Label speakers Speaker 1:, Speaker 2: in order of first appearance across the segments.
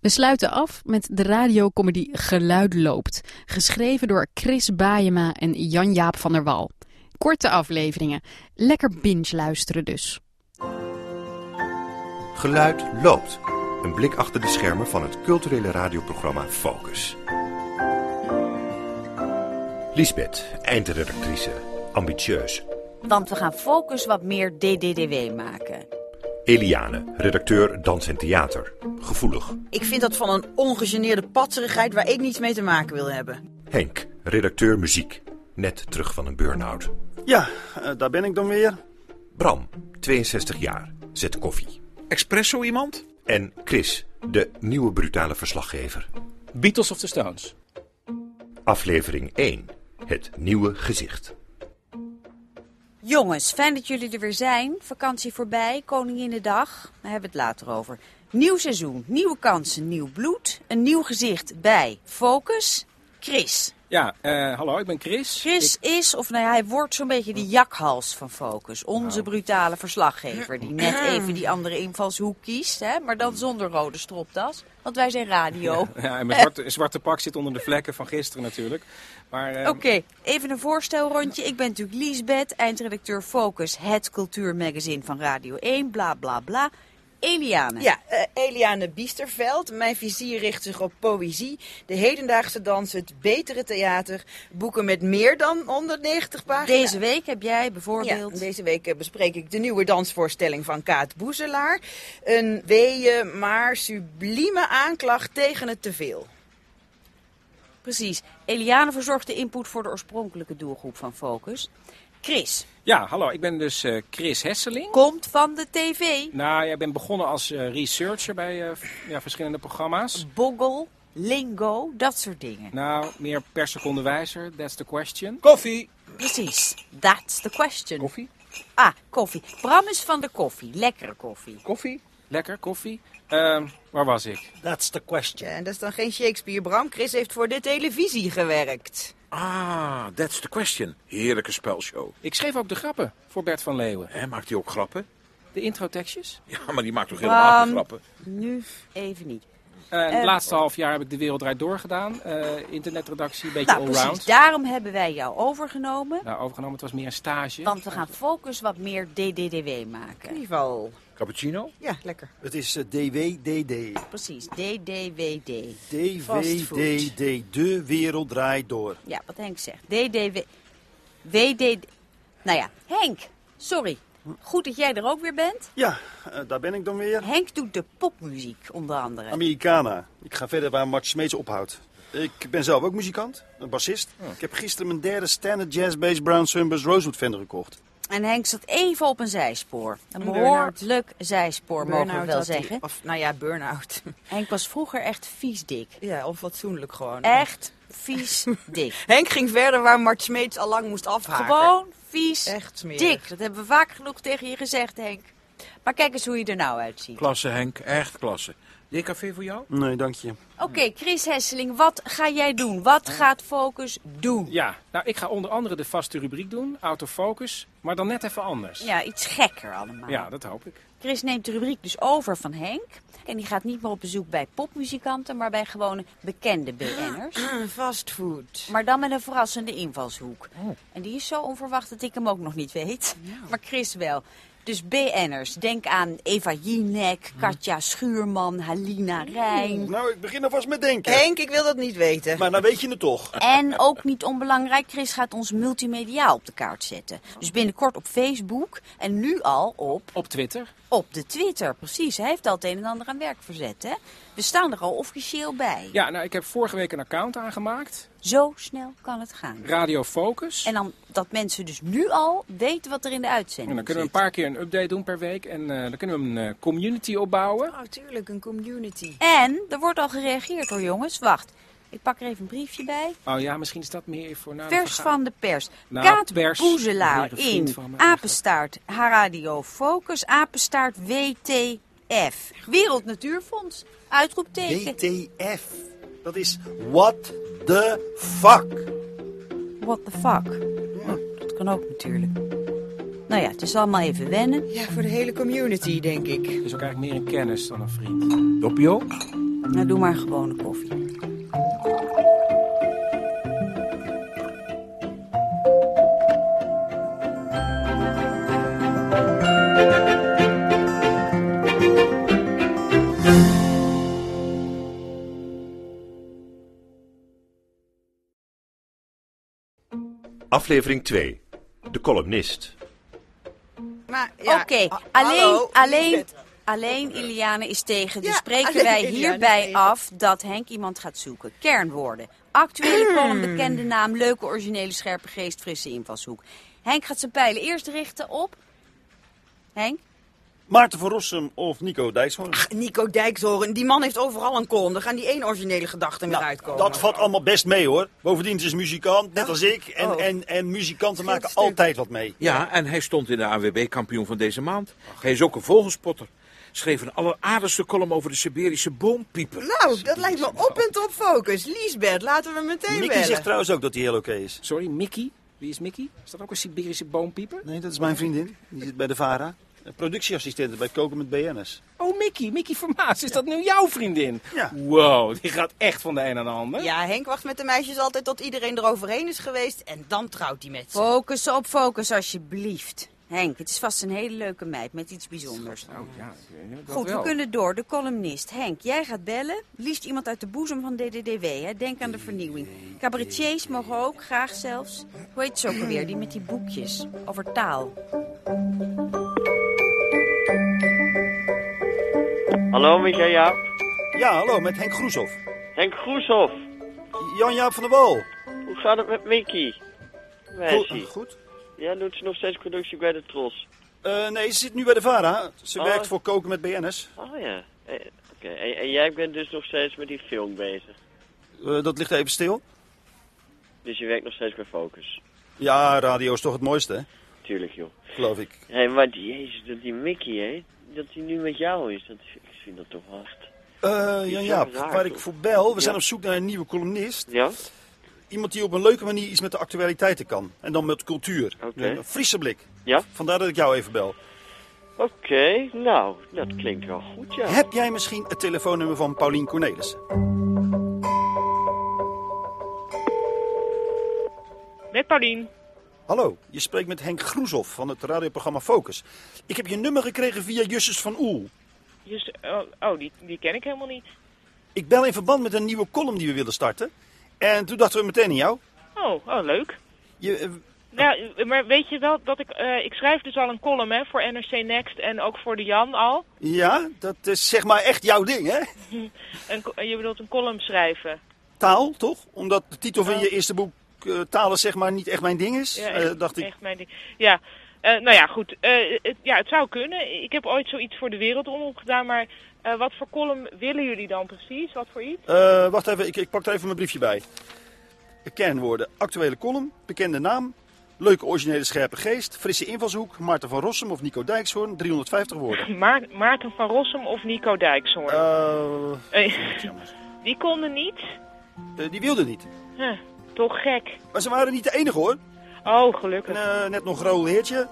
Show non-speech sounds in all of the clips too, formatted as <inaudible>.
Speaker 1: We sluiten af met de radiocomedy Geluid loopt, geschreven door Chris Baayema en Jan-Jaap van der Wal. Korte afleveringen, lekker binge luisteren dus.
Speaker 2: Geluid loopt. Een blik achter de schermen van het culturele radioprogramma Focus. Lisbeth, eindredactrice. Ambitieus.
Speaker 3: Want we gaan Focus wat meer DDDW maken.
Speaker 2: Eliane, redacteur Dans en Theater. Gevoelig.
Speaker 4: Ik vind dat van een ongegeneerde patserigheid waar ik niets mee te maken wil hebben.
Speaker 2: Henk, redacteur Muziek. Net terug van een burn-out.
Speaker 5: Ja, eh, daar ben ik dan weer.
Speaker 2: Bram, 62 jaar. Zet koffie.
Speaker 6: Expresso iemand?
Speaker 2: En Chris, de nieuwe brutale verslaggever.
Speaker 7: Beatles of the Stones.
Speaker 2: Aflevering 1. Het nieuwe gezicht.
Speaker 3: Jongens, fijn dat jullie er weer zijn. Vakantie voorbij, Koninginnedag. We hebben het later over. Nieuw seizoen, nieuwe kansen, nieuw bloed. Een nieuw gezicht bij Focus. Chris.
Speaker 7: Ja, eh, hallo, ik ben Chris.
Speaker 3: Chris is, of nou ja, hij wordt zo'n beetje de jakhals van Focus. Onze
Speaker 7: Nou.
Speaker 3: brutale verslaggever die net even die andere invalshoek kiest. Hè? Maar dan zonder rode stropdas, want wij zijn radio.
Speaker 7: Ik, Mm. <laughs> ja, en mijn zwarte, zwarte pak zit onder de vlekken van gisteren natuurlijk. Maar eh,
Speaker 3: Oké, even een voorstelrondje. Ik ben natuurlijk Liesbeth, eindredacteur Focus, het cultuurmagazine van Radio 1, bla bla bla. Eliane.
Speaker 4: Ja, eh, Eliane Biesterveld. Mijn vizier richt zich op poëzie, de hedendaagse dans, het betere theater. Boeken met meer dan 190 pagina's.
Speaker 3: Deze week heb jij bijvoorbeeld.
Speaker 4: Ja, deze week eh, bespreek ik de nieuwe dansvoorstelling van Kaat Boezelaar. Een weeë maar sublieme aanklacht tegen het teveel.
Speaker 3: Precies. Eliane verzorgt de input voor de oorspronkelijke doelgroep van Focus. Chris
Speaker 7: ja, hallo, ik ben dus eh, Chris Hesseling.
Speaker 3: komt van de tv.
Speaker 7: Nou, jij bent begonnen als eh, researcher bij eh, v- ja, verschillende programma's.
Speaker 3: Boggel, lingo, dat soort dingen.
Speaker 7: Nou, meer per seconde wijzer, that's the question.
Speaker 6: Koffie!
Speaker 3: Precies. That's the question.
Speaker 7: Koffie?
Speaker 3: Ah, koffie. Bram is van de koffie. Lekkere koffie.
Speaker 7: Koffie? Lekker, koffie. Ehm, waar was ik?
Speaker 6: That's the question.
Speaker 4: Ja, en dat is dan geen Shakespeare, Bram. Chris heeft voor de televisie gewerkt.
Speaker 6: Ah, that's the question. Heerlijke spelshow.
Speaker 7: Ik schreef ook de grappen voor Bert van Leeuwen.
Speaker 6: Hè, maakt hij ook grappen?
Speaker 7: De introtekstjes.
Speaker 6: Ja, maar die maakt toch helemaal geen
Speaker 3: Ehm,
Speaker 6: grappen?
Speaker 3: Nu even niet.
Speaker 7: Eh
Speaker 3: Eh,
Speaker 7: het laatste half jaar heb ik de wereld draait door gedaan. Eh, internetredactie, een beetje
Speaker 3: Nou,
Speaker 7: allround.
Speaker 3: precies. Daarom hebben wij jou overgenomen.
Speaker 7: Nou, overgenomen, het was meer een stage.
Speaker 3: Want we gaan Focus wat meer DDDW maken.
Speaker 4: Knieval.
Speaker 6: Cappuccino?
Speaker 4: Oh. Ja, lekker.
Speaker 5: Het is eh, DWDD.
Speaker 3: Precies, DDWD. Fastfood.
Speaker 5: DWDD. De wereld draait door.
Speaker 3: Ja, wat Henk zegt. DDW... WDD... Nou ja, Henk, sorry. Goed dat jij er ook weer bent.
Speaker 5: Ja, eh, daar ben ik dan weer.
Speaker 3: Henk doet de popmuziek, onder andere.
Speaker 5: Americana. Ik ga verder waar Mart Smeets ophoudt. Ik ben zelf ook muzikant, een bassist. Ik heb gisteren mijn derde standard jazz bass Brown Sunburst Rosewood Fender gekocht.
Speaker 3: En Henk zat even op een zijspoor. Een
Speaker 4: burn-out.
Speaker 3: behoorlijk zijspoor, mogen we
Speaker 4: Burn-out
Speaker 3: wel
Speaker 4: had hij.
Speaker 3: zeggen.
Speaker 4: Of, nou ja, burn-out.
Speaker 3: <laughs> Henk was vroeger echt vies dik.
Speaker 4: Ja, onfatsoenlijk gewoon. <laughs>
Speaker 3: Echt vies dik.
Speaker 4: Henk ging verder waar Mart Smeets al lang moest afhaken.
Speaker 3: Gewoon vies
Speaker 4: Echt smerig.
Speaker 3: dik. Dat hebben we vaak genoeg tegen je gezegd, Henk. Maar kijk eens hoe je er nou uitziet.
Speaker 6: Klasse, Henk. Echt klasse. DKV voor jou?
Speaker 5: Nee, dank je.
Speaker 3: Oké, Chris Hesseling, wat ga jij doen? Wat gaat Focus doen?
Speaker 7: Ja, nou, ik ga onder andere de vaste rubriek doen, autofocus, maar dan net even anders.
Speaker 3: Ja, iets gekker allemaal.
Speaker 7: Ja, dat hoop ik.
Speaker 3: Chris neemt de rubriek dus over van Henk. En die gaat niet meer op bezoek bij popmuzikanten, maar bij gewone bekende BN'ers.
Speaker 4: Mm, Fastfood.
Speaker 3: Maar dan met een verrassende invalshoek. En die is zo onverwacht dat ik hem ook nog niet weet. <laughs> Maar Chris wel. Dus BN'ers, denk aan Eva Jinek, Katja Schuurman, Halina Rijn.
Speaker 5: Nou, ik begin alvast met denken.
Speaker 4: Henk, ik wil dat niet weten.
Speaker 5: Maar dan weet je het toch.
Speaker 3: En ook niet onbelangrijk, Chris gaat ons multimediaal op de kaart zetten. Dus binnenkort op Facebook en nu al op,
Speaker 7: Op Twitter.
Speaker 3: op de Twitter. Precies, hij heeft al het een en ander aan werk verzet, hè? We staan er al officieel bij.
Speaker 7: Ja, nou, ik heb vorige week een account aangemaakt,
Speaker 3: Zo snel kan het gaan.
Speaker 7: Radio Focus.
Speaker 3: En dan dat mensen dus nu al weten wat er in de uitzending
Speaker 7: En dan kunnen we
Speaker 3: zit.
Speaker 7: een paar keer een update doen per week en eh, dan kunnen we een eh, community opbouwen.
Speaker 4: Oh, tuurlijk, een community.
Speaker 3: En er wordt al gereageerd hoor, jongens. Wacht, ik pak er even een briefje bij.
Speaker 7: Oh ja, misschien is dat meer voor... na de
Speaker 3: Vers
Speaker 7: vergadering.
Speaker 3: van de pers.
Speaker 7: Nou,
Speaker 3: Kaat
Speaker 7: pers,
Speaker 3: Boezelaar
Speaker 7: weer een vriend
Speaker 3: in
Speaker 7: van me.
Speaker 3: Apenstaart haar Radio Focus, Apenstaart WTF. Wereld Natuurfonds, uitroepteken.
Speaker 5: WTF. Dat is what the fuck.
Speaker 3: What the fuck. Oh, dat kan ook natuurlijk. Nou ja, het is allemaal even wennen.
Speaker 4: Ja, voor de hele community, denk ik.
Speaker 7: Het is ook eigenlijk meer een kennis dan een vriend.
Speaker 6: Doppio?
Speaker 3: Nou, doe maar een gewone koffie.
Speaker 2: Aflevering 2. De columnist.
Speaker 4: Maar Nou, ja,
Speaker 3: Oké,
Speaker 4: a-
Speaker 3: alleen,
Speaker 4: hallo,
Speaker 3: alleen,
Speaker 4: Lisbeth.
Speaker 3: alleen Iliane is tegen. Dus
Speaker 4: Ja,
Speaker 3: spreken
Speaker 4: alleen
Speaker 3: wij
Speaker 4: Iliane
Speaker 3: hierbij
Speaker 4: is tegen.
Speaker 3: af dat Henk iemand gaat zoeken. Kernwoorden. Actuele column, bekende naam, leuke originele scherpe geest, frisse invalshoek. Henk gaat zijn pijlen eerst richten op... Henk?
Speaker 8: Maarten van Rossum of Nico Dijkshoorn.
Speaker 4: Nico Dijkshoorn, die man heeft overal een kon. Daar gaan die één originele gedachte meer uitkomen.
Speaker 8: Nou, Dat valt allemaal best mee hoor. Bovendien het is muzikant, net als ik. En,
Speaker 4: Oh.
Speaker 8: en, en muzikanten maken
Speaker 4: Geldstuk.
Speaker 8: altijd wat mee.
Speaker 6: Ja, en hij stond in de AWB-kampioen van deze maand. Hij is ook een vogelspotter. Schreef een alleraardigste column over de Siberische boompieper.
Speaker 4: Nou, dat lijkt me op en top focus. Liesbeth, laten we meteen
Speaker 8: Nicky
Speaker 4: bellen.
Speaker 8: zegt trouwens ook dat hij heel oké is.
Speaker 7: Sorry, Mickey. Wie is Mickey? Is dat ook een Siberische boompieper?
Speaker 8: Nee, dat is mijn vriendin. Die zit bij de VARA. Een Productieassistente bij Koken met BN'ers.
Speaker 7: Oh, Mickey. Mickey Vermaas. Is dat nu jouw vriendin?
Speaker 8: Ja.
Speaker 7: Wow, die gaat echt van de een aan de ander.
Speaker 4: Ja, Henk wacht met de meisjes altijd tot iedereen eroverheen is geweest. En dan trouwt hij met ze.
Speaker 3: Focus op focus, alsjeblieft. Henk, het is vast een hele leuke meid met iets bijzonders.
Speaker 7: Oh, ja, dat
Speaker 3: Goed,
Speaker 7: wel.
Speaker 3: we kunnen door. De columnist. Henk, jij gaat bellen. Liefst iemand uit de boezem van DDDW. Hè? Denk aan de vernieuwing. Cabaretiers mogen ook, graag zelfs. Hoe heet ze ook alweer, die met die boekjes over taal?
Speaker 9: Hallo Micha Jaap.
Speaker 8: Ja, hallo, met Henk Groeshoff.
Speaker 9: Henk Groeshoff.
Speaker 8: Jan-Jaap van der Wal.
Speaker 9: Hoe gaat het met Mickey? Meisje.
Speaker 8: Goed. goed.
Speaker 9: Ja, doet ze nog steeds productie bij de Tros?
Speaker 8: Eh, nee, ze zit nu bij de VARA. Ze
Speaker 9: Oh.
Speaker 8: werkt voor Koken met BN'ers.
Speaker 9: Oh ja. Eh, Oké, en, en jij bent dus nog steeds met die film bezig.
Speaker 8: Eh, dat ligt even stil.
Speaker 9: Dus je werkt nog steeds bij Focus.
Speaker 8: Ja, radio is toch het mooiste, hè?
Speaker 9: Tuurlijk joh.
Speaker 8: geloof ik.
Speaker 9: Hé, hey, maar die- jezus, dat die Mickey, hè? Dat hij nu met jou is, dat, ik vind dat toch hard.
Speaker 8: Eh Jan-Jaap,
Speaker 9: raar,
Speaker 8: waar ik
Speaker 9: toch?
Speaker 8: voor bel, we
Speaker 9: Ja.
Speaker 8: zijn op zoek naar een nieuwe columnist.
Speaker 9: Ja?
Speaker 8: Iemand die op een leuke manier iets met de actualiteiten kan. En dan met cultuur.
Speaker 9: Oké.
Speaker 8: Een Friese blik.
Speaker 9: Ja?
Speaker 8: Vandaar dat ik jou even bel.
Speaker 9: Oké, nou, dat klinkt wel goed, ja.
Speaker 8: Heb jij misschien het telefoonnummer van Paulien Cornelissen?
Speaker 10: Met Paulien.
Speaker 8: Hallo, je spreekt met Henk Groeshoff van het radioprogramma Focus. Ik heb je nummer gekregen via Justus van Oel.
Speaker 10: Dus, oh, oh, die, die ken ik helemaal niet.
Speaker 8: Ik bel in verband met een nieuwe column die we willen starten. En toen dachten we meteen aan jou.
Speaker 10: Oh, oh leuk.
Speaker 8: Je, eh,
Speaker 10: Nou, maar weet je wel dat ik... eh, ik schrijf dus al een column hè, voor NRC Next en ook voor de Jan al.
Speaker 8: ja, dat is zeg maar echt jouw ding, hè?
Speaker 10: Een, co- je bedoelt een column schrijven.
Speaker 8: Taal, toch? Omdat de titel van je eerste boek eh, taal is zeg maar niet echt mijn ding is.
Speaker 10: Ja,
Speaker 8: eh,
Speaker 10: echt,
Speaker 8: dacht ik,
Speaker 10: echt mijn ding. Ja, eh, nou ja, goed. Eh, het, ja, het zou kunnen. Ik heb ooit zoiets voor de wereld omhoog gedaan, maar... eh, wat voor column willen jullie dan precies? Wat voor iets?
Speaker 8: Eh, wacht even, ik, ik pak er even mijn briefje bij. Kernwoorden. Actuele column, bekende naam, leuke originele scherpe geest, frisse invalshoek, Maarten van Rossum of Nico Dijkshoorn, 350 woorden.
Speaker 10: Maar, Maarten van Rossum of Nico Dijkshoorn?
Speaker 8: Eh,
Speaker 10: Eh, <laughs> die konden niet.
Speaker 8: eh, die wilde niet.
Speaker 10: Huh, toch gek.
Speaker 8: Maar ze waren niet de enige hoor.
Speaker 10: Oh, gelukkig.
Speaker 8: En, eh, net nog Raoul Heertje.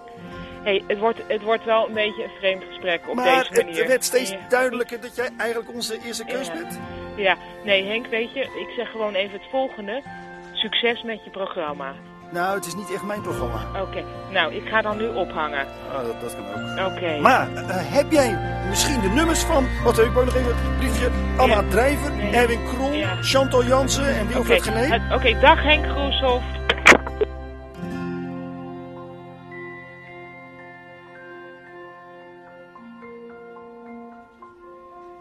Speaker 10: Hey, het, wordt, het wordt wel een beetje een vreemd gesprek op
Speaker 8: Maar
Speaker 10: deze manier.
Speaker 8: het werd steeds
Speaker 10: Ja.
Speaker 8: duidelijker dat jij eigenlijk onze eerste keus
Speaker 10: Ja.
Speaker 8: bent.
Speaker 10: Ja, nee Henk, weet je, ik zeg gewoon even het volgende. Succes met je programma.
Speaker 8: Nou, het is niet echt mijn programma.
Speaker 10: Oké, nou, ik ga dan nu ophangen.
Speaker 8: Ah, dat, dat kan ook.
Speaker 10: Oké.
Speaker 8: Maar eh, heb jij misschien de nummers van, wat heb ik ook nog even, het briefje, Anna
Speaker 10: Ja.
Speaker 8: Drijver,
Speaker 10: Nee.
Speaker 8: Erwin Krol,
Speaker 10: Ja.
Speaker 8: Chantal Jansen en
Speaker 10: Oké,
Speaker 8: Wilfred Genee?
Speaker 10: het- oké, dag Henk Groeshoff.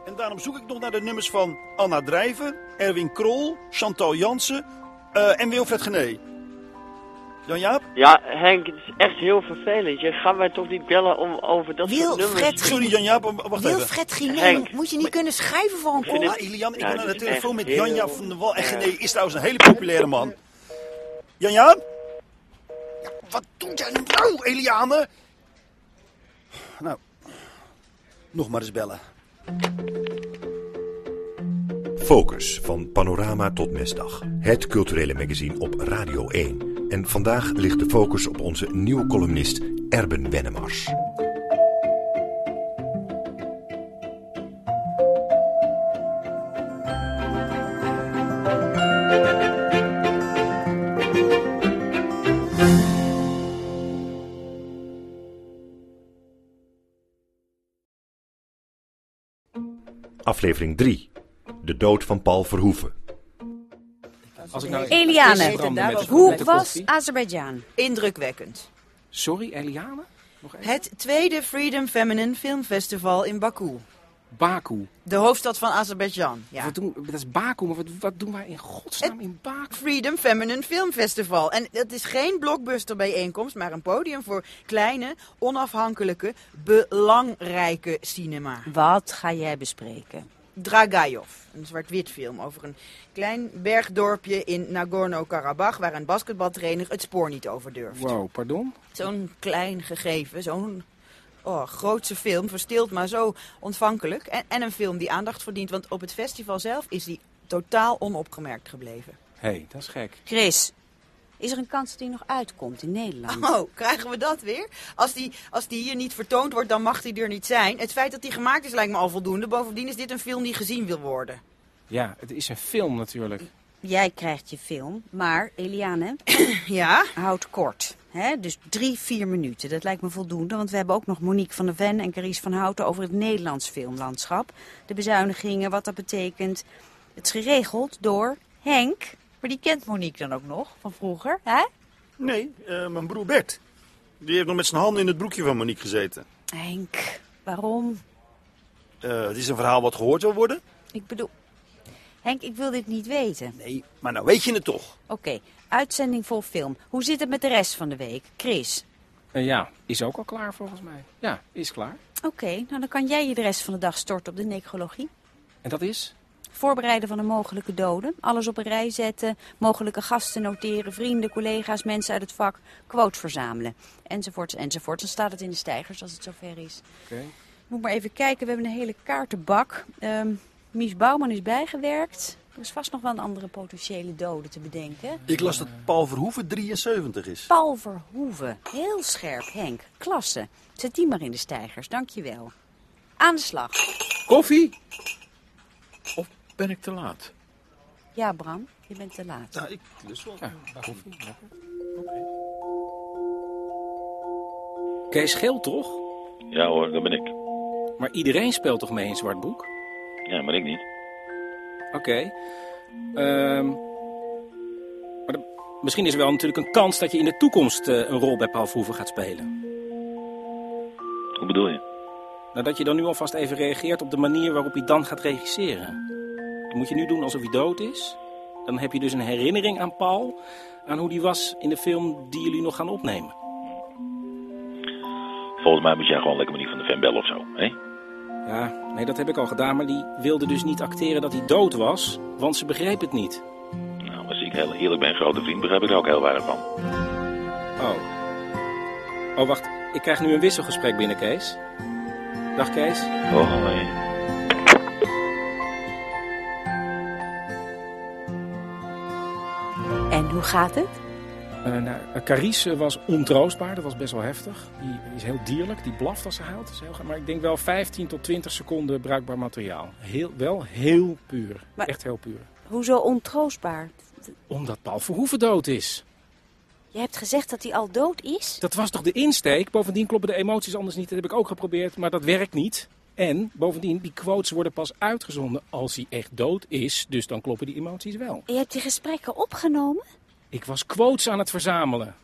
Speaker 8: En daarom zoek ik nog naar de nummers van Anna Drijven, Erwin Krol, Chantal Jansen eh, en Wilfred Gené. Jan-Jaap?
Speaker 9: Ja, Henk, het is echt heel vervelend. Je gaat mij toch niet bellen om over dat soort
Speaker 4: Wilfred,
Speaker 9: nummers.
Speaker 8: Sorry Jan-Jaap, om- wacht even.
Speaker 4: Wilfred Guiné,
Speaker 9: Henk.
Speaker 4: moet je niet kunnen schrijven voor een
Speaker 9: vind
Speaker 4: column?
Speaker 8: Ah, Ilian, ik
Speaker 9: Ja, dus-
Speaker 8: ben aan
Speaker 9: Nou, dit
Speaker 8: de
Speaker 9: is
Speaker 8: telefoon met
Speaker 9: echt
Speaker 8: Jan-Jaap
Speaker 9: heel-
Speaker 8: van der Wal. En Gené is trouwens een hele populaire man. Jan-Jaap? Ja, wat doet jij nou, Eliane? Nou, nog maar eens bellen.
Speaker 2: Focus van Panorama tot Mesdag. Het culturele magazine op Radio 1. En vandaag ligt de focus op onze nieuwe columnist Erben Wennemars. Aflevering 3. De dood van Paul Verhoeven.
Speaker 7: Als ik nou eens-
Speaker 3: Eliane,
Speaker 7: Eerst branden met de- met
Speaker 3: Hoe
Speaker 7: de
Speaker 3: was
Speaker 7: koffie.
Speaker 3: Azerbeidzjan?
Speaker 4: Indrukwekkend.
Speaker 7: Sorry, Eliane? Nog even.
Speaker 4: Het tweede Freedom Feminine Filmfestival in Baku.
Speaker 7: Baku.
Speaker 4: De hoofdstad van Azerbeidzjan. Ja.
Speaker 7: Wat doen, dat is Baku, maar wat, wat doen wij in godsnaam in Baku?
Speaker 4: Freedom Feminine Film Festival. En dat is geen blockbuster bijeenkomst, maar een podium voor kleine, onafhankelijke, belangrijke cinema.
Speaker 3: Wat ga jij bespreken?
Speaker 4: Dragajov, een zwart-wit film over een klein bergdorpje in Nagorno-Karabakh waar een basketbaltrainer het spoor niet over durft.
Speaker 7: Wow, pardon?
Speaker 4: Zo'n klein gegeven, zo'n oh, grootse film, verstild maar zo ontvankelijk. En, en een film die aandacht verdient, want op het festival zelf is die totaal onopgemerkt gebleven.
Speaker 7: Hé, hey, dat is gek.
Speaker 3: Chris, is er een kans dat hij nog uitkomt in Nederland?
Speaker 4: Oh, krijgen we dat weer? Als die, als die hier niet vertoond wordt, dan mag die er niet zijn. Het feit dat die gemaakt is lijkt me al voldoende. Bovendien is dit een film die gezien wil worden.
Speaker 7: Ja, het is een film natuurlijk.
Speaker 3: Jij krijgt je film, maar <coughs> Eliane
Speaker 4: Ja?
Speaker 3: houdt kort. Hè? Dus drie, vier minuten, dat lijkt me voldoende. Want we hebben ook nog Monique van der Ven en Carice van Houten over het Nederlands filmlandschap. De bezuinigingen, wat dat betekent. Het is geregeld door Henk. Maar die kent Monique dan ook nog, van vroeger. Hè?
Speaker 5: Nee, eh, mijn broer Bert. Die heeft nog met zijn handen in het broekje van Monique gezeten.
Speaker 3: Henk, waarom?
Speaker 5: Eh, het is een verhaal wat gehoord wil worden.
Speaker 3: Ik bedoel... Henk, ik wil dit niet weten.
Speaker 5: Nee, maar nou weet je het toch.
Speaker 3: Oké, uitzending voor film. Hoe zit het met de rest van de week? Chris.
Speaker 7: Eh, ja, is ook al klaar volgens mij. Ja, is klaar.
Speaker 3: Oké, nou dan kan jij je de rest van de dag storten op de necrologie.
Speaker 7: En dat is?
Speaker 3: Voorbereiden van een mogelijke doden. Alles op een rij zetten. Mogelijke gasten noteren. Vrienden, collega's, mensen uit het vak. Quotes verzamelen. Enzovoorts, enzovoorts. Dan staat het in de stijgers als het zover is.
Speaker 7: Oké.
Speaker 3: Ik moet maar even kijken. We hebben een hele kaartenbak. Ehm Mies Bouwman is bijgewerkt. Er is vast nog wel een andere potentiële dode te bedenken.
Speaker 5: Ik las dat Paul Verhoeven 73 is.
Speaker 3: Paul Verhoeven. Heel scherp, Henk. Klasse. Zet die maar in de stijgers. Dankjewel. Aan de slag.
Speaker 6: Koffie? Of ben ik te laat?
Speaker 3: Ja, Bram. Je bent te laat.
Speaker 5: Nou, ik dus wel.
Speaker 7: Kees Geel toch?
Speaker 11: Ja hoor, dat ben ik.
Speaker 7: Maar iedereen speelt toch mee in Zwart Boek?
Speaker 11: Ja, maar ik niet.
Speaker 7: Oké. Ehm, maar de- misschien is er wel natuurlijk een kans dat je in de toekomst eh, een rol bij Paul Verhoeven gaat spelen.
Speaker 11: Hoe bedoel je?
Speaker 7: Nou, dat je dan nu alvast even reageert op de manier waarop hij dan gaat regisseren. Dat moet je nu doen alsof hij dood is. Dan heb je dus een herinnering aan Paul, aan hoe die was in de film die jullie nog gaan opnemen.
Speaker 11: Volgens mij moet jij gewoon lekker manier van de fan bellen of zo, hè?
Speaker 7: Ja, nee, dat heb ik al gedaan, maar die wilde dus niet acteren dat hij dood was, want ze begreep het niet.
Speaker 11: Nou, als ik heel eerlijk ben, grote vriend, begrijp ik er ook heel weinig van.
Speaker 7: Oh. Oh, wacht. Ik krijg nu een wisselgesprek binnen, Kees. Dag, Kees.
Speaker 11: Oh, nee.
Speaker 3: En hoe gaat het?
Speaker 7: Eh, nou, eh, Carice was ontroostbaar, dat was best wel heftig. Die is heel dierlijk, die blaft als ze huilt. Dat is heel ge- maar ik denk wel 15 tot 20 seconden bruikbaar materiaal. Heel, wel heel puur,
Speaker 3: Maar-
Speaker 7: echt heel puur.
Speaker 3: Hoezo ontroostbaar?
Speaker 7: Omdat Paul Verhoeven dood is.
Speaker 3: Je hebt gezegd dat hij al dood is?
Speaker 7: Dat was toch de insteek? Bovendien kloppen de emoties anders niet. Dat heb ik ook geprobeerd, maar dat werkt niet. En bovendien, die quotes worden pas uitgezonden als hij echt dood is. Dus dan kloppen die emoties wel.
Speaker 3: Je hebt die gesprekken opgenomen?
Speaker 7: Ik was quotes aan het verzamelen.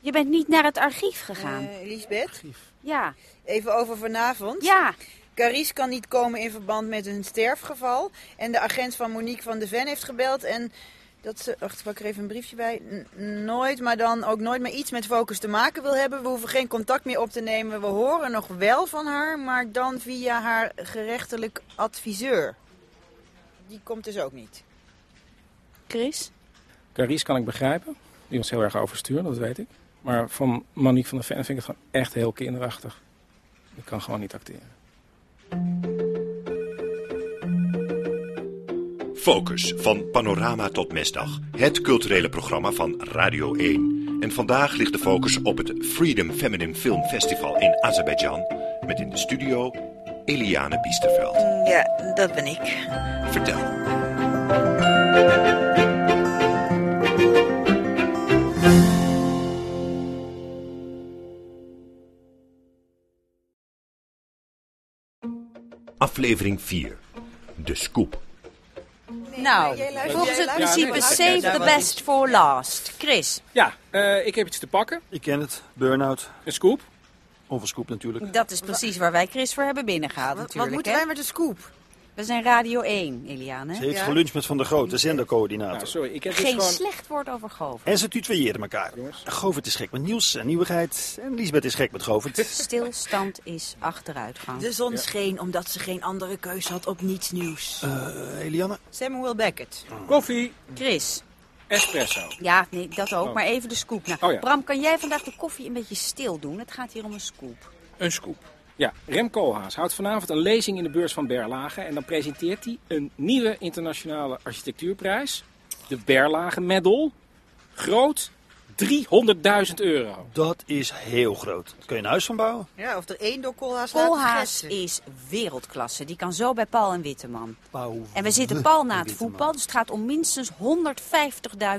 Speaker 3: Je bent niet naar het archief gegaan?
Speaker 4: Eh, Lisbeth,
Speaker 3: ja.
Speaker 4: even over vanavond.
Speaker 3: Ja.
Speaker 4: Carice kan niet komen in verband met een sterfgeval. En de agent van Monique van de Ven heeft gebeld. En dat ze, wacht, ik pak er even een briefje bij. N- nooit, maar dan ook nooit meer iets met Focus te maken wil hebben. We hoeven geen contact meer op te nemen. We horen nog wel van haar, maar dan via haar gerechtelijk adviseur. Die komt dus ook niet.
Speaker 3: Chris?
Speaker 7: Carice kan ik begrijpen. Die was heel erg overstuur, dat weet ik. Maar van Monique van der Ven vind ik het gewoon echt heel kinderachtig. Die kan gewoon niet acteren.
Speaker 2: Focus van Panorama tot Mesdag. Het culturele programma van Radio 1. En vandaag ligt de focus op het Freedom Feminine Film Festival in Azerbeidzjan. Met in de studio Eliane Biesterveld.
Speaker 4: Ja, dat ben ik.
Speaker 2: Vertel. aflevering 4. De scoop.
Speaker 3: Nou,
Speaker 4: jij luistert-
Speaker 3: volgens
Speaker 4: jij
Speaker 3: het
Speaker 4: luistert-
Speaker 3: principe
Speaker 4: Ja,
Speaker 3: save
Speaker 4: luistert-
Speaker 3: the best for last. Chris,
Speaker 7: Ja, eh, ik heb iets te pakken.
Speaker 5: Ik ken het. Burnout.
Speaker 7: Een scoop.
Speaker 5: Onverscoop natuurlijk.
Speaker 3: dat is precies waar wij Chris voor hebben binnengehaald
Speaker 4: Wat, wat
Speaker 3: natuurlijk.
Speaker 4: moeten
Speaker 3: hè?
Speaker 4: wij met de scoop?
Speaker 3: We zijn Radio 1, Eliane.
Speaker 5: Ze heeft
Speaker 4: Ja.
Speaker 5: geluncht met Van der Groot, de zendercoördinator.
Speaker 7: Nou, sorry, ik heb
Speaker 3: Geen
Speaker 7: dus gewoon...
Speaker 3: slecht woord over Govert.
Speaker 5: En ze tutoieerden elkaar. Govert is gek met nieuws en nieuwigheid. En Lisbeth is gek met Govert.
Speaker 3: <laughs> Stilstand is achteruitgang.
Speaker 12: De zon scheen omdat ze geen andere keus had op niets nieuws.
Speaker 5: Eh, Eliane?
Speaker 4: Samuel Beckett.
Speaker 6: Ah.
Speaker 7: Koffie,
Speaker 3: Chris,
Speaker 7: espresso.
Speaker 3: ja, nee, dat ook,
Speaker 7: Oh.
Speaker 3: maar even de scoop. Nou,
Speaker 7: Oh ja.
Speaker 3: Bram, kan jij vandaag de koffie een beetje stil doen? Het gaat hier om een scoop.
Speaker 7: Een scoop. Ja, Rem Koolhaas houdt vanavond een lezing in de beurs van Berlage. En dan presenteert hij een nieuwe internationale architectuurprijs. De Berlage Medal. Groot 300.000 euro.
Speaker 5: Dat is heel groot. Kun je een huis van bouwen?
Speaker 4: Ja, of er één door Koolhaas
Speaker 3: Koolhaas is wereldklasse. Die kan zo bij Paul en Witteman.
Speaker 5: Bouwen.
Speaker 3: En we zitten pal na het voetbal, dus het gaat om minstens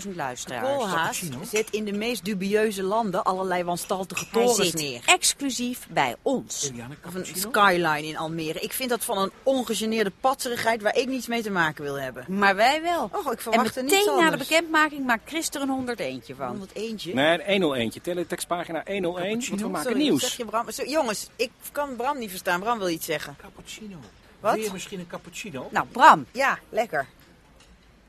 Speaker 3: 150.000 luisteraars.
Speaker 12: Koolhaas zet in de meest dubieuze landen allerlei wanstaltige
Speaker 3: Hij
Speaker 12: torens
Speaker 3: zit
Speaker 12: neer.
Speaker 3: exclusief bij ons.
Speaker 12: Of
Speaker 4: Een skyline in Almere. Ik vind dat van een ongegeneerde patserigheid waar ik niets mee te maken wil hebben.
Speaker 3: Maar wij wel.
Speaker 4: Oh, ik
Speaker 3: en
Speaker 4: verwacht er niets
Speaker 3: meteen na de
Speaker 4: anders.
Speaker 3: bekendmaking maakt Chris er een 101 van.
Speaker 4: 101.
Speaker 7: Nee, een 101-tje. Teletextpagina 101, want we maken
Speaker 4: Sorry, wat
Speaker 7: nieuws.
Speaker 4: Zeg je Bram? Zo, jongens, ik kan Bram niet verstaan. Bram wil iets zeggen.
Speaker 6: Cappuccino.
Speaker 4: Wat?
Speaker 6: Wil je misschien een cappuccino?
Speaker 3: Nou, Bram.
Speaker 4: Ja, lekker.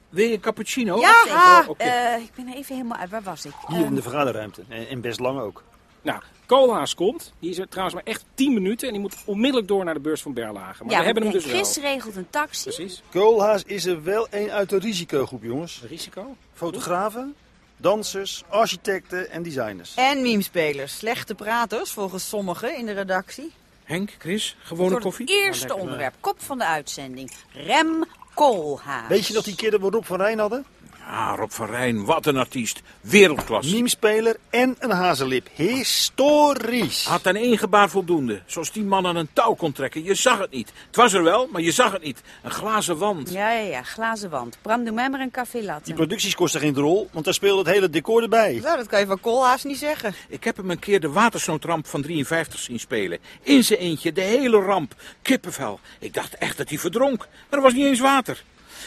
Speaker 6: Wil je een cappuccino?
Speaker 4: Ja!
Speaker 6: Oh, oké.
Speaker 3: eh, ik ben er even helemaal uit. Waar was ik? Eh,
Speaker 5: Hier in de vergaderruimte. En en best lang ook.
Speaker 7: Nou, Koolhaas komt. Die is er trouwens maar echt 10 minuten. En die moet onmiddellijk door naar de beurs van Berlage. Maar
Speaker 3: ja,
Speaker 7: we hebben hem
Speaker 3: en
Speaker 7: dus
Speaker 3: Chris
Speaker 7: wel.
Speaker 3: regelt een taxi.
Speaker 7: Precies.
Speaker 5: Koolhaas is er wel een uit de risicogroep, jongens.
Speaker 7: Risico.
Speaker 5: Fotografen, dansers, architecten en designers.
Speaker 4: En memespelers. Slechte praters, volgens sommigen in de redactie.
Speaker 6: Henk, Chris, gewone
Speaker 3: Voor
Speaker 6: koffie?
Speaker 3: het eerste onderwerp. Kop van de uitzending. Rem Koolhaas.
Speaker 5: Weet je nog die keer dat we Rob van Rijn hadden?
Speaker 6: Ah, Rob van Rijn, wat een artiest. Wereldklasse.
Speaker 5: Memespeler en een hazenlip. Historisch.
Speaker 6: Had aan één gebaar voldoende. Zoals die man aan een touw kon trekken. Je zag het niet. Het was er wel, maar je zag het niet. Een glazen wand.
Speaker 3: Ja, ja, ja. Glazen wand. Bram, doe mij maar een café latte.
Speaker 5: Die producties kosten geen rol, want daar speelde het hele decor erbij.
Speaker 4: Nou, dat kan je van Koolhaas niet zeggen.
Speaker 6: Ik heb hem een keer de watersnoodramp van 53 zien spelen. In zijn eentje, de hele ramp. Kippenvel. Ik dacht echt dat hij verdronk. Maar er was niet eens water.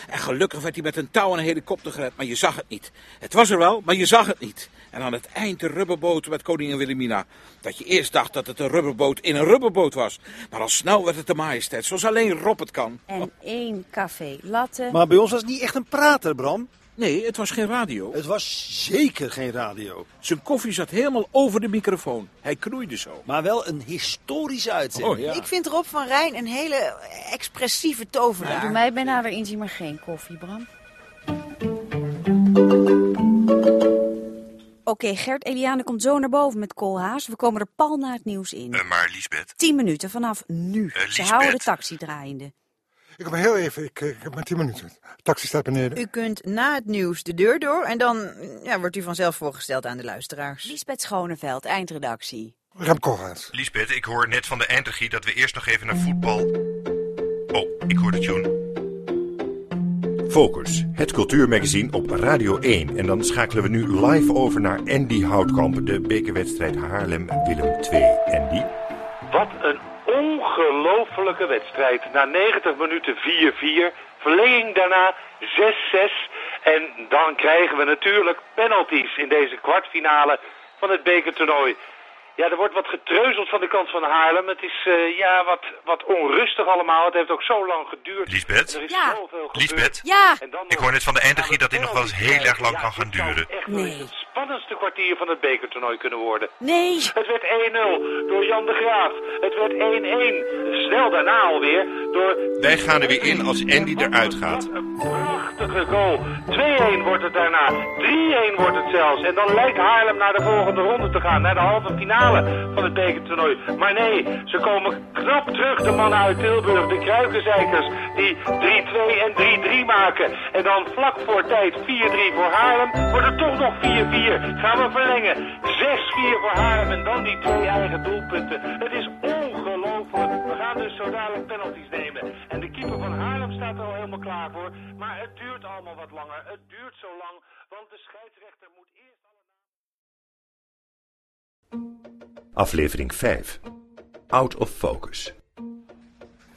Speaker 6: En gelukkig werd hij met een touw en een helikopter gered, maar je zag het niet. Het was er wel, maar je zag het niet. En aan het eind de rubberboot met koningin Wilhelmina. Dat je eerst dacht dat het een rubberboot in een rubberboot was. Maar al snel werd het de majesteit, zoals alleen Rob het kan.
Speaker 3: En één café latte.
Speaker 5: Maar bij ons was het niet echt een prater, Bram.
Speaker 6: Nee, het was geen radio.
Speaker 5: Het was zeker geen radio.
Speaker 6: Zijn koffie zat helemaal over de microfoon. Hij knoeide zo.
Speaker 5: Maar wel een historische uitzending.
Speaker 6: Oh, ja.
Speaker 4: Ik vind Rob van Rijn een hele expressieve
Speaker 3: Nou,
Speaker 4: tovenaar.
Speaker 3: doe mij bijna weer inzien, maar geen koffie, Bram. Oké, Gert Eliane komt zo naar boven met koolhaas. We komen er pal na het nieuws in.
Speaker 13: Eh, maar Eh, Lisbeth,
Speaker 3: 10 minuten vanaf nu. Ze
Speaker 13: Lisbeth.
Speaker 3: houden de taxi draaiende.
Speaker 14: Ik heb heel even, ik, ik heb maar 10 minuten. Taxi staat beneden.
Speaker 4: U kunt na het nieuws de deur door en dan ja, wordt u vanzelf voorgesteld aan de luisteraars.
Speaker 3: Lisbeth Schoneveld, eindredactie.
Speaker 14: Rem Koolhaas.
Speaker 2: Lisbeth, ik hoor net van de eindregie dat we eerst nog even naar voetbal. Oh, ik hoor de tune. Focus, het cultuurmagazine op Radio 1. En dan schakelen we nu live over naar Andy Houtkamp, de bekerwedstrijd Haarlem-Willem 2. Andy?
Speaker 13: Wat een ongelofelijke wedstrijd. Na 90 minuten 4-4. Verlenging daarna 6-6. En dan krijgen we natuurlijk penalties in deze kwartfinale van het bekertoernooi. Ja, er wordt wat getreuzeld van de kant van Haarlem. Het is eh, ja, wat, wat onrustig allemaal. Het heeft ook zo lang geduurd.
Speaker 2: Lisbeth?
Speaker 13: Er is
Speaker 3: Ja.
Speaker 13: zoveel gebeurd.
Speaker 2: Lisbeth?
Speaker 3: Ja,
Speaker 13: En dan
Speaker 2: Ik
Speaker 13: nog-
Speaker 2: hoor net van de eindegie dat dit nog wel eens heel erg lang
Speaker 13: eh, Ja,
Speaker 2: kan gaan
Speaker 13: dit zou
Speaker 2: duren.
Speaker 13: Echt wel eens
Speaker 3: Nee.
Speaker 13: het spannendste kwartier van het bekertoernooi kunnen worden.
Speaker 3: nee.
Speaker 13: Het werd 1-0 door Jan de Graaf. Het werd 1-1. Snel daarna alweer door...
Speaker 2: Wij gaan er weer in als Andy eruit gaat.
Speaker 13: Wat een prachtige goal. 2-1 wordt het daarna. 3-1 wordt het zelfs. En dan lijkt Haarlem naar de volgende ronde te gaan. Naar de halve finale van het bekertoernooi. Maar nee, ze komen knap terug. De mannen uit Tilburg, de Kruikenzeikers. Die 3-2 en 3-3 maken. En dan vlak voor tijd 4-3 voor Haarlem. Wordt het toch nog 4-4. Gaan we verlengen. 6-4 voor Haarlem. En dan die twee eigen doelpunten. Het is ongelooflijk. We gaan dus zo dadelijk penalties nemen. En de keeper van Haarlem staat er al helemaal klaar voor. Maar het duurt allemaal wat langer. Het duurt zo lang. Want de scheidsrechter moet eerst. alle-
Speaker 2: Aflevering 5. Out of focus.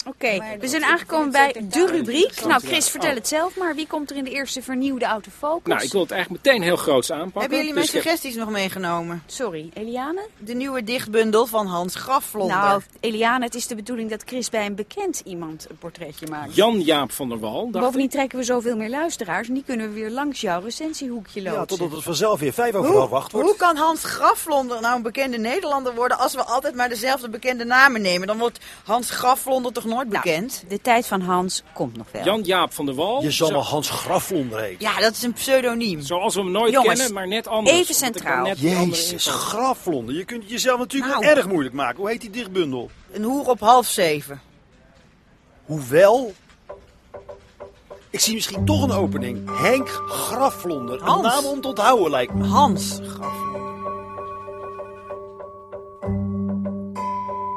Speaker 3: Oké, Oké, we zijn aangekomen bij de rubriek. Nou,
Speaker 4: Oh.
Speaker 3: Chris, vertel het zelf maar. Wie komt er in de eerste vernieuwde autofocus?
Speaker 7: Nou, ik wil het eigenlijk meteen heel groots aanpakken.
Speaker 4: Hebben jullie mijn
Speaker 7: Dus ik heb-
Speaker 4: suggesties nog meegenomen?
Speaker 3: Sorry, Eliane?
Speaker 4: De nieuwe dichtbundel van Hans Grafvlonder.
Speaker 3: Nou, Eliane, het is de bedoeling dat Chris bij een bekend iemand een portretje maakt.
Speaker 7: Jan-Jaap van der Wal. dacht
Speaker 3: Bovendien trekken we zoveel meer luisteraars en die kunnen we weer langs jouw recensiehoekje lopen.
Speaker 8: Ja, totdat het vanzelf weer vijf over
Speaker 4: Hoe,
Speaker 8: half acht
Speaker 4: hoe
Speaker 8: wordt.
Speaker 4: kan Hans Grafvlonder nou een bekende Nederlander worden als we altijd maar dezelfde bekende namen nemen? Dan wordt Hans Grafvlonder toch nooit bekend?
Speaker 3: Nou, De tijd van Hans komt nog wel.
Speaker 7: Jan-Jaap van der Wal.
Speaker 8: Je zal
Speaker 7: Zo-
Speaker 8: maar Hans Graflonder heten.
Speaker 4: Ja, dat is een pseudoniem.
Speaker 7: Zoals we hem nooit
Speaker 3: Jongens,
Speaker 7: kennen, maar net anders.
Speaker 3: even
Speaker 7: omdat ik daar
Speaker 3: centraal.
Speaker 7: net die andere
Speaker 8: Jezus,
Speaker 7: inval-
Speaker 8: Graflonder. Je kunt het jezelf natuurlijk
Speaker 4: Nou.
Speaker 8: wel erg moeilijk maken. Hoe heet die dichtbundel?
Speaker 4: Een hoer op half zeven.
Speaker 8: Hoewel... Ik zie misschien toch een opening. Henk Graflonder.
Speaker 4: Hans.
Speaker 8: Een naam om te onthouden lijkt me.
Speaker 4: Hans.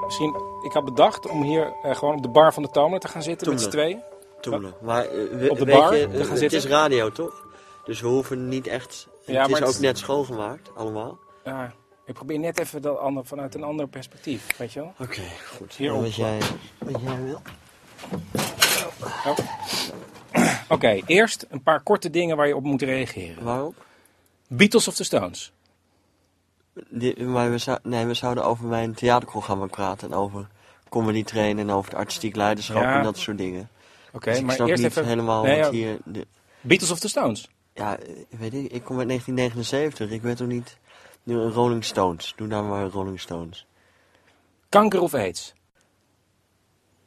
Speaker 7: Misschien, ik had bedacht om hier eh, gewoon op de bar van de Tomer te gaan zitten met z'n
Speaker 9: Toemler.
Speaker 7: tweeën.
Speaker 9: Toemelen. Maar eh, we-
Speaker 7: Op de
Speaker 9: weet
Speaker 7: bar?
Speaker 9: je,
Speaker 7: We gaan
Speaker 9: eh, het
Speaker 7: zitten.
Speaker 9: is radio, toch? Dus we hoeven niet echt...
Speaker 7: Ja,
Speaker 9: het
Speaker 7: maar
Speaker 9: is
Speaker 7: het
Speaker 9: ook
Speaker 7: is-
Speaker 9: net schoongemaakt, allemaal.
Speaker 7: Ja, ik probeer net even dat ander, vanuit een ander perspectief, weet je wel?
Speaker 9: Oké, goed.
Speaker 7: Hier
Speaker 9: Nou,
Speaker 7: op.
Speaker 9: wat, jij, wat jij wil.
Speaker 7: Oh. <clears throat> Oké, eerst een paar korte dingen waar je op moet reageren.
Speaker 9: Waarop?
Speaker 7: Beatles of the Stones?
Speaker 9: Die- maar we, zou- nee, we zouden over mijn theaterprogramma praten. En over comedy trainen en over het artistiek leiderschap
Speaker 7: Ja.
Speaker 9: en dat soort dingen.
Speaker 7: Oké,
Speaker 9: Dus ik
Speaker 7: maar
Speaker 9: snap
Speaker 7: eerst
Speaker 9: niet
Speaker 7: even...
Speaker 9: helemaal
Speaker 7: Nee,
Speaker 9: wat
Speaker 7: ja,
Speaker 9: hier... de-
Speaker 7: Beatles of the Stones?
Speaker 9: ja, eh, weet ik, ik kom uit 1979. Ik weet toch niet... Nu, Rolling Stones. Doe nou maar Rolling Stones.
Speaker 7: Kanker of AIDS?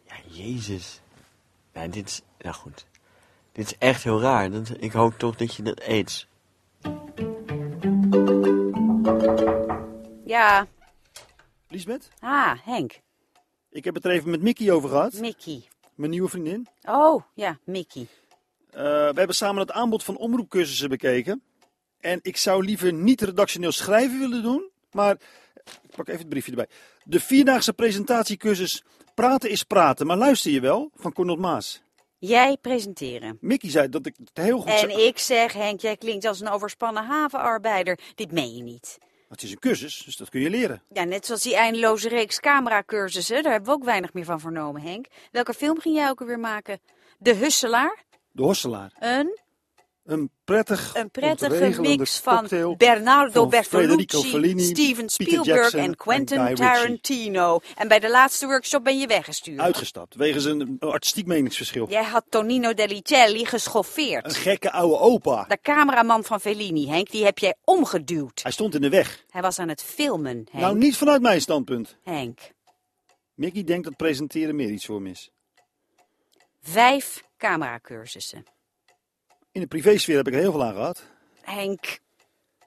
Speaker 9: Ja, jezus. Nee, dit is... Nou goed. Dit is echt heel raar. Dat, ik hoop toch dat je dat aids.
Speaker 3: Ja,
Speaker 8: Lisbeth,
Speaker 3: ah, Henk,
Speaker 8: ik heb het er even met Mickey over gehad.
Speaker 3: Mickey.
Speaker 8: Mijn nieuwe vriendin.
Speaker 3: Oh, ja, Mickey.
Speaker 8: Eh, we hebben samen het aanbod van omroepcursussen bekeken. En ik zou liever niet redactioneel schrijven willen doen, maar ik pak even het briefje erbij. De vierdaagse presentatiecursus Praten is Praten, maar luister je wel, van Cornel Maas.
Speaker 3: Jij presenteren.
Speaker 8: Mickey zei dat ik het heel goed zou...
Speaker 3: En ik zeg, Henk, jij klinkt als een overspannen havenarbeider. Dit meen je niet.
Speaker 8: Het is een cursus, dus dat kun je leren.
Speaker 3: Ja, net zoals die eindeloze reeks cameracursussen. Daar hebben we ook weinig meer van vernomen, Henk. Welke film ging jij ook alweer maken? De Husselaar?
Speaker 8: De Horselaar.
Speaker 3: Een,
Speaker 8: Een prettig,
Speaker 3: een prettige
Speaker 8: ontregelende
Speaker 3: mix van
Speaker 8: cocktail.
Speaker 3: Bernardo
Speaker 8: van Federico
Speaker 3: Bertolucci,
Speaker 8: Fellini,
Speaker 3: Steven
Speaker 8: Peter
Speaker 3: Spielberg
Speaker 8: Jackson
Speaker 3: en Quentin
Speaker 8: en Guy Ritchie.
Speaker 3: Tarantino. En bij de laatste workshop ben je weggestuurd.
Speaker 8: Uitgestapt, wegens een artistiek meningsverschil.
Speaker 3: Jij had Tonino Delicelli
Speaker 8: Een <laughs>
Speaker 3: geschoffeerd.
Speaker 8: gekke oude opa.
Speaker 3: De cameraman van Fellini, Henk, die heb jij omgeduwd.
Speaker 8: Hij stond in de weg.
Speaker 3: Hij was aan het filmen, Henk.
Speaker 8: Nou, niet vanuit mijn standpunt.
Speaker 3: Henk.
Speaker 8: Mickey denkt dat presenteren meer iets voor hem is.
Speaker 3: Vijf cameracursussen.
Speaker 8: In de privésfeer heb ik er heel veel aan gehad.
Speaker 3: Henk,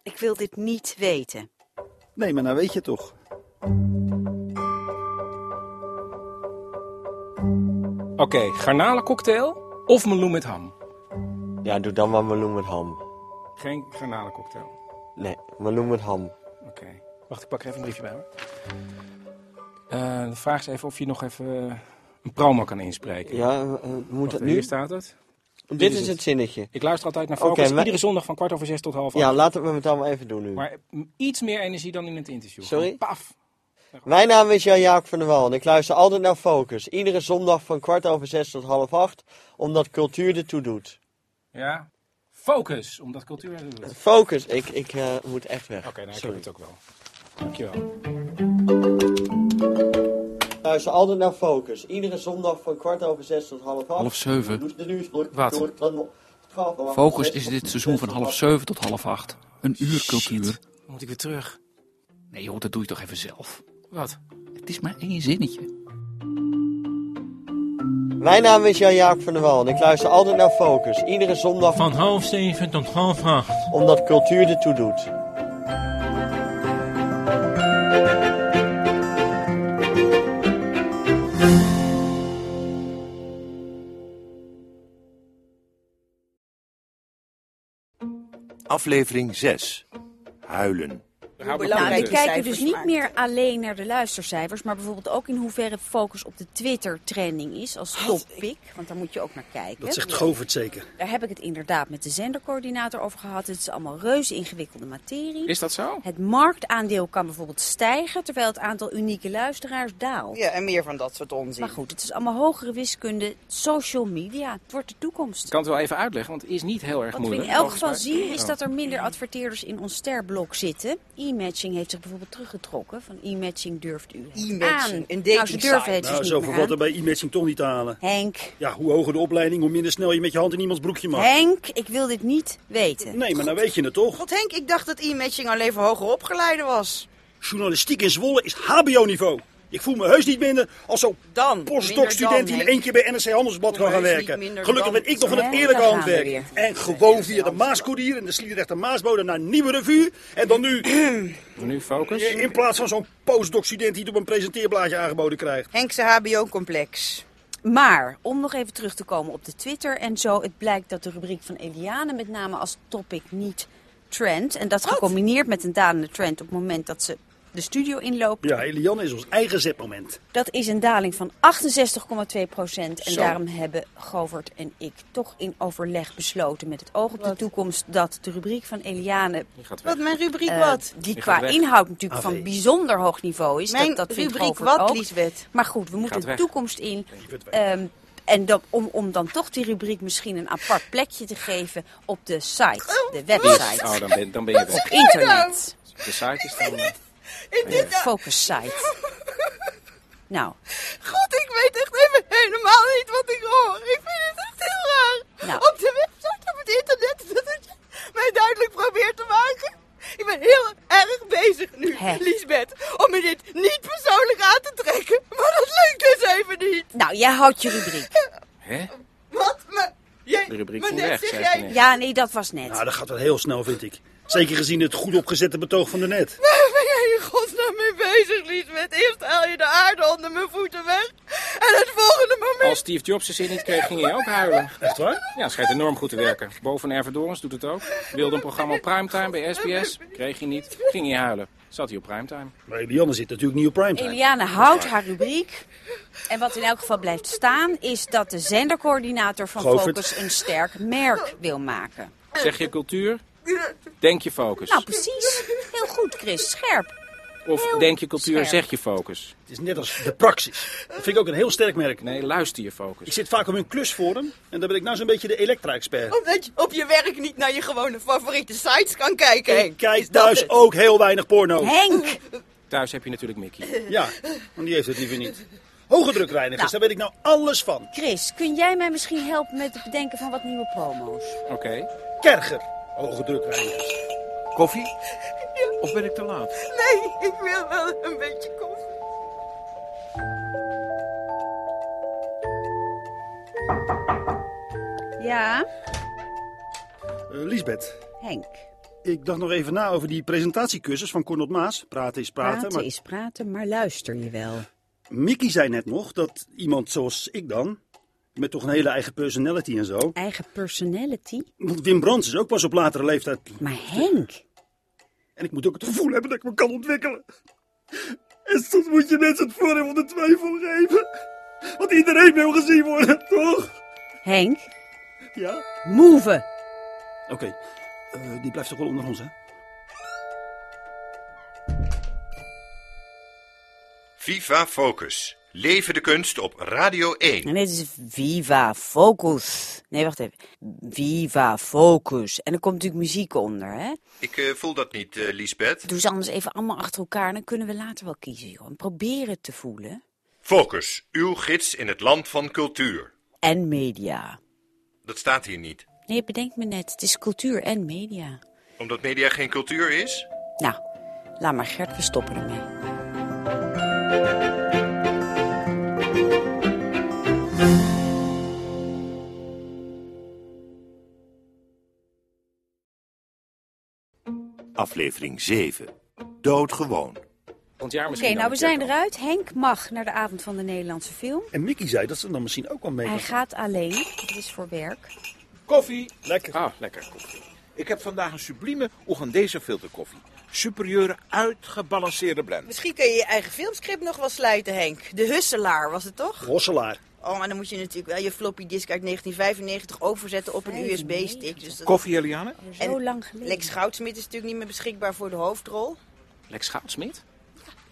Speaker 3: ik wil dit niet weten.
Speaker 8: Nee, maar nou weet je toch.
Speaker 7: Oké, garnalencocktail of meloen met ham?
Speaker 9: Ja, doe dan maar meloen met ham.
Speaker 7: Geen garnalencocktail.
Speaker 9: Nee, meloen met ham.
Speaker 7: Oké. Wacht, ik pak er even een briefje bij hoor. Eh, de vraag is even of je nog even eh, een promo kan inspreken.
Speaker 9: Ja, eh, eh, moet dat
Speaker 7: Wacht,
Speaker 9: nu?
Speaker 7: Hier staat het.
Speaker 9: Dit,
Speaker 7: dit is
Speaker 9: is
Speaker 7: het.
Speaker 9: het zinnetje.
Speaker 7: Ik luister altijd naar
Speaker 9: Oké,
Speaker 7: Focus.
Speaker 9: maar-
Speaker 7: Iedere zondag van kwart over zes tot half
Speaker 9: Ja,
Speaker 7: acht.
Speaker 9: laten we het dan maar even doen nu.
Speaker 7: Maar iets meer energie dan in het interview.
Speaker 9: Sorry?
Speaker 7: Gewoon Paf.
Speaker 9: Mijn naam is Jan-Jaap van der Wal en ik luister altijd naar Focus. Iedere zondag van kwart over zes tot half acht, omdat cultuur ertoe doet.
Speaker 7: Ja. Focus, omdat cultuur het doet. Oké,
Speaker 9: Focus, ik, ik eh, moet echt weg.
Speaker 7: nou ik heb
Speaker 9: Sorry.
Speaker 7: het ook wel. Dankjewel.
Speaker 9: Ik luister altijd naar Focus. Iedere zondag van kwart over zes tot half acht.
Speaker 15: Half zeven?
Speaker 9: Doe de nieuwsblok
Speaker 15: Wat?
Speaker 9: door van twaalf over
Speaker 15: Focus
Speaker 9: zes
Speaker 15: is
Speaker 9: tot
Speaker 15: dit seizoen van half zeven tot half acht. Een uur cultuur.
Speaker 7: Moet ik weer terug?
Speaker 15: Nee joh, dat doe je toch even zelf.
Speaker 7: Wat?
Speaker 15: Het is maar één zinnetje.
Speaker 9: Mijn naam is Jan-Jaap van der Wal en ik luister altijd naar Focus. Iedere zondag
Speaker 16: Van half zeven tot half acht.
Speaker 9: omdat cultuur ertoe doet.
Speaker 2: Aflevering 6. Huilen.
Speaker 3: Nou, we
Speaker 4: belangrijke
Speaker 3: kijken
Speaker 4: cijfers
Speaker 3: dus niet
Speaker 4: maakt.
Speaker 3: meer alleen naar de luistercijfers, maar bijvoorbeeld ook in hoeverre focus op de Twitter-trending is als topic. Want daar moet je ook naar kijken.
Speaker 8: Dat zegt Govert zeker.
Speaker 3: Daar heb ik het inderdaad met de zendercoördinator over gehad. Het is allemaal reuze ingewikkelde materie.
Speaker 8: Is dat zo?
Speaker 3: Het marktaandeel kan bijvoorbeeld stijgen, terwijl het aantal unieke luisteraars daalt.
Speaker 4: Ja, en meer van dat soort onzin.
Speaker 3: Maar goed, het is allemaal hogere wiskunde, social media. Het wordt de toekomst.
Speaker 7: Ik kan het wel even uitleggen, want het is niet heel erg
Speaker 3: Wat we
Speaker 7: moeilijk.
Speaker 3: in elk
Speaker 7: volgens
Speaker 3: geval
Speaker 7: mij.
Speaker 3: zien is
Speaker 7: Oh.
Speaker 3: dat er minder adverteerders in ons sterblok zitten. E-matching heeft zich bijvoorbeeld teruggetrokken. Van e-matching durft u het aan.
Speaker 8: E-matching, een
Speaker 3: Nou, ze durven het
Speaker 8: Nou,
Speaker 3: dus niet
Speaker 8: zoveel
Speaker 3: meer
Speaker 8: valt
Speaker 3: aan.
Speaker 8: er bij e-matching toch niet te halen.
Speaker 3: Henk,
Speaker 8: Ja, hoe hoger de opleiding, hoe minder snel je met je hand in iemands broekje mag.
Speaker 3: Henk, ik wil dit niet weten.
Speaker 8: Nee, maar nou weet je het toch?
Speaker 4: God Henk, ik dacht dat e-matching alleen voor hoger opgeleiden was.
Speaker 8: Journalistiek in Zwolle is hbo-niveau. Ik voel me heus niet minder als zo'n postdoc-student die in één keer bij NRC Handelsblad kan gaan
Speaker 4: heus niet
Speaker 8: werken.
Speaker 4: minder
Speaker 8: Gelukkig
Speaker 4: dan-
Speaker 8: ben ik nog van
Speaker 4: Ja,
Speaker 8: het
Speaker 4: daar
Speaker 8: eerlijke
Speaker 4: gaan we
Speaker 8: handwerk.
Speaker 4: weer.
Speaker 8: En gewoon via de Maaskoerier en de Sliedrechter Maasbode naar Nieuwe Revue. En
Speaker 7: <clears throat>
Speaker 8: dan nu...
Speaker 7: Nu focus.
Speaker 8: In plaats van zo'n postdoc-student die het op een presenteerblaadje aangeboden krijgt.
Speaker 4: Henk zijn HBO-complex.
Speaker 3: Maar om nog even terug te komen op de Twitter en zo, het blijkt dat de rubriek van Eliane met name als topic niet trend. En dat gecombineerd met een dalende trend op het moment dat ze de studio inloopt.
Speaker 8: Ja, Eliane is ons eigen zetmoment.
Speaker 3: Dat is een daling van 68,2 procent. En
Speaker 8: Zo.
Speaker 3: daarom hebben Govert en ik toch in overleg besloten met het oog op de toekomst dat de rubriek van Eliane.
Speaker 7: Gaat
Speaker 4: Wat, mijn rubriek
Speaker 3: eh,
Speaker 4: wat? Ah,
Speaker 3: Die
Speaker 7: Die
Speaker 3: qua
Speaker 7: gaat weg.
Speaker 3: inhoud natuurlijk
Speaker 7: AV.
Speaker 3: van bijzonder hoog niveau is.
Speaker 4: Mijn
Speaker 3: dat, dat vindt
Speaker 4: rubriek
Speaker 3: Govert
Speaker 4: wat,
Speaker 3: ook.
Speaker 4: Liesbeth?
Speaker 3: Maar goed, we moeten
Speaker 7: gaat
Speaker 3: de
Speaker 7: weg.
Speaker 3: toekomst in. Ehm, en dat, om, om dan toch die rubriek misschien een apart plekje te geven op de site, de website.
Speaker 7: Oh, dan ben, dan ben je
Speaker 3: Op
Speaker 7: weg.
Speaker 3: internet.
Speaker 7: Oh. De site is dan...
Speaker 3: De focus
Speaker 4: <laughs>
Speaker 3: site. Nou,
Speaker 17: God, ik weet echt even helemaal niet wat ik hoor. Ik vind het echt heel raar.
Speaker 3: Nou.
Speaker 17: Op de website, op het internet, dat het je mij duidelijk probeert te maken. Ik ben heel erg bezig nu,
Speaker 3: Hè?
Speaker 17: Liesbeth, om me dit niet persoonlijk aan te trekken. Maar dat lukt dus even niet.
Speaker 3: nou, jij houdt je rubriek.
Speaker 7: Hè?
Speaker 17: Wat? Maar, jij,
Speaker 8: De rubriek
Speaker 17: maar
Speaker 8: ging
Speaker 17: net
Speaker 8: weg,
Speaker 17: zeg
Speaker 8: zei
Speaker 17: jij...
Speaker 8: ze net.
Speaker 3: Ja, nee, dat was net.
Speaker 8: Nou, dat gaat wel heel snel, vind ik. Zeker gezien het goed opgezette betoog van de net.
Speaker 17: Waar ben jij in godsnaam mee bezig, Liesbeth? Eerst haal je de aarde onder mijn voeten weg. En het volgende moment...
Speaker 7: Als Steve Jobs zijn zin niet kreeg, ging hij ook huilen.
Speaker 8: Echt waar?
Speaker 7: Ja, schijnt enorm goed te werken. Boven Erven Dorens doet het ook. Wilde een programma op primetime bij SBS. Kreeg hij niet. Ging hij huilen. Zat hij op primetime.
Speaker 8: Maar Eliane zit natuurlijk niet op primetime.
Speaker 3: Eliane houdt haar rubriek. En wat in elk geval blijft staan, is dat de zendercoördinator van
Speaker 7: Govert.
Speaker 3: Focus een sterk merk wil maken.
Speaker 7: Zeg je cultuur? Denk je focus.
Speaker 3: Nou, precies. Heel goed, Chris. Scherp.
Speaker 7: Of
Speaker 3: heel
Speaker 7: denk je cultuur,
Speaker 3: scherp.
Speaker 7: zeg je focus.
Speaker 8: Het is net als de praxis. Dat vind ik ook een heel sterk merk.
Speaker 7: Nee, luister je focus.
Speaker 8: Ik zit vaak op een klusforum en daar ben ik nou zo'n beetje de
Speaker 3: Oh,
Speaker 8: elektra-expert.
Speaker 17: Omdat je op je werk niet naar je gewone favoriete sites kan kijken,
Speaker 8: Ik
Speaker 17: Henk.
Speaker 8: kijk thuis ook heel weinig porno.
Speaker 3: Henk!
Speaker 7: Thuis heb je natuurlijk Mickey.
Speaker 8: Ja, want die heeft het liever niet. Hoge drukreinigers, daar weet ik nou alles van.
Speaker 3: Chris, kun jij mij misschien helpen met het bedenken van wat nieuwe promo's?
Speaker 7: Oké.
Speaker 8: Kerger, hoge drukreinigers.
Speaker 6: Koffie? Of ben ik te laat?
Speaker 17: Nee, ik wil wel een beetje koffie.
Speaker 3: Ja,
Speaker 8: Eh, Liesbeth,
Speaker 3: Henk.
Speaker 8: ik dacht nog even na over die presentatiecursus van Cornel Maas. Praten is praten.
Speaker 3: Praten
Speaker 8: maar
Speaker 3: is praten, maar luister je wel.
Speaker 8: Mickey zei net nog dat iemand zoals ik dan, met toch een hele eigen personality en zo.
Speaker 3: Eigen personality?
Speaker 8: Want Wim Brands is ook pas op latere leeftijd.
Speaker 3: Maar Henk.
Speaker 8: En ik moet ook het gevoel hebben dat ik me kan ontwikkelen. En soms moet je mensen het voordeel van de twijfel geven. Want iedereen wil gezien worden, toch?
Speaker 3: Henk,
Speaker 8: Ja.
Speaker 3: move!
Speaker 8: Oké, eh, die blijft toch wel onder ons, hè?
Speaker 2: Viva Focus. Leven de kunst op Radio 1.
Speaker 3: En dit is Viva Focus. Nee, wacht even. Viva Focus. En er komt natuurlijk muziek onder, hè?
Speaker 2: Ik eh, voel dat niet, eh, Liesbeth.
Speaker 3: Doe ze anders even allemaal achter elkaar en dan kunnen we later wel kiezen, joh. En Probeer het te voelen.
Speaker 2: Focus, uw gids in het land van cultuur.
Speaker 3: En media.
Speaker 2: Dat staat hier niet.
Speaker 3: Nee, bedenk me net. Het is cultuur en media.
Speaker 2: Omdat media geen cultuur is?
Speaker 3: Nou, laat maar Gert, we stoppen ermee.
Speaker 2: Aflevering 7. Doodgewoon.
Speaker 7: Want jaar
Speaker 3: Oké, nou we zijn eruit. Henk mag naar de avond van de Nederlandse film.
Speaker 8: En Mickey zei dat ze dan misschien ook wel mee
Speaker 3: Hij
Speaker 8: kan.
Speaker 3: gaat alleen. Het is voor werk.
Speaker 6: Koffie!
Speaker 8: Lekker.
Speaker 7: Ah, lekker koffie.
Speaker 6: Ik heb vandaag een sublieme Oegandese filterkoffie. superieure, uitgebalanceerde blend.
Speaker 4: Misschien kun je je eigen filmscript nog wel slijten, Henk. De Husselaar was het toch?
Speaker 8: Hosselaar.
Speaker 4: Oh, maar dan moet je natuurlijk wel je floppy disk uit 1995 overzetten op een USB-stick. Dus dat-
Speaker 6: Koffie, Eliane?
Speaker 4: En Lex Goudsmit is natuurlijk niet meer beschikbaar voor de hoofdrol.
Speaker 7: Lex Goudsmit?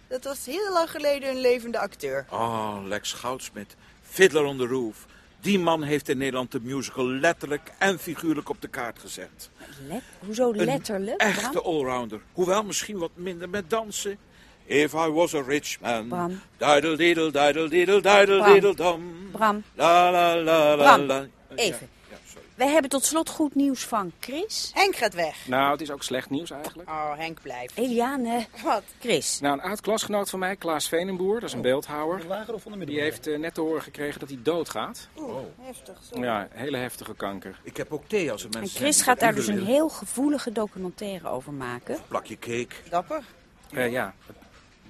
Speaker 4: Dat was heel lang geleden een levende acteur.
Speaker 6: Oh, Lex Goudsmit. Fiddler on the Roof. Die man heeft in Nederland de musical letterlijk en figuurlijk op de kaart gezet.
Speaker 3: Let, hoezo
Speaker 6: Een
Speaker 3: letterlijk?
Speaker 6: Echte allrounder. Hoewel misschien wat minder met dansen. If I was a rich man.
Speaker 3: Bram.
Speaker 6: Diddle diddle diddle diddle diddle diddle dam.
Speaker 3: Bram.
Speaker 6: La la la Hmm. la
Speaker 3: Bram,
Speaker 6: la. Eh,
Speaker 3: even.
Speaker 6: ja, ja, sorry.
Speaker 3: Wij hebben tot slot goed nieuws van Chris.
Speaker 4: Henk gaat weg.
Speaker 7: Nou, het is ook slecht nieuws eigenlijk.
Speaker 4: Oh, Henk blijft.
Speaker 3: Eliane.
Speaker 4: Wat?
Speaker 3: Chris.
Speaker 7: Nou, een oud-klasgenoot van mij, Klaas Venenboer, dat is
Speaker 6: Oh.
Speaker 7: een beeldhouwer.
Speaker 8: Lager of van de
Speaker 7: Die heeft eh, net te horen gekregen dat hij doodgaat.
Speaker 4: Heftig, zo.
Speaker 7: Ja, hele heftige kanker.
Speaker 6: Ik heb ook thee als er
Speaker 3: En
Speaker 6: mensen zijn
Speaker 3: Chris
Speaker 6: die
Speaker 3: gaat
Speaker 6: dat
Speaker 3: daar dus
Speaker 6: willen.
Speaker 3: een heel gevoelige documentaire over maken.
Speaker 6: Plakje cake.
Speaker 4: Dapper.
Speaker 7: Eh, ja, het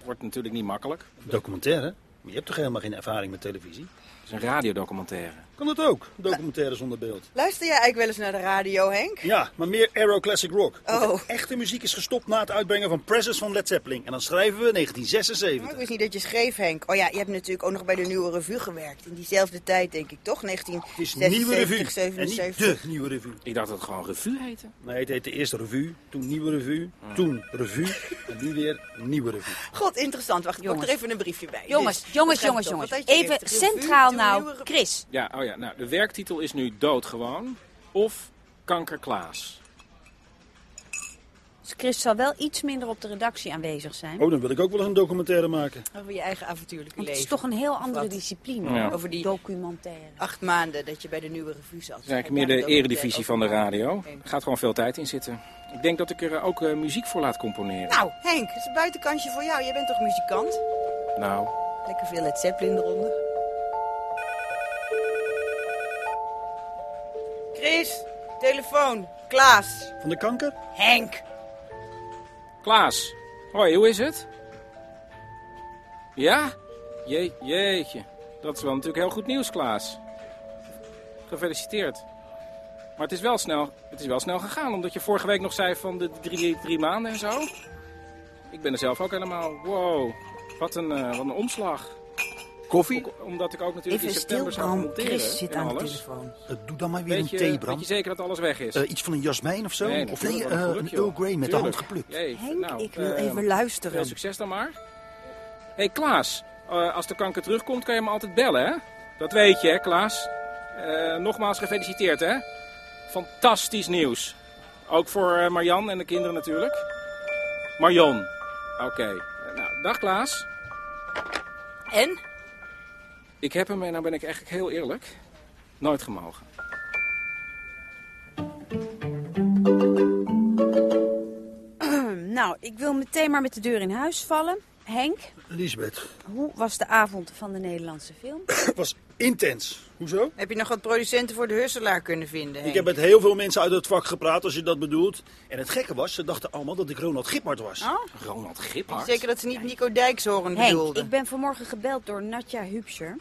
Speaker 7: wordt natuurlijk niet makkelijk.
Speaker 8: Documentaire? Maar je hebt toch helemaal geen ervaring met televisie?
Speaker 7: Het is een radiodocumentaire.
Speaker 8: Kan dat ook? Documentaire zonder beeld.
Speaker 4: Luister jij eigenlijk wel eens naar de radio, Henk?
Speaker 8: Ja, maar meer Aero Classic Rock. Want
Speaker 4: Oh.
Speaker 8: de echte muziek is gestopt na het uitbrengen van Presence van Led Zeppelin. En dan schrijven we 1976.
Speaker 4: Maar ik wist niet dat je schreef, Henk. Oh ja, je hebt natuurlijk ook nog bij de Nieuwe Revue gewerkt. In diezelfde tijd, denk ik, toch?
Speaker 8: Het is Nieuwe
Speaker 4: 1976,
Speaker 8: Revue. En
Speaker 4: 77.
Speaker 8: niet de Nieuwe Revue.
Speaker 7: Ik dacht dat het gewoon revue heette.
Speaker 8: Nee, het heette eerst Revue, toen Nieuwe Revue,
Speaker 7: Ah.
Speaker 8: toen Revue en nu weer Nieuwe Revue.
Speaker 4: God, interessant. Wacht, ik pak er
Speaker 3: Jongens.
Speaker 4: even een briefje bij.
Speaker 3: Jongens,
Speaker 4: Dus,
Speaker 3: jongens,
Speaker 4: dat
Speaker 3: jongens, jongens.
Speaker 4: gaat toch. Wat had je
Speaker 3: Even
Speaker 4: eerst? Revue,
Speaker 3: centraal
Speaker 4: toen
Speaker 3: nou,
Speaker 4: Nieuwe Revue.
Speaker 3: Chris.
Speaker 7: Ja, oh ja, nou, de werktitel is nu Doodgewoon of Kanker Klaas.
Speaker 3: Dus Chris zal wel iets minder op de redactie aanwezig zijn.
Speaker 8: Oh, dan wil ik ook wel eens een documentaire maken.
Speaker 4: Over je eigen avontuurlijke
Speaker 3: Want het
Speaker 4: leven.
Speaker 3: is toch een heel andere
Speaker 4: Wat?
Speaker 3: discipline. <clears throat>
Speaker 7: Ja.
Speaker 4: Over die
Speaker 3: Documentaire.
Speaker 4: acht maanden dat je bij de Nieuwe Revue zat.
Speaker 7: Dat is eigenlijk meer de eredivisie van de radio. Er gaat gewoon veel tijd in zitten. Ik denk dat ik er eh, ook eh, muziek voor laat componeren.
Speaker 4: Nou, Henk, het is een buitenkantje voor jou. Jij bent toch muzikant?
Speaker 7: Nou,
Speaker 4: Lekker veel Led Zeppelin eronder. Chris, telefoon. Klaas.
Speaker 8: Van de kanker?
Speaker 4: Henk.
Speaker 7: Klaas. Hoi, hoe is het? Ja? Jee, jeetje. Dat is wel natuurlijk heel goed nieuws, Klaas. Gefeliciteerd. Maar het is wel snel, het is wel snel gegaan, omdat je vorige week nog zei van de drie, drie maanden en zo. Ik ben er zelf ook helemaal... Wow, wat een, eh, wat een omslag.
Speaker 6: Koffie?
Speaker 7: Ook omdat ik ook natuurlijk
Speaker 4: Even
Speaker 7: in
Speaker 4: stil,
Speaker 7: september zou gaan
Speaker 4: Bram.
Speaker 7: monteren
Speaker 4: Chris zit
Speaker 7: en
Speaker 4: aan de
Speaker 7: alles.
Speaker 4: telefoon.
Speaker 8: Eh, Doe dan maar weer
Speaker 7: Weet
Speaker 8: een
Speaker 7: je,
Speaker 8: thee,
Speaker 7: weet
Speaker 8: Bram.
Speaker 7: je zeker dat alles weg is?
Speaker 8: Eh, iets van een jasmijn of zo?
Speaker 7: Nee, dat
Speaker 8: of
Speaker 7: vind
Speaker 8: nee,
Speaker 7: ik wel een
Speaker 8: eh,
Speaker 7: geluk,
Speaker 8: een
Speaker 7: joh.
Speaker 8: Earl Grey met de hand
Speaker 7: Tuurlijk.
Speaker 8: geplukt.
Speaker 7: Jee,
Speaker 4: Henk,
Speaker 7: nou,
Speaker 4: ik wil
Speaker 7: eh,
Speaker 4: even luisteren.
Speaker 7: Veel succes dan maar. Hé hey, Klaas, eh, als de kanker terugkomt kan je me altijd bellen, hè? Dat weet je, hè, Klaas? Eh, nogmaals gefeliciteerd, hè? Fantastisch nieuws. Ook voor eh, Marjan en de kinderen natuurlijk. Marjan. Oké. Eh, Nou, dag Klaas.
Speaker 4: En?
Speaker 7: Ik heb hem, en nou ben ik eigenlijk heel eerlijk, nooit gemogen.
Speaker 3: nou, ik wil meteen maar met de deur in huis vallen. Henk,
Speaker 8: Lisbeth,
Speaker 3: hoe was de avond van de Nederlandse film?
Speaker 8: het <laughs> was intens. Hoezo?
Speaker 4: Heb je nog wat producenten voor de Husselaar kunnen vinden, Henk?
Speaker 8: Ik heb met heel veel mensen uit het vak gepraat, als je dat bedoelt. En het gekke was, ze dachten allemaal dat ik Ronald Giphart was.
Speaker 4: Oh?
Speaker 7: Ronald Giphart?
Speaker 4: Zeker dat ze niet Nico Dijkshoorn
Speaker 3: Henk,
Speaker 4: bedoelden.
Speaker 3: ik ben vanmorgen gebeld door Natja Hubscher.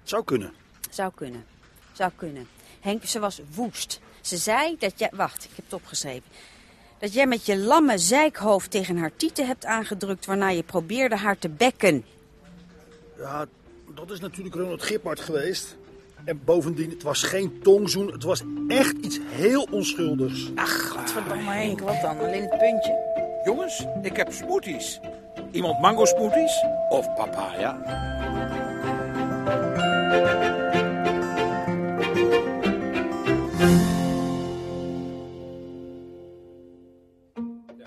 Speaker 8: Het zou kunnen.
Speaker 3: Zou kunnen. Zou kunnen. Henk, ze was woest. Ze zei dat jij... Wacht, ik heb het opgeschreven. Dat jij met je lamme zeikhoofd tegen haar tieten hebt aangedrukt... waarna je probeerde haar te bekken.
Speaker 8: Ja, dat is natuurlijk Ronald Giphart geweest. En bovendien, het was geen tongzoen. Het was echt iets heel onschuldigs.
Speaker 4: Godverdomme, Henk, wat dan? Alleen het puntje.
Speaker 6: Jongens, ik heb smoothies. Iemand mango smoothies of papaya?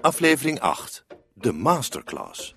Speaker 18: Aflevering 8. De Masterclass.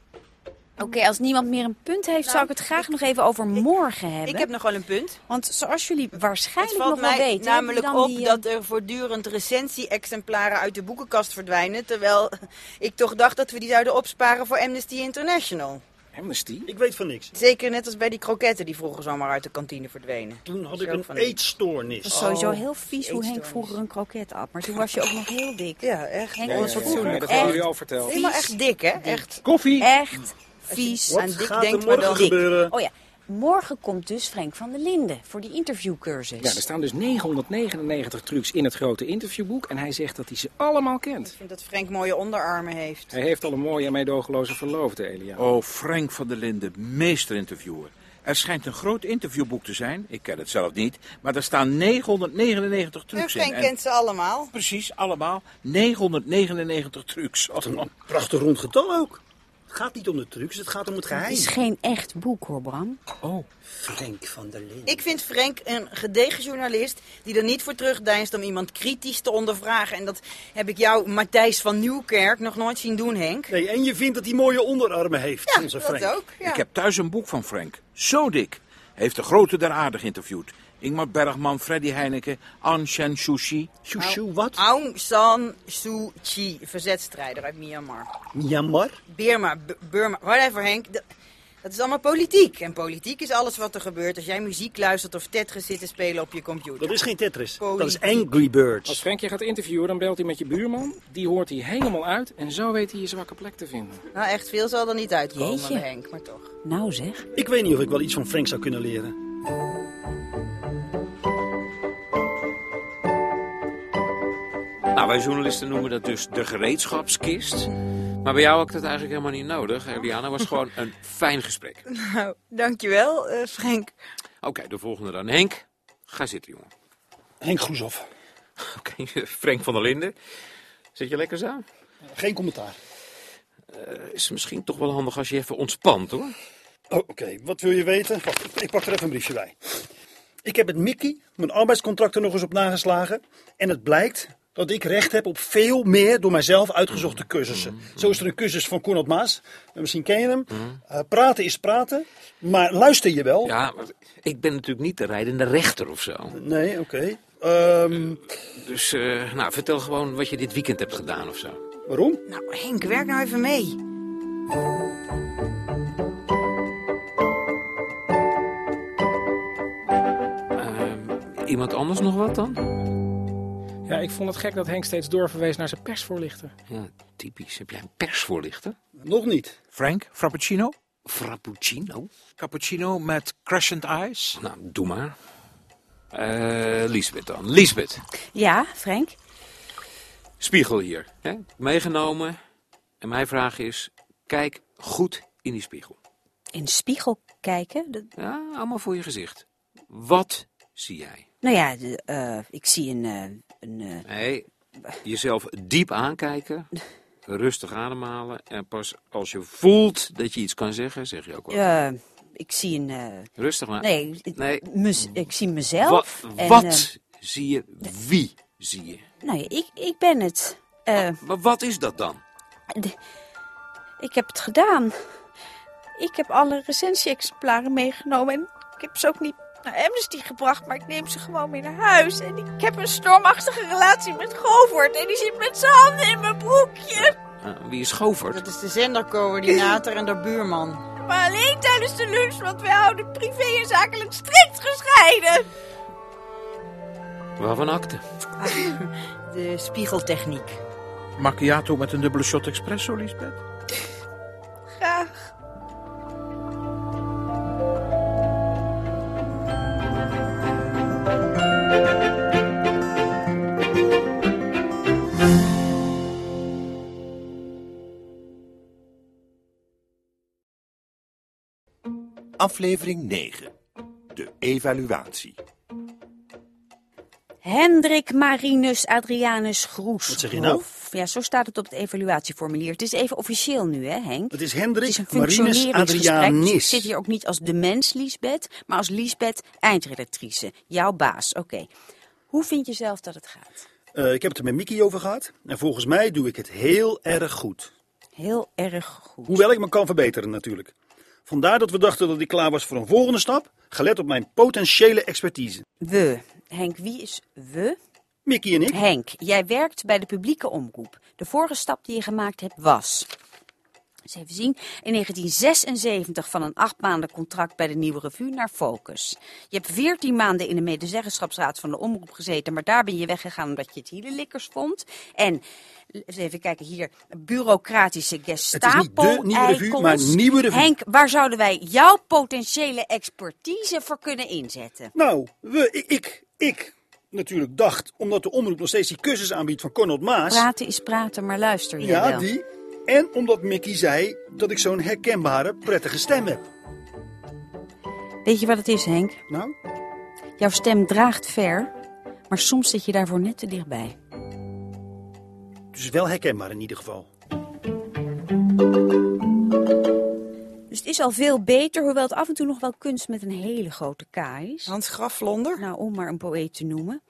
Speaker 3: Oké, als niemand meer een punt heeft... zou Nou, ik het graag nog even over morgen hebben.
Speaker 4: Ik heb nog wel een punt.
Speaker 3: Want zoals jullie
Speaker 4: Het
Speaker 3: waarschijnlijk nog
Speaker 4: valt
Speaker 3: wel
Speaker 4: mij
Speaker 3: weten...
Speaker 4: namelijk
Speaker 3: hebben
Speaker 4: op
Speaker 3: jullie dan eh,
Speaker 4: dat er voortdurend recensie-exemplaren uit de boekenkast verdwijnen. Terwijl <laughs> ik toch dacht dat we die zouden opsparen voor Amnesty International.
Speaker 7: Amnesty?
Speaker 8: Ik weet van niks.
Speaker 4: Zeker net als bij die kroketten die vroeger zomaar uit de kantine verdwenen.
Speaker 8: Toen had
Speaker 4: Zo
Speaker 8: ik een
Speaker 4: van die-
Speaker 3: Het
Speaker 8: eetstoornis.
Speaker 3: was sowieso
Speaker 4: Oh,
Speaker 3: heel vies hoe Henk
Speaker 4: eetstoornis.
Speaker 3: vroeger een kroket at. Maar toen was je ook nog heel dik.
Speaker 4: Ja, echt.
Speaker 3: Henk
Speaker 4: Nee,
Speaker 3: was
Speaker 4: nee,
Speaker 3: vroeger
Speaker 7: nee,
Speaker 3: nog
Speaker 7: dat hebben
Speaker 3: echt,
Speaker 7: jullie al verteld.
Speaker 4: Helemaal echt dik, hè? Echt.
Speaker 7: Koffie!
Speaker 3: echt vies.
Speaker 8: Wat
Speaker 4: aan dik
Speaker 8: gaat er
Speaker 4: denkt, maar
Speaker 8: morgen
Speaker 4: dan dik.
Speaker 8: gebeuren?
Speaker 3: Oh ja, Morgen komt dus Frank van der Linden voor die interviewcursus.
Speaker 7: Ja, er staan dus 999 trucs in het grote interviewboek en hij zegt dat hij ze allemaal kent.
Speaker 4: Ik vind dat Frank mooie onderarmen heeft.
Speaker 7: Hij heeft al een mooie en meedogenloze verloofde, Elia.
Speaker 6: Oh, Frank van der Linden, meesterinterviewer. Er schijnt een groot interviewboek te zijn. Ik ken het zelf niet. Maar daar staan 999
Speaker 4: En
Speaker 6: trucs in.
Speaker 4: Frank
Speaker 6: En
Speaker 4: kent ze allemaal.
Speaker 6: Precies, allemaal. 999 trucs. Allemaal.
Speaker 8: Prachtig rond getal ook. Het gaat niet om de trucs, het gaat om het
Speaker 3: Het
Speaker 8: geheim.
Speaker 3: is geen echt boek hoor, Bram.
Speaker 6: Oh.
Speaker 8: Frank van der Linden.
Speaker 4: Ik vind Frank een gedegen journalist die er niet voor terugdeinst om iemand kritisch te ondervragen. En dat heb ik jou, Matthijs van Nieuwkerk, nog nooit zien doen, Henk.
Speaker 8: Nee, en je vindt dat hij mooie onderarmen heeft,
Speaker 4: Ja,
Speaker 8: onze
Speaker 4: dat
Speaker 8: Frank.
Speaker 4: ook. Ja.
Speaker 6: Ik heb thuis een boek van Frank. Zo dik. Hij heeft de grote der aarde geïnterviewd. Ingmar Bergman, Freddy Heineken, Aung San Suu Kyi.
Speaker 8: Shushu, wat?
Speaker 4: Nou, Aung San Suu Kyi, verzetstrijder uit Myanmar.
Speaker 8: Myanmar?
Speaker 4: Birma, B- Burma, whatever Henk. D- Dat is allemaal politiek. En politiek is alles wat er gebeurt als jij muziek luistert of Tetris zit te spelen op je computer.
Speaker 8: Dat is geen Tetris. Dat is
Speaker 4: Politiek.
Speaker 8: Angry
Speaker 7: Als
Speaker 8: Birds.
Speaker 7: Frank je gaat interviewen, dan belt hij met je buurman. Die hoort hij helemaal uit en zo weet hij je zwakke plek te vinden.
Speaker 4: Nou, echt veel zal er niet uitkomen,
Speaker 3: Jeetje.
Speaker 4: Henk, maar toch. <laughs>
Speaker 3: Nou zeg.
Speaker 8: Ik weet niet of ik wel iets van Frank zou kunnen leren.
Speaker 15: Nou, wij journalisten noemen dat dus de gereedschapskist. Maar bij jou had ik dat eigenlijk helemaal niet nodig. Eliana was <laughs> gewoon een fijn gesprek. Oké,
Speaker 4: Nou, dankjewel, eh, Frank.
Speaker 15: de volgende dan. Henk, ga zitten, jongen.
Speaker 8: Henk Groeshoff.
Speaker 15: <laughs> Oké, Frank van der Linden. Zit je lekker zo?
Speaker 8: Geen commentaar.
Speaker 15: Eh, is misschien toch wel handig als je even ontspant, hoor.
Speaker 8: Oh, Oké, wat wil je weten? Wacht, ik- ik pak er even een briefje bij. Ik heb met Mickey mijn arbeidscontract er nog eens op nageslagen. En het blijkt dat ik recht heb op veel meer door mijzelf uitgezochte cursussen. Zo is er een cursus van Cornel Maas. Eh, Misschien ken je hem. Eh, praten is praten, maar luister je wel?
Speaker 15: Hm? Ja, maar ik ben natuurlijk niet de rijdende rechter of zo.
Speaker 8: Nee, oké. Ehm,
Speaker 15: Dus, eh, nou, vertel gewoon wat je dit weekend hebt gedaan of zo.
Speaker 8: waarom?
Speaker 4: Nou, Henk, werk nou even mee.
Speaker 15: Ehm, iemand anders nog wat dan?
Speaker 7: Ja, ik vond het gek dat Henk steeds doorverwees naar zijn persvoorlichter.
Speaker 15: Ja, typisch. Heb jij een persvoorlichter?
Speaker 8: Nog niet.
Speaker 6: Frank, Frappuccino?
Speaker 15: Frappuccino?
Speaker 6: Cappuccino met crescent ice?
Speaker 15: Nou, doe maar. Eh Lisbeth dan. Lisbeth,
Speaker 3: Ja, Frank?
Speaker 15: spiegel hier. Hè? Meegenomen. En mijn vraag is, kijk goed in die spiegel.
Speaker 3: In de spiegel kijken? Dat-
Speaker 15: Ja, allemaal voor je gezicht. Wat zie jij?
Speaker 3: Nou ja, de, eh, ik zie een... eh, een eh,
Speaker 15: Nee, jezelf diep aankijken. Rustig ademhalen. En pas als je voelt dat je iets kan zeggen, zeg je ook wel.
Speaker 3: eh, ik zie een... eh,
Speaker 15: Rustig maar.
Speaker 3: nee, ik-
Speaker 15: Nee.
Speaker 3: mez- ik zie
Speaker 15: Wa-
Speaker 3: mezelf. en,
Speaker 15: wat
Speaker 3: eh,
Speaker 15: zie je? Wie zie je?
Speaker 3: nou ja, ik, ik ben het. Eh,
Speaker 15: Maar wat is dat dan?
Speaker 3: de- ik heb het gedaan.
Speaker 19: Ik heb alle recensie-exemplaren meegenomen en ik heb ze ook niet naar Amnesty gebracht, maar ik neem ze gewoon mee naar huis. En ik heb een stormachtige relatie met Govert en die zit met zijn handen in mijn broekje.
Speaker 15: Eh, wie is Govert?
Speaker 4: Dat is de zendercoördinator en de <laughs> buurman.
Speaker 19: Maar alleen tijdens de lunch, want wij houden privé en zakelijk strikt gescheiden.
Speaker 15: Waarvan akte?
Speaker 4: De spiegeltechniek.
Speaker 6: Macchiato met een dubbele shot espresso, Lisbeth?
Speaker 19: Graag.
Speaker 2: Aflevering 9. De evaluatie.
Speaker 3: Hendrik Marinus Adrianus Groes.
Speaker 8: Wat zeg je nou?
Speaker 3: Ja, zo staat het op het evaluatieformulier. Het is even officieel nu, hè Henk?
Speaker 8: Het
Speaker 3: Het is
Speaker 8: is
Speaker 3: een
Speaker 8: Hendrik Marinus
Speaker 3: functioneringsgesprek. Dus ik
Speaker 8: Adrianis.
Speaker 3: zit hier ook niet als de mens, Liesbeth, maar als Liesbeth, eindredactrice. Jouw baas, oké. Hoe vind je zelf dat het gaat?
Speaker 8: Eh, ik heb het er met Mickey over gehad. En volgens mij doe ik het heel erg goed.
Speaker 3: Heel erg goed.
Speaker 8: Hoewel ik me kan verbeteren natuurlijk. Vandaar dat we dachten dat ik klaar was voor een volgende stap, gelet op mijn potentiële expertise.
Speaker 3: We. Henk, wie is we?
Speaker 8: Mickey en ik.
Speaker 3: Henk, jij werkt bij de publieke omroep. De vorige stap die je gemaakt hebt was... Eens even zien. In 1976 van een acht maanden contract bij de Nieuwe Revue naar Focus. Je hebt 14 maanden in de medezeggenschapsraad van de omroep gezeten, maar daar ben je weggegaan omdat je het hielenlikkers vond. En eens even kijken hier, bureaucratische
Speaker 8: de Nieuwe Revue,
Speaker 3: Gestapo-eikels.
Speaker 8: maar Nieuwe Revue.
Speaker 3: Henk, waar zouden wij jouw potentiële expertise voor kunnen inzetten?
Speaker 8: Nou, we, ik, ik, ik natuurlijk dacht, omdat de omroep nog steeds die cursus aanbiedt van Cornel Maas.
Speaker 3: Praten is praten, maar luister je
Speaker 8: ja,
Speaker 3: wel.
Speaker 8: die. En omdat Mickey zei dat ik zo'n herkenbare, prettige stem heb.
Speaker 3: Weet je wat het is, Henk?
Speaker 8: Nou?
Speaker 3: Jouw stem draagt ver, maar soms zit je daarvoor net te dichtbij.
Speaker 8: Dus wel herkenbaar in ieder geval.
Speaker 3: Dus het is al veel beter, hoewel het af en toe nog wel kunst met een hele grote K is.
Speaker 4: Hans Graflonder?
Speaker 3: Nou, om maar een poëet te noemen.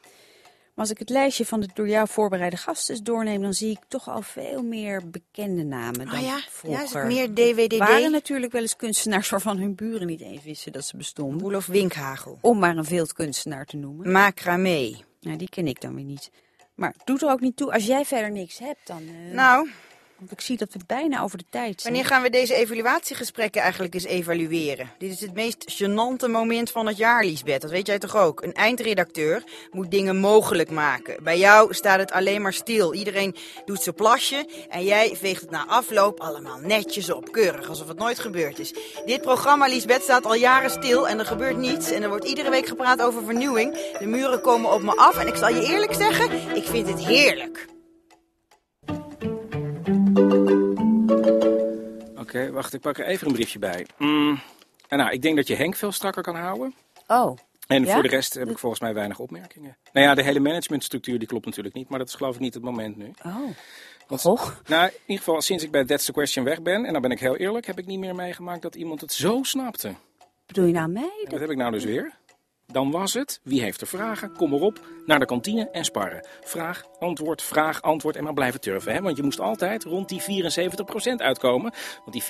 Speaker 3: Maar als ik het lijstje van de door jou voorbereide gasten eens doorneem, dan zie ik toch al veel meer bekende namen dan
Speaker 4: Ah ja,
Speaker 3: vroeger.
Speaker 4: ja, is het meer DWDD?
Speaker 3: waren natuurlijk wel eens kunstenaars waarvan hun buren niet eens wisten dat ze bestonden.
Speaker 4: Roelof Winkhagel.
Speaker 3: Om maar een veeltkunstenaar te noemen.
Speaker 4: Macramé.
Speaker 3: Nou, die ken ik dan weer niet. Maar het doet er ook niet toe. Als jij verder niks hebt, dan... eh,
Speaker 4: Nou,
Speaker 3: Want ik zie dat we bijna over de tijd zijn.
Speaker 4: wanneer gaan we deze evaluatiegesprekken eigenlijk eens evalueren? Dit is het meest gênante moment van het jaar, Liesbeth. Dat weet jij toch ook? Een eindredacteur moet dingen mogelijk maken. Bij jou staat het alleen maar stil. Iedereen doet zijn plasje en jij veegt het na afloop allemaal netjes op. Keurig, alsof het nooit gebeurd is. Dit programma, Liesbeth, staat al jaren stil en er gebeurt niets. En er wordt iedere week gepraat over vernieuwing. De muren komen op me af en ik zal je eerlijk zeggen, ik vind het heerlijk.
Speaker 7: Oké, wacht, ik pak er even een briefje bij. Mm, en nou, ik denk dat je Henk veel strakker kan houden.
Speaker 3: Oh,
Speaker 7: En
Speaker 3: Ja?
Speaker 7: voor de rest heb ik volgens mij weinig opmerkingen. Nou ja, de hele managementstructuur die klopt natuurlijk niet, maar dat is geloof ik niet het moment nu.
Speaker 3: oh.
Speaker 7: Want-
Speaker 3: Och.
Speaker 7: Nou, in ieder geval sinds ik bij That's the Question weg ben, en dan ben ik heel eerlijk, heb ik niet meer meegemaakt dat iemand het zo snapte.
Speaker 3: Bedoel je nou mij?
Speaker 7: En wat heb ik nou dus weer? Dan was het, wie heeft er vragen? Kom maar op, naar de kantine en sparren. Vraag, antwoord, vraag, antwoord en maar blijven turven. Hè? Want je moest altijd rond die 74% uitkomen, want die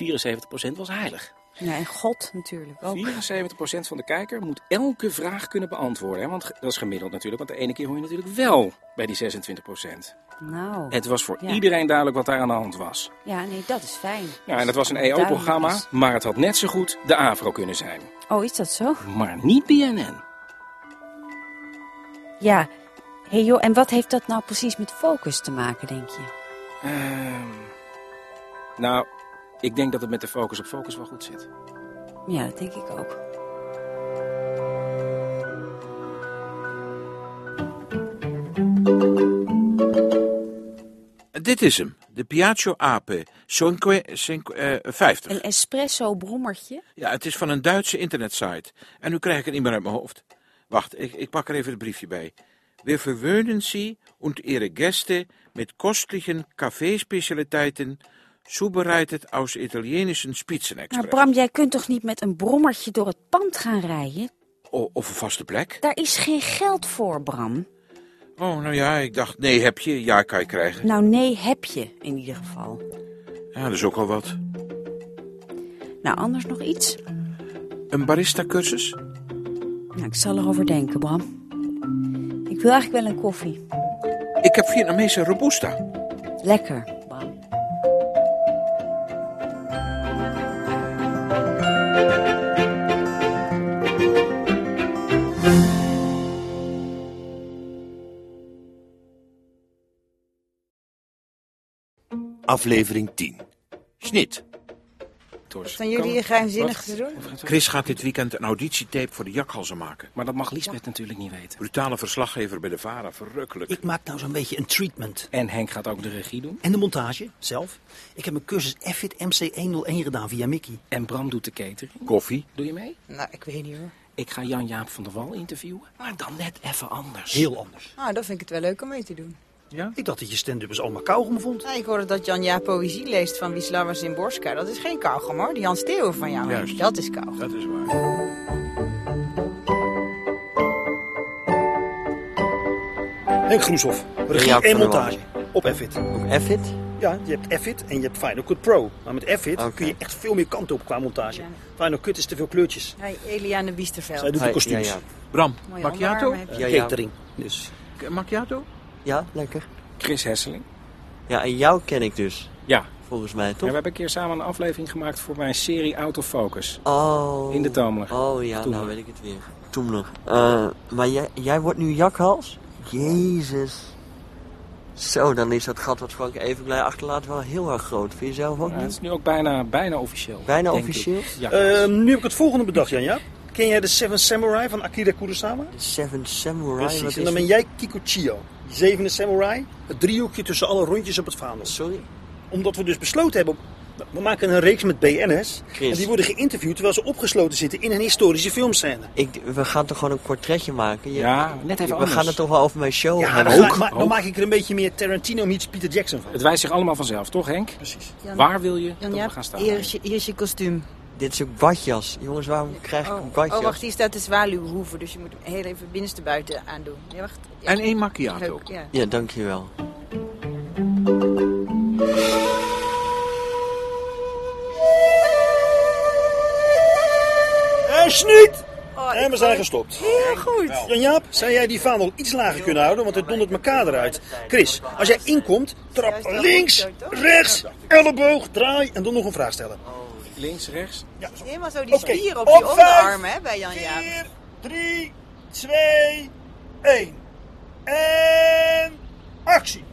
Speaker 7: 74% was heilig.
Speaker 3: Ja, en God natuurlijk ook.
Speaker 7: 74% van de kijker moet elke vraag kunnen beantwoorden. Hè? Want ge- dat is gemiddeld natuurlijk, want de ene keer hoor je natuurlijk wel bij die 26%.
Speaker 3: Nou.
Speaker 7: Het was voor
Speaker 3: Ja.
Speaker 7: iedereen duidelijk wat daar aan de hand was.
Speaker 3: Ja, nee, dat is fijn.
Speaker 7: Nou, en dat was een
Speaker 3: Duidelijk
Speaker 7: EO-programma,
Speaker 3: is.
Speaker 7: maar het had net zo goed de AVRO kunnen zijn.
Speaker 3: Oh, is dat zo?
Speaker 7: Maar niet BNN.
Speaker 3: Ja. hey joh, en wat heeft dat nou precies met focus te maken, denk je?
Speaker 7: Ehm, nou, ik denk dat het met de focus op focus wel goed zit.
Speaker 3: Ja, dat denk ik ook.
Speaker 6: Dit is hem. De Piaggio Ape. Cinque, cinque, eh, 50.
Speaker 3: Een espresso-brommertje?
Speaker 6: Ja, het is van een Duitse internetsite. En nu krijg ik het niet meer uit mijn hoofd. Wacht, ik, ik pak er even het briefje bij. We verwöhnen Sie und Ihre Gäste mit kostlichen Kaffeespecialitäten, zubereitet aus italienischen
Speaker 3: Maar
Speaker 6: Spitzenexpress.
Speaker 3: Nou, Bram, jij kunt toch niet met een brommertje door het pand gaan rijden?
Speaker 6: O- of een vaste plek?
Speaker 3: Daar is geen geld voor, Bram.
Speaker 6: Oh, nou ja, ik dacht, nee, heb je, ja, kan je krijgen.
Speaker 3: Nou, nee, heb je in ieder geval.
Speaker 6: Ja, dat is ook al wat.
Speaker 3: Nou, anders nog iets?
Speaker 6: Een barista-cursus?
Speaker 3: Nou, ik zal erover denken, Bram. Ik wil eigenlijk wel een koffie.
Speaker 6: Ik heb Vietnamese Robusta.
Speaker 3: Lekker, Bram.
Speaker 2: Aflevering 10.
Speaker 6: Snit.
Speaker 7: Door
Speaker 20: Staan jullie hier geheimzinnig te doen?
Speaker 6: Chris gaat dit weekend een auditietape voor de jakhalzen maken.
Speaker 7: Maar dat mag Lisbeth natuurlijk niet weten.
Speaker 6: Brutale verslaggever bij de VARA, verrukkelijk.
Speaker 8: Ik maak nou zo'n beetje een treatment.
Speaker 7: En Henk gaat ook de regie doen.
Speaker 8: En de montage, zelf. Ik heb een cursus FIT MC101 gedaan via Mickey.
Speaker 7: En Bram doet de catering.
Speaker 6: Koffie.
Speaker 7: Doe je mee?
Speaker 4: Nou, ik weet niet hoor.
Speaker 7: Ik ga Jan-Jaap van der Wal interviewen, maar dan net even anders.
Speaker 8: Heel anders.
Speaker 4: Nou, dan vind ik het wel leuk om mee te doen.
Speaker 8: Ik dacht dat je stand-uppers allemaal kauwgom vond.
Speaker 4: Nou, ik hoorde dat Jan Ja poëzie leest van Wisława Zimborska. Dat is geen kauwgom hoor, die Hans Theo van jou.
Speaker 6: Juist.
Speaker 4: Dat is kauwgom.
Speaker 6: Dat is waar.
Speaker 8: Henk Groeshoff, regie
Speaker 9: Jaap
Speaker 8: en
Speaker 9: van der
Speaker 8: montage. Op FIT.
Speaker 9: Effit?
Speaker 8: Ja, je hebt FIT en je hebt Final Cut Pro. Maar met FIT
Speaker 9: Oké.
Speaker 8: kun je echt veel meer kant op qua montage. Final Cut is te veel kleurtjes.
Speaker 4: Hey, Eliane Biesterveld.
Speaker 8: Zij doet de
Speaker 9: Hi,
Speaker 8: kostuums.
Speaker 9: ja, ja.
Speaker 6: Bram,
Speaker 4: Mooie
Speaker 6: macchiato?
Speaker 4: onderarmen heb je.
Speaker 9: Ja, ja.
Speaker 8: Catering. Dus.
Speaker 6: K- Macchiato?
Speaker 9: Ja, lekker.
Speaker 7: Chris Hesseling.
Speaker 9: Ja, en jou ken ik dus.
Speaker 7: Ja,
Speaker 9: volgens mij,
Speaker 7: Ja,
Speaker 9: toch?
Speaker 7: we hebben een keer samen een aflevering gemaakt voor mijn serie Autofocus.
Speaker 9: Oh.
Speaker 7: In de Tomer.
Speaker 9: Oh ja,
Speaker 7: Toen
Speaker 9: nou
Speaker 7: nog.
Speaker 9: weet ik het weer. Toen nog. Eh, maar jij, jij wordt nu jakhals? Jezus. Zo, dan is dat gat wat Frank Evenblij achterlaat wel heel erg groot. Vind je zelf ook
Speaker 7: Ja, het
Speaker 9: niet?
Speaker 7: is nu ook bijna, bijna officieel.
Speaker 9: Bijna
Speaker 7: denk
Speaker 9: officieel?
Speaker 7: ik. Ja.
Speaker 8: Ehm, nu heb ik het volgende bedacht, Jan Jaap. Ken jij de Seven Samurai van Akira Kurosawa?
Speaker 9: Seven Samurai? wat
Speaker 8: Precies,
Speaker 9: is
Speaker 8: en dan ben
Speaker 9: dat?
Speaker 8: jij Kikuchiyo. De zevende samurai. Het driehoekje tussen alle rondjes op het vaandel.
Speaker 9: Sorry?
Speaker 8: Omdat we dus besloten hebben... om- We maken een reeks met BN'ers.
Speaker 9: Chris.
Speaker 8: En die worden geïnterviewd terwijl ze opgesloten zitten in een historische filmscène.
Speaker 9: Ik, we gaan toch gewoon een portretje maken? Je-
Speaker 8: Ja, net even
Speaker 9: We
Speaker 8: anders.
Speaker 9: gaan het toch wel over mijn show
Speaker 8: Ja, dan,
Speaker 9: hebben?
Speaker 8: ga ik- maar, dan maak ik er een beetje meer Tarantino meets Peter Jackson van.
Speaker 7: Het wijst zich allemaal vanzelf, toch Henk?
Speaker 8: Precies.
Speaker 9: Jan-
Speaker 7: Waar wil je dat
Speaker 4: Jan
Speaker 7: we
Speaker 4: Jaap,
Speaker 7: gaan staan?
Speaker 4: hier is je, hier is je kostuum.
Speaker 9: Dit is een badjas. Jongens, waarom krijg ik een badjas?
Speaker 4: Oh, wacht, hier staat de zwaluwhoeven, dus je moet hem heel even binnenstebuiten aandoen. Ja, wacht. Ja.
Speaker 9: En één macchiato.
Speaker 4: Leuk, ja.
Speaker 9: Ja, dankjewel.
Speaker 8: En sniet! en we zijn
Speaker 4: word-
Speaker 8: gestopt.
Speaker 4: Oh, Heel goed.
Speaker 8: Jan-Jaap, zou jij die vaandel iets lager kunnen houden? Want het dondert elkaar eruit. Chris, als jij inkomt, trap links, rechts, elleboog, draai en dan nog een vraag stellen.
Speaker 7: Links, rechts.
Speaker 4: Helemaal zo die
Speaker 8: Oké,
Speaker 4: spier op,
Speaker 8: op
Speaker 4: je
Speaker 8: vijf,
Speaker 4: onderarm, hè, bij Jan Jaap.
Speaker 8: 4, 3, 2, 1. En actie!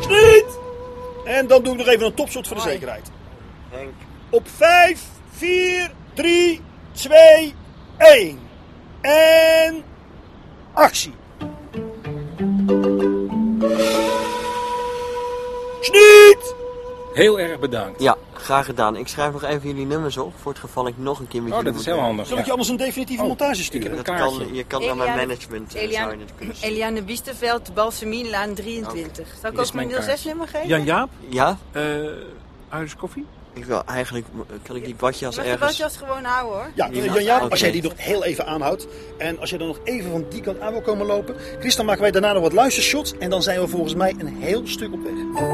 Speaker 8: Schiet! En dan doe ik nog even een topshot voor de zekerheid.
Speaker 9: Henk.
Speaker 8: Op 5, 4, 3, 2, 1. En actie. Schiet!
Speaker 7: Heel erg bedankt.
Speaker 9: Ja, graag gedaan. Ik schrijf nog even jullie nummers op, voor het geval ik nog een keer met
Speaker 7: Oh,
Speaker 9: jullie
Speaker 7: dat is heel
Speaker 9: moet werken.
Speaker 7: handig. Oh,
Speaker 8: Zal ik je anders een definitieve montage sturen?
Speaker 9: Dat
Speaker 7: kaartje.
Speaker 9: kan, je kan naar mijn management eh, zou je
Speaker 4: Eliane,
Speaker 9: het
Speaker 4: <clears throat>
Speaker 9: kunnen sturen.
Speaker 4: Eliane Biesterveld, Balseminlaan 23. Zal ik
Speaker 9: Dit is
Speaker 4: ook
Speaker 9: mijn
Speaker 4: mijn
Speaker 9: kaart.
Speaker 4: 06 nummer geven?
Speaker 9: Jan-Jaap? Ja?
Speaker 7: Eh,
Speaker 21: Huis koffie?
Speaker 9: Ik wil eigenlijk, eh, kan ik die badjas
Speaker 4: Mag je
Speaker 9: ergens...
Speaker 4: badjas gewoon houden hoor?
Speaker 8: Ja, eh,
Speaker 9: Prima.
Speaker 8: Jan Jaap,
Speaker 9: Oké.
Speaker 8: als jij die nog heel even aanhoudt. En als je dan nog even van die kant aan wil komen lopen. Chris, dan maken wij daarna nog wat luistershots. En dan zijn we volgens mij een heel stuk op weg.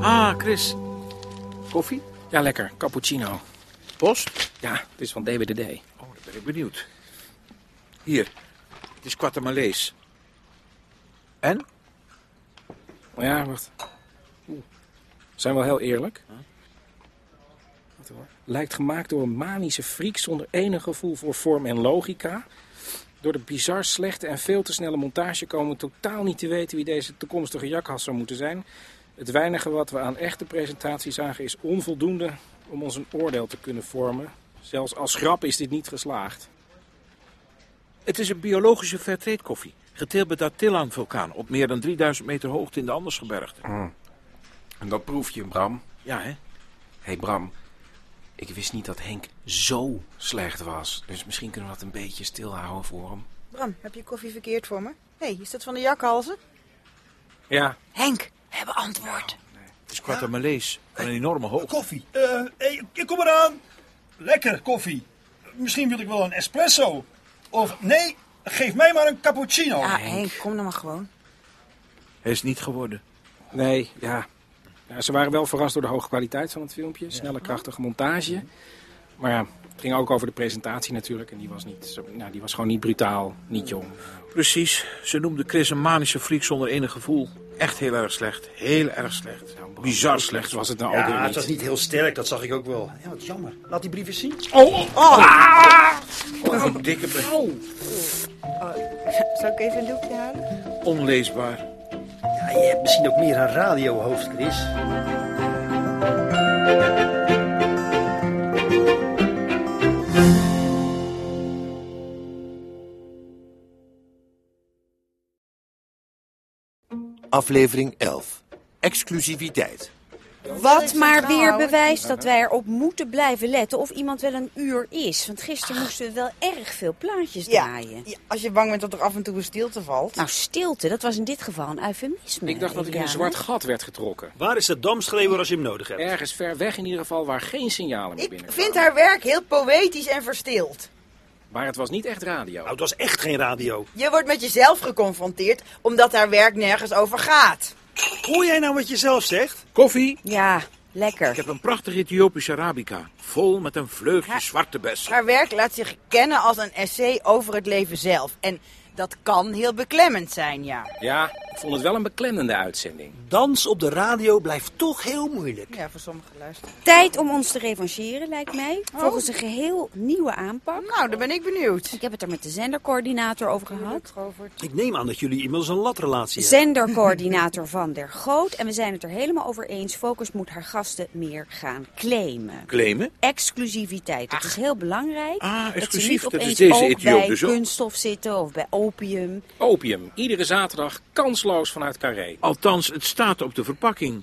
Speaker 21: Ah, Chris.
Speaker 7: Koffie? Ja, lekker. Cappuccino.
Speaker 21: Post?
Speaker 7: Ja, het is van DWDD.
Speaker 6: Oh, dan ben ik benieuwd. Hier, het is Quatamalees.
Speaker 21: En?
Speaker 7: Oh Ja, wacht. Oeh. Zijn we wel heel eerlijk? Wacht hoor. Lijkt gemaakt door een manische friek zonder enig gevoel voor vorm en logica. Door de bizar slechte en veel te snelle montage komen we totaal niet te weten wie deze toekomstige jakhals zou moeten zijn. Het weinige wat we aan echte presentatie zagen is onvoldoende om ons een oordeel te kunnen vormen. Zelfs als grap is dit niet geslaagd.
Speaker 6: Het is een biologische fairtrade koffie. Geteeld bij de Attilan-vulkaan op meer dan 3000 meter hoogte in de Andersgebergte.
Speaker 22: Mm. En dat proef je, Bram.
Speaker 6: Ja, hè?
Speaker 22: Hé hey Bram, ik wist niet dat Henk zo slecht was. Dus misschien kunnen we dat een beetje stilhouden voor hem.
Speaker 4: Bram, heb je koffie verkeerd voor me? Hé, hey, is dat van de jakhalzen?
Speaker 6: Ja.
Speaker 4: Henk, we hebben antwoord.
Speaker 6: Het is Quatamalees van een enorme hoogte.
Speaker 8: Koffie. Eh, hey, ik kom eraan. Lekker koffie. Misschien wil ik wel een espresso. Of nee, geef mij maar een cappuccino.
Speaker 4: Ja, Henk, Ah, kom dan maar gewoon.
Speaker 6: Hij is niet geworden.
Speaker 7: Nee, ja. ja. Ze waren wel verrast door de hoge kwaliteit van het filmpje. Snelle, krachtige montage. Maar ja, het ging ook over de presentatie natuurlijk. En die was, niet, zo- nou, die was gewoon niet brutaal, niet jong.
Speaker 6: Precies, ze noemde Chris een manische freak zonder enig gevoel. Echt heel erg slecht. Heel erg slecht. Bizar slecht was het nou ook weer
Speaker 8: Ja, het was niet heel sterk, dat zag ik ook wel. Ja, wat jammer. Laat die brief eens zien.
Speaker 6: Oh, oh,
Speaker 8: Ah!
Speaker 6: Wat Oh, een dikke brief.
Speaker 4: Oh. <laughs> Zal ik even een doekje halen?
Speaker 6: Onleesbaar.
Speaker 8: Ja, je hebt misschien ook meer een radiohoofd, Chris.
Speaker 2: Aflevering 11. Exclusiviteit.
Speaker 3: Wat maar weer bewijst dat wij erop moeten blijven letten of iemand wel een uur is. Want gisteren moesten we wel erg veel plaatjes draaien.
Speaker 4: Ah. als je bang bent dat er af en toe een stilte valt.
Speaker 3: Nou, stilte, dat was in dit geval een eufemisme.
Speaker 7: Ik dacht dat ik in een
Speaker 3: Eliane.
Speaker 7: zwart gat werd getrokken.
Speaker 8: Waar is de damschreeuwer als je hem nodig hebt?
Speaker 7: Ergens ver weg in ieder geval waar geen signalen meer binnen.
Speaker 4: Ik vind haar werk heel poëtisch en verstild.
Speaker 7: Maar het was niet echt radio. Nou,
Speaker 8: het was echt geen radio.
Speaker 4: Je wordt met jezelf geconfronteerd omdat haar werk nergens over gaat.
Speaker 8: Hoor jij nou wat je zelf zegt?
Speaker 6: Koffie?
Speaker 3: Ja,
Speaker 23: Lekker.
Speaker 6: Ik heb een prachtig Ethiopische Arabica. Vol met een vleugje zwarte bessen.
Speaker 4: Haar werk laat zich kennen als een essay over het leven zelf. En dat kan heel beklemmend zijn, ja.
Speaker 7: Ja, ik vond het wel een beklemmende uitzending.
Speaker 24: Dans op de radio blijft toch heel moeilijk.
Speaker 4: Ja, voor sommige luisteraars.
Speaker 3: Tijd om ons te revancheren, lijkt mij. Volgens een geheel nieuwe aanpak.
Speaker 4: Oh. Nou, daar ben ik benieuwd.
Speaker 3: Ik heb het er met de zendercoördinator over gehad.
Speaker 24: Ik neem aan dat jullie inmiddels een latrelatie hebben.
Speaker 3: Zendercoördinator Van der Goot. En we zijn het er helemaal over eens. Focus moet haar gasten meer gaan claimen.
Speaker 6: Claimen?
Speaker 3: Exclusiviteit. Dat is heel belangrijk.
Speaker 6: Ah,
Speaker 3: dat ze
Speaker 6: exclusief.
Speaker 3: niet
Speaker 6: Dat is
Speaker 3: opeens
Speaker 6: deze
Speaker 3: ook
Speaker 6: Ethioop
Speaker 3: bij
Speaker 6: dus ook.
Speaker 3: kunststof zitten of bij opium.
Speaker 7: Opium, iedere zaterdag kansloos vanuit Carré.
Speaker 6: Althans, het staat op de verpakking.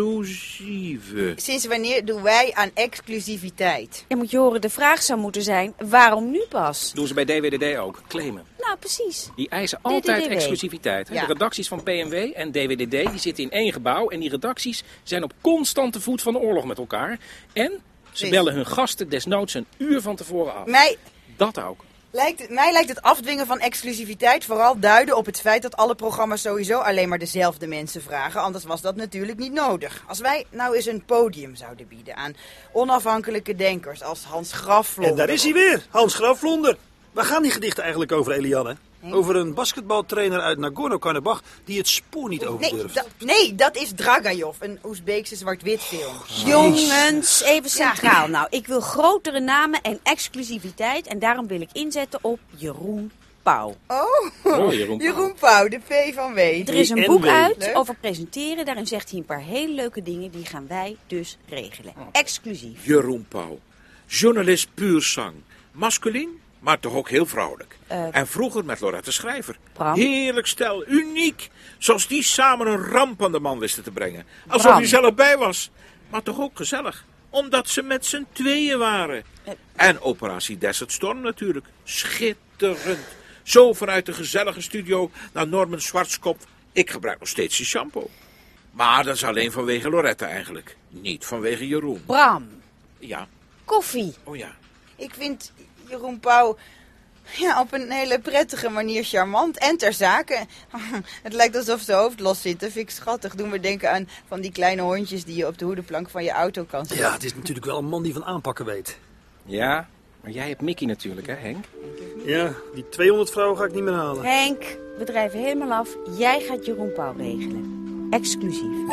Speaker 6: Exclusieve.
Speaker 4: Sinds wanneer doen wij aan exclusiviteit?
Speaker 3: Je moet je horen, de vraag zou moeten zijn, waarom nu pas?
Speaker 7: Doen ze bij DWDD ook, claimen.
Speaker 3: Nou, precies.
Speaker 7: Die eisen altijd
Speaker 3: DWDW.
Speaker 7: exclusiviteit. hè?
Speaker 3: Ja.
Speaker 7: De redacties van PMW en DWDD die zitten in één gebouw. En die redacties zijn op constante voet van de oorlog met elkaar. En ze
Speaker 4: Precies.
Speaker 7: bellen hun gasten desnoods een uur van tevoren af.
Speaker 4: Mij
Speaker 7: Dat ook.
Speaker 4: lijkt, het, mij lijkt het afdwingen van exclusiviteit vooral duiden op het feit dat alle programma's sowieso alleen maar dezelfde mensen vragen. Anders was dat natuurlijk niet nodig. Als wij nou eens een podium zouden bieden aan onafhankelijke denkers als Hans Graflon.
Speaker 8: En daar is hij weer, Hans Graaf Vlonder. Waar gaan die gedichten eigenlijk over, Eliane? Over een basketbaltrainer uit Nagorno-Karabakh die het spoor niet over
Speaker 4: Nee,
Speaker 8: durft.
Speaker 4: da- nee, dat is Dragajov, een Oezbeekse zwart-wit film.
Speaker 3: Jongens, even centraal. Nou, ik wil grotere namen en exclusiviteit. En daarom wil ik inzetten op Jeroen Pauw.
Speaker 4: Oh,
Speaker 7: Oh,
Speaker 4: Jeroen,
Speaker 7: Jeroen
Speaker 4: Pauw, de P van W.
Speaker 3: Er is een boek uit
Speaker 4: Leuk.
Speaker 3: over presenteren. Daarin zegt hij een paar hele leuke dingen. Die gaan wij dus regelen.
Speaker 4: Oh.
Speaker 3: Exclusief.
Speaker 6: Jeroen Pauw. Journalist puur zang. Masculin, maar toch ook heel vrouwelijk.
Speaker 3: Eh.
Speaker 6: en vroeger met Lorette Schrijver.
Speaker 3: Bram?
Speaker 6: Heerlijk stel, uniek. Zoals die samen een ramp aan de man wisten te brengen. Alsof
Speaker 3: Bram.
Speaker 6: hij zelf bij was. Maar toch ook gezellig. Omdat ze met z'n tweeën waren.
Speaker 3: Eh.
Speaker 6: En Operatie Desert Storm natuurlijk. Schitterend. Zo vanuit de gezellige studio naar Norman Schwarzkopf. Ik gebruik nog steeds die shampoo. Maar dat is alleen vanwege Lorette eigenlijk. Niet vanwege Jeroen.
Speaker 3: Bram,
Speaker 6: Ja.
Speaker 3: koffie.
Speaker 6: Oh ja.
Speaker 4: Ik vind Jeroen Pauw ja, op een hele prettige manier charmant en ter zake. <laughs> Het lijkt alsof zijn hoofd los zit. Dat vind ik schattig. Doen we denken aan van die kleine hondjes die je op de hoedenplank van je auto kan zetten.
Speaker 24: Ja, het is natuurlijk wel een man die van aanpakken weet.
Speaker 7: Ja, maar jij hebt Mickey natuurlijk, hè Henk?
Speaker 8: Ja, die 200 vrouwen ga ik niet meer halen.
Speaker 3: Henk, we drijven helemaal af. Jij gaat Jeroen Pauw regelen. Exclusief.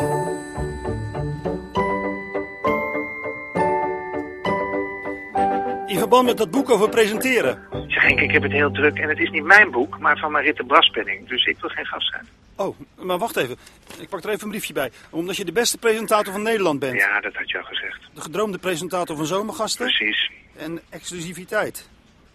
Speaker 8: In verband met dat boek over presenteren.
Speaker 25: Zeg Henk, ik heb het heel druk en het is niet mijn boek, maar van Maritte Braspenning. Dus ik wil geen gast zijn.
Speaker 8: Oh, maar wacht even. Ik pak er even een briefje bij. Omdat je de beste presentator van Nederland bent.
Speaker 25: Ja, dat had je al gezegd.
Speaker 8: De gedroomde presentator van zomergasten.
Speaker 25: Precies.
Speaker 8: En exclusiviteit.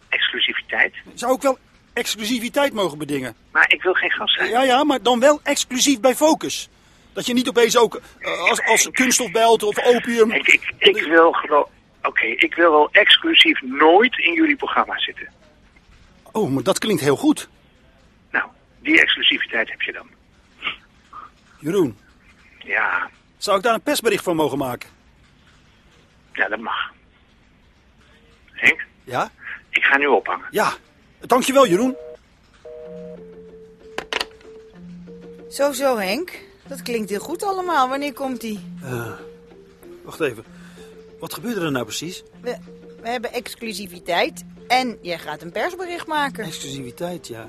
Speaker 25: Exclusiviteit.
Speaker 8: Zou ik wel exclusiviteit mogen bedingen?
Speaker 25: Maar ik wil geen gast zijn.
Speaker 8: Ja, ja, maar dan wel exclusief bij Focus. Dat je niet opeens ook eh, als, als kunststof belt of opium...
Speaker 25: Henk, ik, ik wil gewoon... Oké, ik wil wel exclusief nooit in jullie programma zitten.
Speaker 8: Oh, maar dat klinkt heel goed.
Speaker 25: Nou, die exclusiviteit heb je dan.
Speaker 8: Jeroen,
Speaker 25: Ja,
Speaker 8: zou ik daar een persbericht van mogen maken?
Speaker 25: ja dat mag. Henk,
Speaker 8: Ja?
Speaker 25: ik ga nu ophangen.
Speaker 8: Ja. Dankjewel, Jeroen.
Speaker 4: Zo, zo Henk. Dat klinkt heel goed allemaal. Wanneer komt die?
Speaker 24: Eh, wacht even. Wat gebeurde er nou precies?
Speaker 4: We, we hebben exclusiviteit en jij gaat een persbericht maken.
Speaker 8: Exclusiviteit, ja.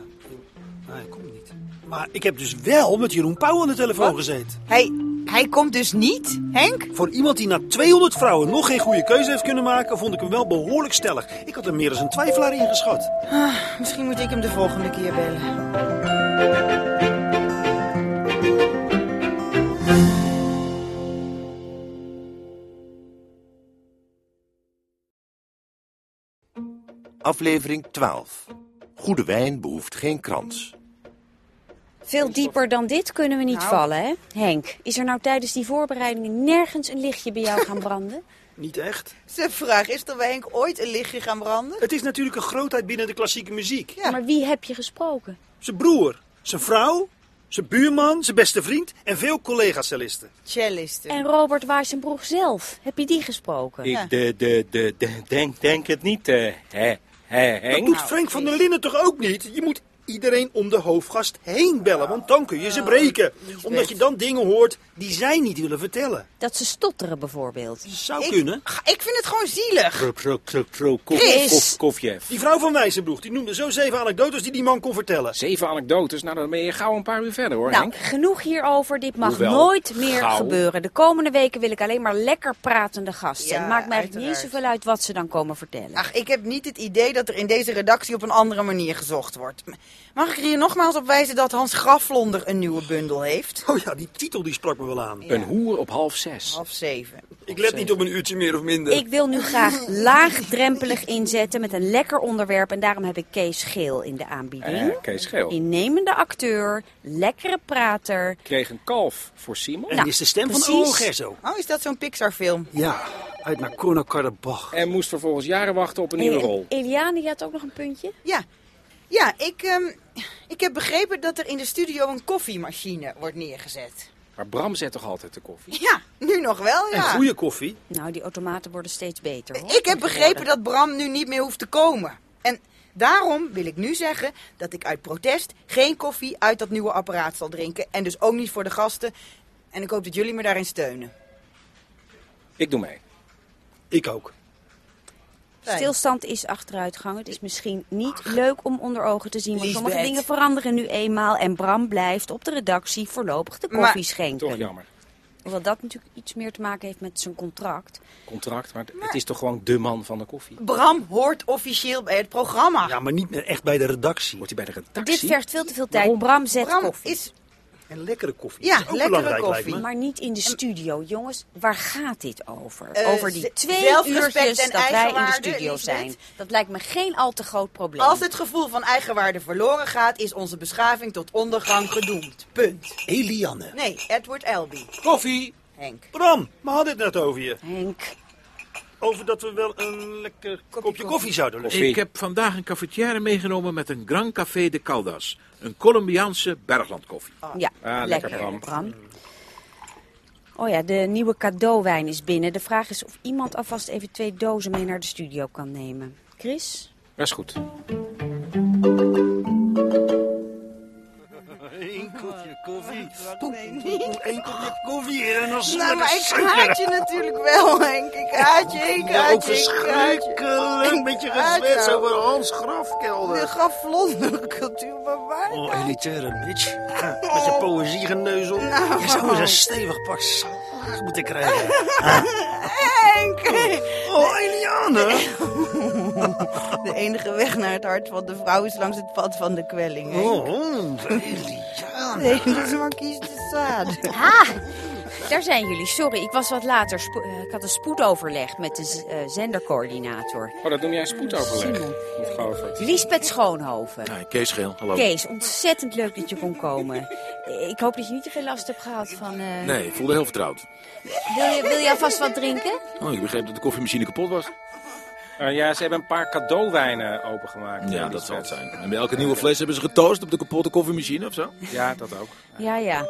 Speaker 8: Nee, komt niet. Maar ik heb dus wel met Jeroen Pauw aan de telefoon gezeten.
Speaker 4: Hij, hij komt dus niet, Henk?
Speaker 8: Voor iemand die na 200 vrouwen nog geen goede keuze heeft kunnen maken, vond ik hem wel behoorlijk stellig. Ik had hem meer als een twijfelaar ingeschat.
Speaker 4: Ah, misschien moet ik hem de volgende keer bellen.
Speaker 2: Aflevering 12. Goede wijn behoeft geen krans.
Speaker 3: Veel dieper dan dit kunnen we niet
Speaker 24: Nou.
Speaker 3: vallen, hè? Henk, is er nou tijdens die voorbereidingen nergens een lichtje bij jou gaan branden?
Speaker 8: Niet echt.
Speaker 4: Zijn vraag is er bij Henk ooit een lichtje gaan branden?
Speaker 8: Het is natuurlijk een grootheid binnen de klassieke muziek.
Speaker 3: Maar wie heb je gesproken?
Speaker 8: Zijn broer, zijn vrouw, zijn buurman, zijn beste vriend en veel collega-cellisten.
Speaker 4: Cellisten.
Speaker 3: En Robert Waarsenbroek zelf, heb je die gesproken?
Speaker 7: Ik de, de, de, de- denk, denk het niet, eh, hè, Nou. hè,
Speaker 8: Dat
Speaker 7: Henk?
Speaker 4: Nou,
Speaker 8: doet Frank van der Linden toch ook niet? Je moet iedereen om de hoofdgast heen bellen, want dan kun je
Speaker 4: Nou,
Speaker 8: ze breken. Omdat je dan dingen hoort die zij niet willen vertellen.
Speaker 3: Dat ze stotteren bijvoorbeeld.
Speaker 8: Zou kunnen.
Speaker 4: Ik vind het gewoon zielig.
Speaker 8: Tro, tro, tro, tro, kof,
Speaker 4: Chris!
Speaker 8: kof, kofjef. Die vrouw van Wijzenbroek, die noemde zo zeven anekdotes die die man kon vertellen.
Speaker 7: Zeven anekdotes? Nou, dan ben je gauw een paar uur verder hoor,
Speaker 3: Nou,
Speaker 7: Henk.
Speaker 3: genoeg hierover. Dit mag
Speaker 7: Hoewel,
Speaker 3: nooit meer
Speaker 7: gauw.
Speaker 3: gebeuren. De komende weken wil ik alleen maar lekker pratende gasten.
Speaker 4: Ja,
Speaker 3: het maakt mij eigenlijk niet
Speaker 4: uiteraard.
Speaker 3: zoveel uit wat ze dan komen vertellen.
Speaker 4: Ach, ik heb niet het idee dat er in deze redactie op een andere manier gezocht wordt. M- Mag ik er hier nogmaals op wijzen dat Hans Graflonder een nieuwe bundel heeft?
Speaker 8: Oh ja, die titel die sprak me wel aan.
Speaker 7: Een hoer op half zes.
Speaker 4: Half zeven.
Speaker 8: Ik let niet op een uurtje meer of minder.
Speaker 3: Ik wil nu
Speaker 4: <laughs>
Speaker 3: graag laagdrempelig inzetten met een lekker onderwerp. En daarom heb ik Kees Geel in de aanbieding.
Speaker 7: Eh, Kees Geel.
Speaker 3: Innemende acteur, lekkere prater.
Speaker 7: Kreeg een kalf voor Simon.
Speaker 3: En Nou, is de stem van precies. Owen
Speaker 8: Gerso.
Speaker 4: Oh, is dat zo'n Pixar-film?
Speaker 8: Ja, uit Nagorno-Karabakh.
Speaker 7: En moest vervolgens jaren wachten op een
Speaker 4: Eh,
Speaker 7: nieuwe
Speaker 3: Hey,
Speaker 7: rol.
Speaker 3: Eliane, je had ook nog een puntje?
Speaker 4: Ja. Ja, ik, ehm, ik heb begrepen dat er in de studio een koffiemachine wordt neergezet.
Speaker 7: Maar Bram zet toch altijd de koffie?
Speaker 4: Ja, nu nog wel, ja.
Speaker 8: koffie.
Speaker 3: Nou, die automaten worden steeds beter hoor.
Speaker 4: Ik heb begrepen dat Bram nu niet meer hoeft te komen. En daarom wil ik nu zeggen dat ik uit protest geen koffie uit dat nieuwe apparaat zal drinken. En dus ook niet voor de gasten. En ik hoop dat jullie me daarin steunen.
Speaker 7: Ik doe mee.
Speaker 8: Ik ook.
Speaker 4: Fijn.
Speaker 3: Stilstand is achteruitgang. Het is misschien niet leuk om onder ogen te zien. Want
Speaker 4: Liesbeth.
Speaker 3: sommige dingen veranderen nu eenmaal. En Bram blijft op de redactie voorlopig de koffie
Speaker 4: Maar-
Speaker 3: schenken.
Speaker 7: Toch jammer.
Speaker 3: Hoewel dat natuurlijk iets meer te maken heeft met zijn contract.
Speaker 7: Contract, maar, het is toch gewoon de man van de koffie.
Speaker 4: Bram hoort officieel bij het programma.
Speaker 8: Ja, maar niet meer echt bij de redactie.
Speaker 7: Wordt hij bij de
Speaker 3: Dit
Speaker 7: redactie?
Speaker 3: vergt veel te veel tijd. Bram zet
Speaker 4: Bram
Speaker 3: koffie.
Speaker 4: is...
Speaker 8: En lekkere koffie.
Speaker 4: Ja,
Speaker 8: Dat is ook
Speaker 4: lekkere
Speaker 8: belangrijk,
Speaker 4: koffie.
Speaker 8: Lijkt me.
Speaker 3: Maar niet in de studio, jongens. Waar gaat dit over?
Speaker 4: Eh,
Speaker 3: over
Speaker 4: ze-
Speaker 3: die twee
Speaker 4: zelfrespect
Speaker 3: uurtjes
Speaker 4: en
Speaker 3: dat wij in de
Speaker 4: eigenwaarde,
Speaker 3: studio
Speaker 4: Liesbeth.
Speaker 3: zijn. Dat lijkt me geen al te groot probleem.
Speaker 4: Als het gevoel van eigenwaarde verloren gaat, is onze beschaving tot ondergang gedoemd. Punt.
Speaker 8: Eliane.
Speaker 4: Nee, Edward Elby.
Speaker 8: Koffie.
Speaker 4: Henk.
Speaker 8: Bram, we hadden het net over je.
Speaker 3: Henk,
Speaker 8: Over dat we wel een lekker kopje, koffie, zouden lusten.
Speaker 26: Ik heb vandaag een cafetière meegenomen met een Gran Café de Caldas. Een Colombiaanse berglandkoffie.
Speaker 3: ja,
Speaker 7: Ah, lekker,
Speaker 3: lekker,
Speaker 7: Bram.
Speaker 3: Bram. Oh ja, de nieuwe cadeauwijn is binnen. De vraag is of iemand alvast even twee dozen mee naar de studio kan nemen. Chris?
Speaker 7: Dat is goed.
Speaker 8: Eén kopje koffie. Eén kopje koffie en dan zonder
Speaker 4: Nou, maar ik
Speaker 8: suiker.
Speaker 4: haat je natuurlijk wel, Henk. Ik haat je, ik
Speaker 8: Ja, ook
Speaker 4: haat je, ik haat je.
Speaker 8: verschrikkelijk. Een beetje gezwets
Speaker 4: Uit,
Speaker 8: over Hans Grafkelder.
Speaker 4: De graflondercultuur, maar waar
Speaker 8: Oh,
Speaker 4: dan?
Speaker 8: elitaire bitch. Met je poëziegeneuzel. Je zou eens een stevig pak slaag moeten krijgen.
Speaker 4: Henk!
Speaker 8: Oh, Eliane.
Speaker 4: <laughs> De enige weg naar het hart van de vrouw is langs het pad van de kwelling, Henk.
Speaker 8: Oh, Eliane.
Speaker 4: Nee, dat is maar kies dus- de zaad.
Speaker 3: Ah, daar zijn jullie. Sorry, ik was wat later. Spo- eh, ik had een spoedoverleg met de z- eh, zendercoördinator.
Speaker 7: Oh, dat noem jij spoedoverleg.
Speaker 3: Simon.
Speaker 7: Of Govert.
Speaker 3: Lisbeth Schoonhoven.
Speaker 6: Hi, Eh, Kees Geel, hallo.
Speaker 3: Kees, ontzettend leuk dat je kon komen. Eh, Ik hoop dat je niet te veel last hebt gehad van... eh,
Speaker 6: Nee, ik voelde heel vertrouwd.
Speaker 3: Wil, je, wil je alvast wat drinken?
Speaker 6: Oh, ik begreep dat de koffiemachine kapot was.
Speaker 7: Eh, ja, ze hebben een paar cadeauwijnen opengemaakt.
Speaker 6: Ja,
Speaker 7: eh,
Speaker 6: dat zal het
Speaker 7: Lisbeth.
Speaker 6: zijn. En bij elke nieuwe fles hebben ze getoost op de kapotte koffiemachine of zo.
Speaker 7: Ja, dat ook.
Speaker 3: Ja, ja.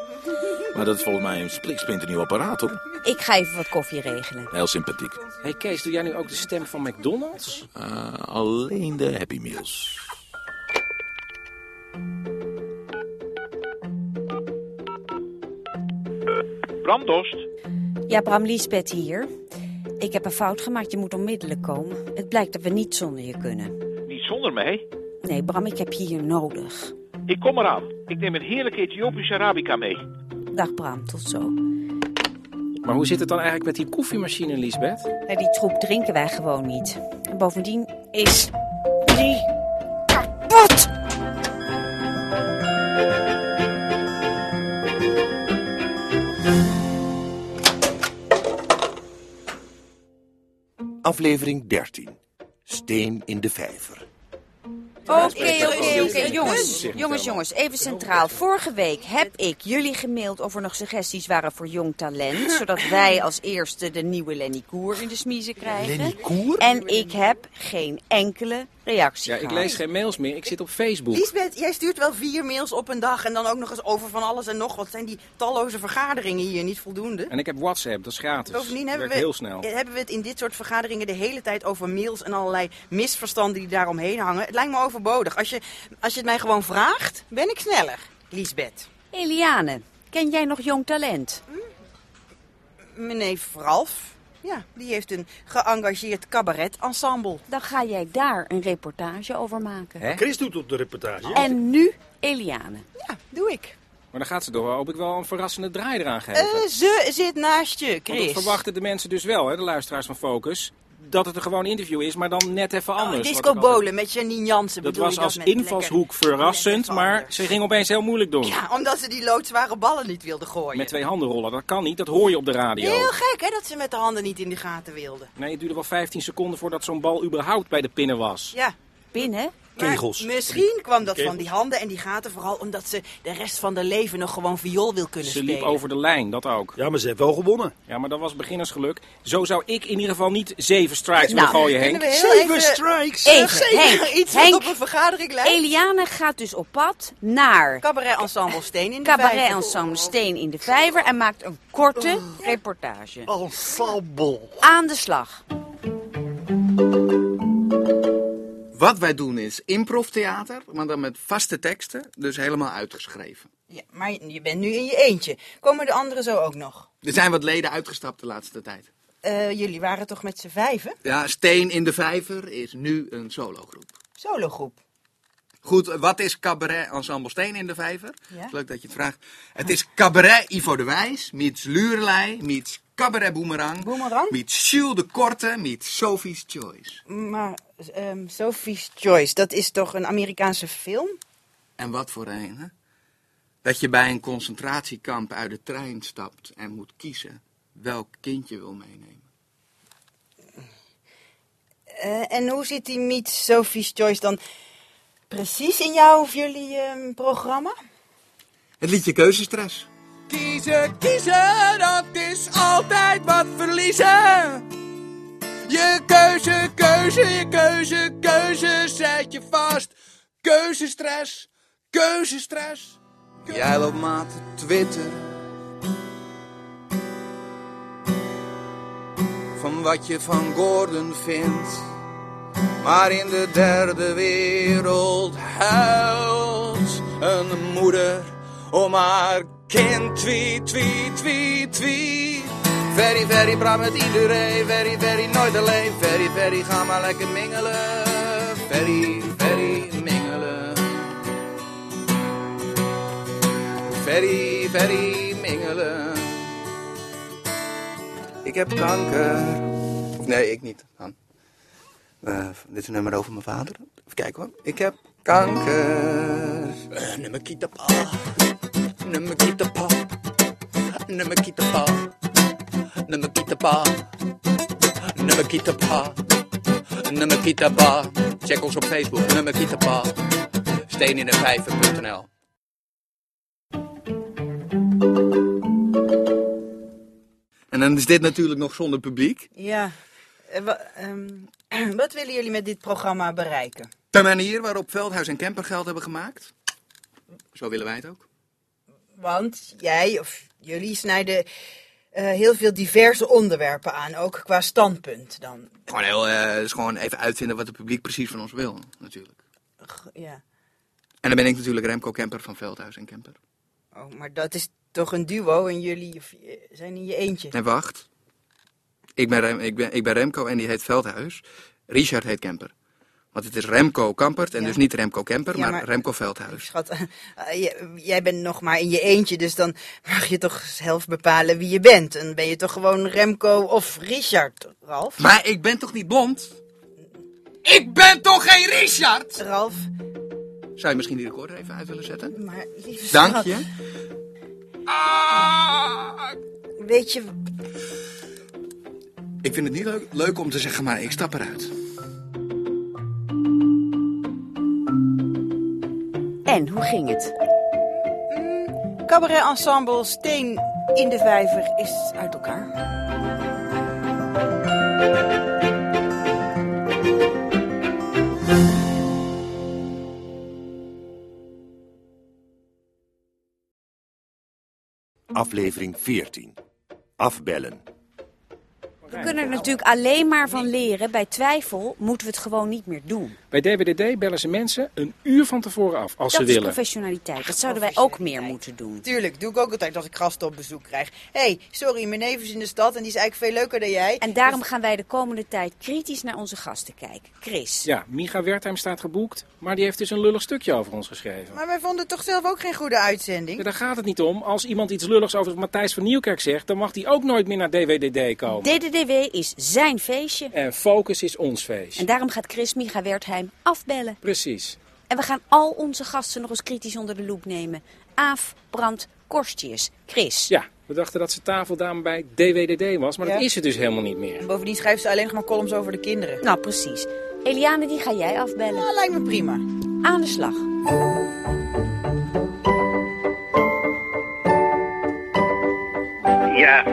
Speaker 6: Maar dat is volgens mij een spliksplinternieuw apparaat, hoor.
Speaker 3: Ik ga even wat koffie regelen.
Speaker 6: Heel sympathiek.
Speaker 7: hey Kees, doe jij nu ook de stem van McDonald's?
Speaker 6: Eh, alleen de Happy Meals.
Speaker 27: Bram Dost.
Speaker 3: Ja, Bram Liesbeth hier. Ik heb een fout gemaakt. Je moet onmiddellijk komen. Het blijkt dat we niet zonder je kunnen.
Speaker 27: Niet zonder mij.
Speaker 3: Nee, Bram, ik heb je hier nodig.
Speaker 27: Ik kom eraan. Ik neem een heerlijke Ethiopische Arabica mee.
Speaker 3: Dag Bram, tot zo.
Speaker 7: Maar hoe zit het dan eigenlijk met die koffiemachine, Lisbeth?
Speaker 3: Nou, die troep drinken wij gewoon niet. En bovendien is die kapot!
Speaker 2: Aflevering 13. Steen in de vijver.
Speaker 3: Oké, oké, oké. Jongens, jongens, jongens, even centraal. Vorige week heb ik jullie gemaild of er nog suggesties waren voor jong
Speaker 4: <laughs>
Speaker 3: talent. Zodat wij als eerste de nieuwe Lenny Koer in de smiezen krijgen.
Speaker 2: Lenny Koer?
Speaker 3: En ik heb geen enkele reactie
Speaker 7: Ja, ik
Speaker 3: gehad.
Speaker 7: lees geen mails meer. Ik zit op Facebook.
Speaker 4: Lisbeth, jij stuurt wel vier mails op een dag en dan ook nog eens over van alles en nog wat. Zijn die talloze vergaderingen hier niet voldoende?
Speaker 7: En ik heb WhatsApp, dat is gratis.
Speaker 4: Bovendien hebben we,
Speaker 7: Werkt heel snel.
Speaker 4: hebben we het in dit soort vergaderingen de hele tijd over mails en allerlei misverstanden die daaromheen hangen. Het lijkt me overbodig. Als je, als je het mij gewoon vraagt, ben ik sneller, Lisbeth.
Speaker 3: Eliane, ken jij nog jong talent?
Speaker 4: Hm? Meneer Ralf, ja, die heeft een geëngageerd cabaret-ensemble.
Speaker 3: Dan ga jij daar een reportage over maken.
Speaker 28: Chris doet op de reportage.
Speaker 3: En nu Eliane.
Speaker 4: Ja, doe ik.
Speaker 7: Maar dan gaat ze door. Hoop ik wel een verrassende draai eraan geven.
Speaker 4: Eh, ze zit naast je,
Speaker 7: Want Oh, dat
Speaker 4: Chris.
Speaker 7: verwachten de mensen dus wel, hè, de luisteraars van Focus. Dat het een gewoon interview is, maar dan net even anders. Wat
Speaker 4: Oh, Disco
Speaker 7: ik altijd-
Speaker 4: Bolen met Janine Jansen.
Speaker 7: Dat
Speaker 4: bedoel
Speaker 7: was
Speaker 4: je
Speaker 7: als
Speaker 4: met
Speaker 7: invalshoek verrassend, maar ze ging opeens heel moeilijk doen.
Speaker 4: lekker- Ja, oh omdat ze die loodzware ballen niet wilde gooien.
Speaker 7: Met twee handen rollen, dat kan niet, dat hoor je op de radio.
Speaker 4: Heel gek, hè, dat ze met de handen niet in de gaten wilde.
Speaker 7: Nee, het duurde wel 15 seconden voordat zo'n bal überhaupt bij de pinnen was.
Speaker 4: Ja.
Speaker 3: Binnen?
Speaker 4: Maar
Speaker 7: Kegels.
Speaker 4: Misschien kwam dat van
Speaker 7: Kegels.
Speaker 4: die handen en die gaten vooral omdat ze de rest van haar leven nog gewoon viool wil kunnen
Speaker 7: Ze
Speaker 4: spelen.
Speaker 7: liep over de lijn, dat ook.
Speaker 28: Ja, maar ze heeft wel gewonnen.
Speaker 7: Ja, maar dat was beginnersgeluk. Zo zou ik in ieder geval niet zeven strikes
Speaker 4: Nou,
Speaker 7: willen gooien, Henk.
Speaker 4: Zeven
Speaker 28: strikes!
Speaker 3: Even,
Speaker 4: Zeker
Speaker 3: Henk,
Speaker 4: <laughs> iets wat
Speaker 3: Henk.
Speaker 4: op een vergadering lijkt.
Speaker 3: Eliane gaat dus op pad naar
Speaker 4: Cabaret Ensemble Steen in de
Speaker 3: Cabaret
Speaker 4: Vijver. Oh.
Speaker 3: Ensemble Steen in de Vijver en maakt een korte reportage.
Speaker 11: Ensemble.
Speaker 3: Aan de slag.
Speaker 11: Wat wij doen is improvtheater, maar dan met vaste teksten, dus helemaal uitgeschreven.
Speaker 4: Ja, maar je bent nu in je eentje. Komen de anderen zo ook nog?
Speaker 11: Er zijn wat leden uitgestapt de laatste tijd.
Speaker 4: Eh, jullie waren toch met z'n vijven?
Speaker 11: Ja, Steen in de Vijver is nu een sologroep.
Speaker 4: Sologroep.
Speaker 11: Goed, wat is cabaret ensemble Steen in de Vijver?
Speaker 4: Ja.
Speaker 11: Is Leuk dat je het vraagt. Het is cabaret Ivo de Wijs, meets Lurelei, meets cabaret Boomerang,
Speaker 4: Boomerang?
Speaker 11: meets Jules de Korte, meets Sophie's Choice.
Speaker 4: Maar ehm, Sophie's Choice, dat is toch een Amerikaanse film?
Speaker 11: En wat voor een, hè? Dat je bij een concentratiekamp uit de trein stapt en moet kiezen welk kind je wil meenemen.
Speaker 4: Eh, en hoe zit die Meet Sophie's Choice dan precies in jou of jullie ehm, programma?
Speaker 11: Het liedje Keuzestress. Kiezen, kiezen, dat is altijd wat verliezen. Je keuze, keuze, je keuze, keuze, zet je vast. Keuzestress, keuzestress. Jij loopt maar te twitteren. Van wat je van Gordon vindt. Maar in de derde wereld huilt een moeder om haar Oh, kind. Twee, twee, twee, twee. Very, very praat met iedereen. Very, very nooit alleen. Very, very ga maar lekker mingelen. Very, very mingelen. Very, very mingelen. Ik heb kanker. Of nee, ik niet. Han. Eh, dit is een nummer over mijn vader. Even kijken hoor. Ik heb kanker. Eh, nummer kietapa. Nummer kietapa. Nummer kietapa. Nummer kietapa. Nummer kietapa. Nummer kietapa. Check ons op Facebook. Nummer kietapa. Steen in de vijver.nl. En dan is dit natuurlijk nog zonder publiek.
Speaker 4: Ja. eh, wa- ehm, <clears throat> wat willen jullie met dit programma bereiken?
Speaker 11: De manier waarop Veldhuis en Kemper geld hebben gemaakt. Zo willen wij het ook.
Speaker 4: Want jij of jullie snijden eh, heel veel diverse onderwerpen aan, ook qua standpunt dan.
Speaker 11: Gewoon heel, eh, dus gewoon even uitvinden wat het publiek precies van ons wil, natuurlijk.
Speaker 4: G- Ja.
Speaker 11: En dan ben ik natuurlijk Remco Kemper van Veldhuis en Kemper.
Speaker 4: Oh, maar dat is toch een duo en jullie of, eh, zijn in je eentje.
Speaker 11: En wacht, ik ben, Rem- ik, ben, ik ben Remco en die heet Veldhuis. Richard heet Kemper. Want het is Remco Kampert en
Speaker 4: Ja.
Speaker 11: dus niet Remco Kemper,
Speaker 4: Ja,
Speaker 11: maar,
Speaker 4: maar-
Speaker 11: Remco Veldhuis.
Speaker 4: Schat, <laughs> eh, j- jij bent nog maar in je eentje, dus dan mag je toch zelf bepalen wie je bent. En ben je toch gewoon Remco of Richard, Ralf?
Speaker 11: Maar ik ben toch niet blond? Ik ben toch geen Richard?
Speaker 4: Ralf,
Speaker 11: Zou je misschien die recorder even uit willen zetten?
Speaker 4: maar lieve
Speaker 11: Dank
Speaker 4: schat,
Speaker 11: je.
Speaker 4: Weet je,
Speaker 11: Ik vind het niet leuk, leuk om te zeggen, maar ik stap eruit.
Speaker 3: En hoe ging het?
Speaker 4: cabaret ensemble Steen in de Vijver is uit elkaar.
Speaker 2: aflevering 14. Afbellen.
Speaker 3: We kunnen er natuurlijk alleen maar van leren. Bij twijfel moeten we het gewoon niet meer doen.
Speaker 7: Bij DWDD bellen ze mensen een uur van tevoren af, als
Speaker 3: dat
Speaker 7: ze
Speaker 3: is
Speaker 7: willen.
Speaker 3: professionaliteit. Dat zouden wij ook meer moeten doen.
Speaker 4: Tuurlijk, doe ik ook altijd als ik gasten op bezoek krijg. Hé, hey, sorry, mijn neef is in de stad en die is eigenlijk veel leuker dan jij.
Speaker 3: En daarom gaan wij de komende tijd kritisch naar onze gasten kijken. Chris.
Speaker 7: Ja, Miga Wertheim staat geboekt, maar die heeft dus een lullig stukje over ons geschreven.
Speaker 4: Maar wij vonden het toch zelf ook geen goede uitzending?
Speaker 7: Ja, daar gaat het niet om. Als iemand iets lulligs over Matthijs van Nieuwkerk zegt, dan mag die ook nooit meer naar DWDD komen.
Speaker 3: DDDW is zijn feestje.
Speaker 7: En Focus is ons feest.
Speaker 3: En daarom gaat Chris Micha Wertheim afbellen.
Speaker 7: Precies.
Speaker 3: En we gaan al onze gasten nog eens kritisch onder de loep nemen. Aaf, Brand, Korstjes, Chris.
Speaker 7: Ja, we dachten dat ze tafeldame bij DWDD was, maar
Speaker 4: Ja.
Speaker 7: dat is ze dus helemaal niet meer.
Speaker 4: En bovendien schrijft ze alleen nog maar columns over de kinderen.
Speaker 3: Nou, precies. Eliane, die ga jij afbellen.
Speaker 4: Nou, lijkt me prima.
Speaker 3: Aan de slag.
Speaker 29: Ja,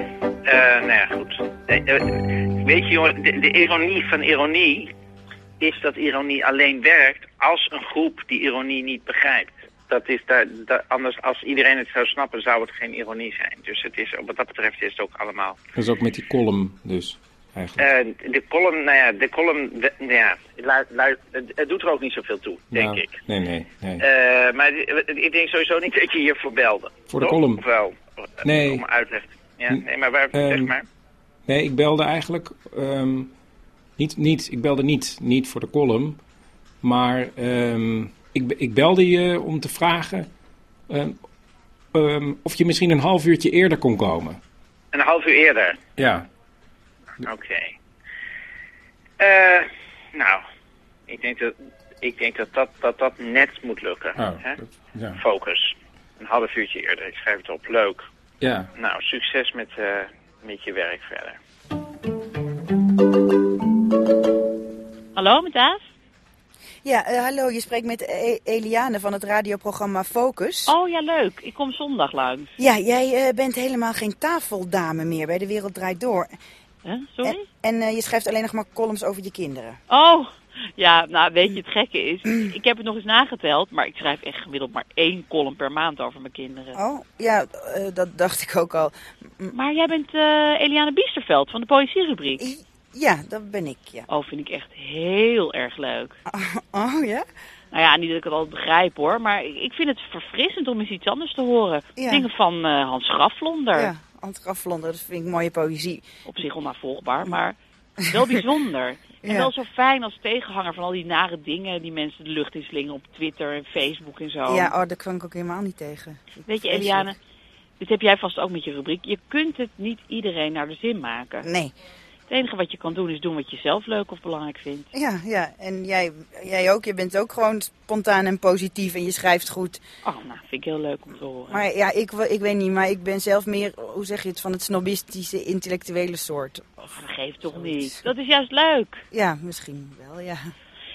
Speaker 29: eh, nou ja, goed. Eh, eh, weet je jongen, de, de ironie van ironie is dat ironie alleen werkt als een groep die ironie niet begrijpt. Dat is daar, daar- anders als iedereen het zou snappen, zou het geen ironie zijn. Dus het is, wat dat betreft is het ook allemaal.
Speaker 7: Dat is ook met die column dus, eigenlijk.
Speaker 29: Eh, de column, nou ja, de column, de- nou ja, lu- lu- het, het doet er ook niet zoveel toe, denk ik.
Speaker 7: Nee, nee, nee.
Speaker 29: Eh, maar eh, ik denk sowieso niet dat je hiervoor belde.
Speaker 7: Voor de
Speaker 29: Toch?
Speaker 7: column.
Speaker 29: Of wel?
Speaker 7: Nee.
Speaker 29: Om uitleg. Ja, nee, maar waar,
Speaker 7: Ehm,
Speaker 29: zeg maar.
Speaker 7: Nee, ik belde eigenlijk ehm, niet, niet, ik belde niet, niet voor de column, maar ehm, ik, be- ik belde je om te vragen ehm, ehm, of je misschien een half uurtje eerder kon komen.
Speaker 29: Een half uur eerder.
Speaker 7: Ja,
Speaker 29: Oké. Eh, nou, ik denk dat ik denk dat, dat, dat dat net moet lukken.
Speaker 7: Oh,
Speaker 29: hè?
Speaker 7: ja.
Speaker 29: Focus. Een half uurtje eerder. Ik schrijf het op. Leuk.
Speaker 7: ja.
Speaker 29: Nou, succes met, eh, met je werk verder.
Speaker 14: Hallo, met Aaf?
Speaker 4: Ja, eh, hallo, je spreekt met eh, Eliane van het radioprogramma Focus.
Speaker 14: Oh ja, leuk. Ik kom zondag langs.
Speaker 4: Ja, jij eh, bent helemaal geen tafeldame meer bij De Wereld Draait Door.
Speaker 14: sorry?
Speaker 4: En, en, eh, je schrijft alleen nog maar columns over je kinderen.
Speaker 14: Oh, ja, nou weet je, het gekke is,
Speaker 4: Mm.
Speaker 14: ik heb het nog eens nageteld, maar ik schrijf echt gemiddeld maar één column per maand over mijn kinderen.
Speaker 4: Oh, ja, eh, dat dacht ik ook al.
Speaker 14: Maar jij bent eh, Eliane Biesterveld van de poëzierubriek.
Speaker 4: Ja, dat ben ik, ja.
Speaker 14: Oh, vind ik echt heel erg leuk.
Speaker 4: Oh, ja?
Speaker 14: Nou ja, niet dat ik het altijd begrijp hoor, maar ik ik vind het verfrissend om eens iets anders te horen.
Speaker 4: Ja.
Speaker 14: Dingen van eh, Hans Graflonder.
Speaker 4: Ja, Antraf Vlonder, dat vind ik mooie poëzie.
Speaker 14: Op zich onnavolgbaar, maar
Speaker 4: <laughs>
Speaker 14: wel bijzonder. En
Speaker 4: Ja.
Speaker 14: wel zo fijn als tegenhanger van al die nare dingen die mensen de lucht in slingen op Twitter en Facebook en zo.
Speaker 4: Ja, oh, daar kwam ik ook helemaal niet tegen.
Speaker 14: Weet je,
Speaker 4: Vreselijk.
Speaker 14: Eliane, dit heb jij vast ook met je rubriek. Je kunt het niet iedereen naar de zin maken.
Speaker 4: Nee.
Speaker 14: Het enige wat je kan doen is doen wat je zelf leuk of belangrijk vindt.
Speaker 4: Ja, ja, en jij, jij ook. Je bent ook gewoon spontaan en positief en je schrijft goed.
Speaker 14: Oh, nou, vind ik heel leuk om te horen.
Speaker 4: Maar ja, ik, wa- ik weet niet, maar ik ben zelf meer, hoe zeg je het, van het snobistische intellectuele soort.
Speaker 14: Geef toch niet. Dat is juist leuk.
Speaker 4: Ja, misschien wel, ja.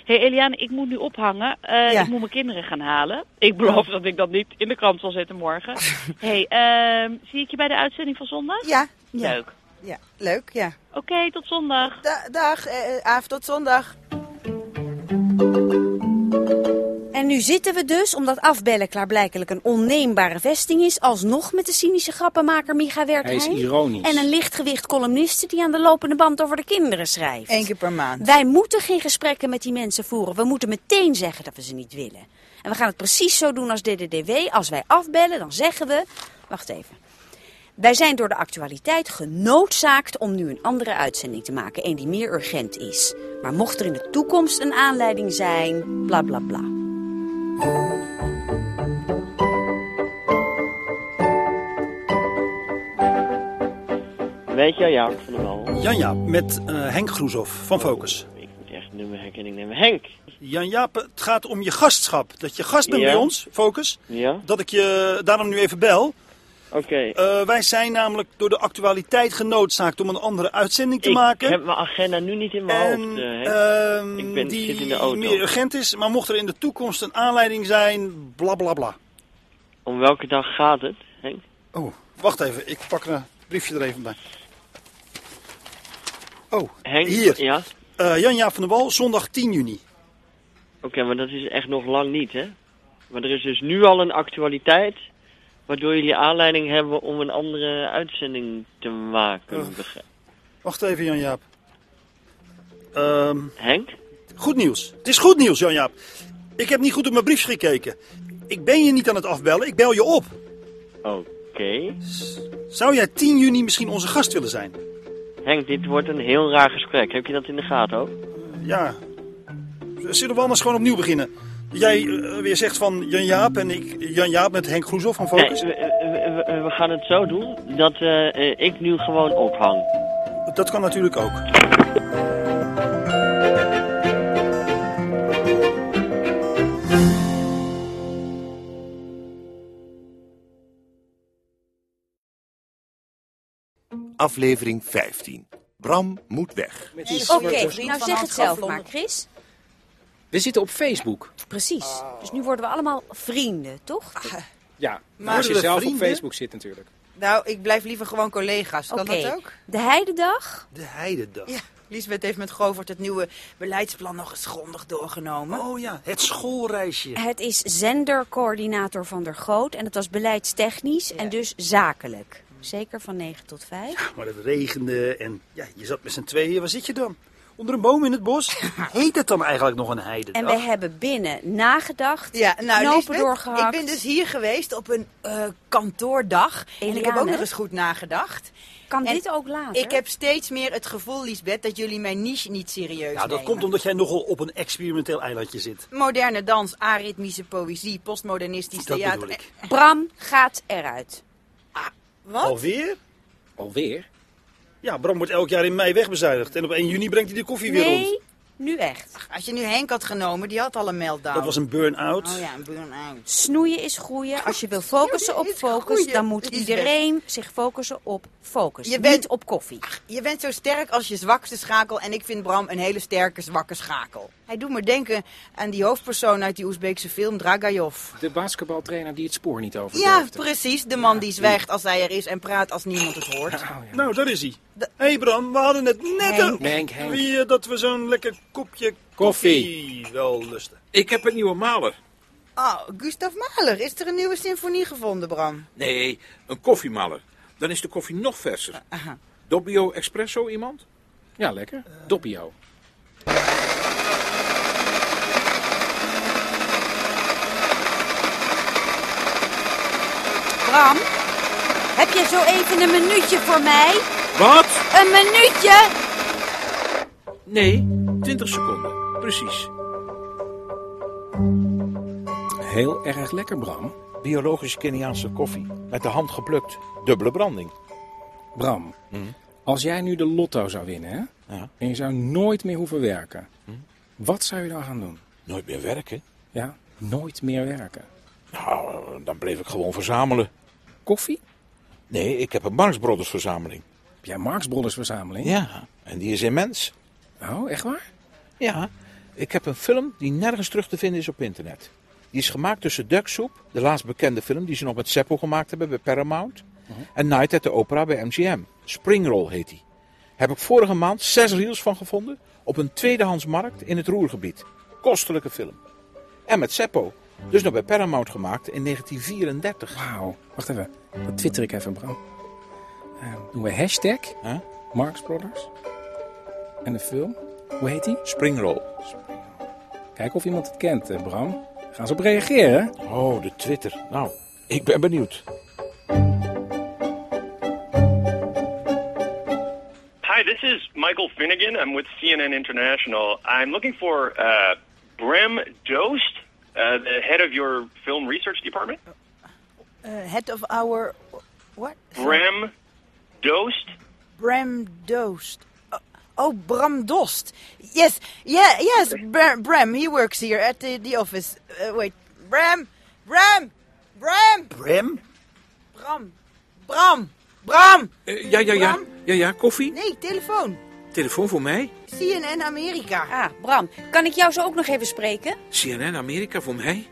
Speaker 14: Hé hey Eliane, ik moet nu ophangen. Eh, Ik moet mijn kinderen gaan halen. Ik
Speaker 4: Oh.
Speaker 14: beloof dat ik dat niet in de krant zal zetten
Speaker 4: <laughs>
Speaker 14: morgen. hey, ehm, zie ik je bij de uitzending van zondag?
Speaker 4: Ja. ja.
Speaker 14: Leuk.
Speaker 4: Ja, leuk, ja.
Speaker 14: Oké, tot zondag.
Speaker 4: Da- dag, eh, eh, Aaf, tot zondag.
Speaker 3: En nu zitten we dus, omdat afbellen klaarblijkelijk een onneembare vesting is, alsnog met de cynische grappenmaker Micha Wertheim.
Speaker 7: Hij is ironisch.
Speaker 3: En een lichtgewicht columniste die aan de lopende band over de kinderen schrijft.
Speaker 4: Eén keer per maand.
Speaker 3: Wij moeten geen gesprekken met die mensen voeren. We moeten meteen zeggen dat we ze niet willen. En we gaan het precies zo doen als DDDW. Als wij afbellen, dan zeggen we... Wacht even. Wij zijn door de actualiteit genoodzaakt om nu een andere uitzending te maken. Een die meer urgent is. Maar mocht er in de toekomst een aanleiding zijn... bla bla bla.
Speaker 9: <laughs> Weet je, ja, ik vond hem wel.
Speaker 8: Janja, met eh, Henk Groeshoff van Focus.
Speaker 9: moet echt nummerherkenning nemen. Henk!
Speaker 8: Jan-Jaap, het gaat om je gastschap. Dat je gast bent
Speaker 9: Ja.
Speaker 8: bij ons, Focus.
Speaker 9: Ja?
Speaker 8: Dat ik je daarom nu even bel.
Speaker 9: Oké.
Speaker 8: Eh, wij zijn namelijk door de actualiteit genoodzaakt om een andere uitzending te
Speaker 9: ik
Speaker 8: maken.
Speaker 9: heb mijn agenda nu niet in mijn
Speaker 8: En,
Speaker 9: hoofd, eh, Henk.
Speaker 8: ehm,
Speaker 9: ik ben,
Speaker 8: die
Speaker 9: zit in de auto.
Speaker 8: meer urgent is, maar mocht er in de toekomst een aanleiding zijn, bla bla bla.
Speaker 9: Om welke dag gaat het, Henk?
Speaker 8: Oh, wacht even, ik pak een briefje er even bij. Oh,
Speaker 9: Henk?
Speaker 8: hier.
Speaker 9: Ja?
Speaker 8: Eh, Jan-Jaap van der Wal, zondag 10 juni.
Speaker 9: Oké, maar dat is echt nog lang niet, hè? Maar er is dus nu al een actualiteit Waardoor jullie aanleiding hebben om een andere uitzending te maken.
Speaker 8: Eh.
Speaker 9: begrijp-
Speaker 8: Wacht even, Jan-Jaap. Ehm
Speaker 9: Henk?
Speaker 8: Goed nieuws. Het is goed nieuws, Jan-Jaap. Ik heb niet goed op mijn briefje gekeken. Ik ben je niet aan het afbellen, ik bel je op.
Speaker 9: Oké.
Speaker 8: Zou jij 10 juni misschien onze gast willen zijn?
Speaker 9: Henk, dit wordt een heel raar gesprek. Heb je dat in de gaten ook?
Speaker 8: Ja. Zullen we anders gewoon opnieuw beginnen? Jij eh, weer zegt van Jan-Jaap en ik Jan-Jaap met Henk Groeshoff van Focus.
Speaker 9: Nee, we, we- we- we gaan het zo doen dat eh, eh, ik nu gewoon ophang.
Speaker 8: Dat kan natuurlijk ook.
Speaker 2: Aflevering 15. Bram moet weg.
Speaker 3: Oké, nou zeg het zelf maar, Chris.
Speaker 7: We zitten op Facebook.
Speaker 3: Precies.
Speaker 4: Oh.
Speaker 3: Dus nu worden we allemaal vrienden, toch?
Speaker 4: Ah,
Speaker 7: Ja,
Speaker 3: Maar-
Speaker 7: als je
Speaker 3: Worden we
Speaker 7: zelf
Speaker 3: vrienden?
Speaker 7: op Facebook zit natuurlijk.
Speaker 4: Nou, ik blijf liever gewoon collega's. Kan
Speaker 3: Oké.
Speaker 4: dat ook?
Speaker 3: De heidendag?
Speaker 4: De heidendag. Ja, Lisbeth heeft met Govert het nieuwe beleidsplan nog eens grondig doorgenomen.
Speaker 3: Oh
Speaker 4: ja.
Speaker 30: Het schoolreisje.
Speaker 3: Het is zendercoördinator van der Groot en het was beleidstechnisch en dus zakelijk. Zeker van 9 tot 5.
Speaker 8: Maar het regende en ja, je zat met z'n tweeën. Waar zit je dan? Onder een boom in het bos? Heet het dan eigenlijk nog een heidendag?
Speaker 3: En we hebben binnen nagedacht,
Speaker 4: Ja, nou,
Speaker 3: knopen
Speaker 4: Lisbeth,
Speaker 3: doorgehakt.
Speaker 4: ik ben dus hier geweest op een eh, kantoordag. en ik heb
Speaker 3: Eliane.
Speaker 4: ook nog eens goed nagedacht.
Speaker 3: Kan
Speaker 4: En
Speaker 3: dit ook later?
Speaker 4: Ik heb steeds meer het gevoel, Lisbeth, dat jullie mijn niche niet serieus
Speaker 8: Ja, dat
Speaker 4: nemen.
Speaker 8: komt omdat jij nogal op een experimenteel eilandje zit.
Speaker 4: Moderne dans, aritmische poëzie, postmodernistisch
Speaker 8: Dat
Speaker 4: theater. Ah,
Speaker 8: bedoel ik.
Speaker 3: Bram gaat eruit.
Speaker 4: Wat?
Speaker 8: Alweer?
Speaker 7: Alweer?
Speaker 8: Ja, Bram wordt elk jaar in mei wegbezuinigd. En op 1 juni brengt hij de koffie weer rond.
Speaker 3: nu echt.
Speaker 4: Als je nu Henk had genomen, die had al een meltdown.
Speaker 8: Dat was een burn-out.
Speaker 4: Oh ja, een burn-out.
Speaker 3: Snoeien is groeien. Als je wil focussen op focus,
Speaker 4: groeien.
Speaker 3: dan moet
Speaker 4: Lisbeth.
Speaker 3: iedereen zich focussen op focus.
Speaker 4: Je bent-
Speaker 3: Niet op koffie.
Speaker 4: Je bent zo sterk als je zwakste schakel en ik vind Bram een hele sterke zwakke schakel. Hij doet me denken aan die hoofdpersoon uit die Oezbeekse film Dragajov.
Speaker 7: De basketbaltrainer die het spoor niet over
Speaker 4: Ja, precies. De man die zwijgt als hij er is en praat als niemand het hoort.
Speaker 8: Nou, daar is hij. Hé hey Bram, we hadden het net
Speaker 4: Henk.
Speaker 8: over-
Speaker 7: Henk, Henk.
Speaker 8: Wie, eh, dat we zo'n lekker kopje koffie,
Speaker 6: Koffie.
Speaker 8: wel lusten.
Speaker 6: Ik heb een nieuwe maler.
Speaker 4: Oh, Gustav Mahler. Is er een nieuwe symfonie gevonden, Bram?
Speaker 6: Nee, een koffiemaler. Dan is de koffie nog verser. Doppio Espresso iemand? Eh.
Speaker 7: Ja, lekker. Doppio.
Speaker 3: Bram, heb je zo even een minuutje voor mij?
Speaker 6: Wat?
Speaker 3: Een minuutje?
Speaker 6: Nee, 20 seconden. Precies.
Speaker 7: Heel erg lekker, Bram.
Speaker 6: Biologisch Keniaanse koffie. Met de hand geplukt. Dubbele branding.
Speaker 7: Bram, als jij nu de lotto zou winnen, hè? En je zou nooit meer hoeven werken.
Speaker 6: Hm?
Speaker 7: Wat zou je dan gaan doen?
Speaker 6: Nooit meer werken?
Speaker 7: Ja, nooit meer werken.
Speaker 6: Nou, dan bleef ik gewoon verzamelen.
Speaker 7: Koffie?
Speaker 6: Nee, ik heb een Marx Brothers verzameling.
Speaker 7: Heb jij Marx Brothers verzameling?
Speaker 6: Ja, en die is immens.
Speaker 7: Oh, echt waar?
Speaker 6: Ja, ik heb een film die nergens terug te vinden is op internet. Die is gemaakt tussen Ducksoep, de laatst bekende film die ze nog met Seppo gemaakt hebben bij Paramount,
Speaker 3: Mhm.
Speaker 6: en Night at the Opera bij MGM. Springroll heet die. Heb ik vorige maand zes reels van gevonden op een tweedehandsmarkt in het Roergebied. Kostelijke film. En met Seppo. Dus nog bij Paramount gemaakt in 1934.
Speaker 7: Wauw. Wacht even. Dat twitter ik even, Bram. Eh, doen we hashtag Marx Brothers. En de film. Hoe heet die?
Speaker 6: Springroll.
Speaker 7: Kijk of iemand het kent, eh, Bram. Gaan ze op reageren?
Speaker 6: Oh, de Twitter. Nou, ik ben benieuwd.
Speaker 5: Hi, this is Michael Finnegan. I'm with CNN International. I'm looking for uh, Brem Dost, uh, the head of your film research department.
Speaker 31: Eh, head of our... What?
Speaker 5: Brem Dost.
Speaker 31: Bram Dost. Oh, oh, Bram Dost. Yes, yeah, yes, Br- Bram. He works here at the, the office. Eh, wait, Bram, Bram, Bram,
Speaker 8: Bram?
Speaker 31: Bram, Bram, Bram.
Speaker 6: Eh, ja, ja, ja. Ja, ja, koffie.
Speaker 31: Nee, telefoon.
Speaker 6: Telefoon voor mij.
Speaker 31: CNN Amerika.
Speaker 3: Ah, Bram, kan ik jou zo ook nog even spreken?
Speaker 6: CNN Amerika voor mij.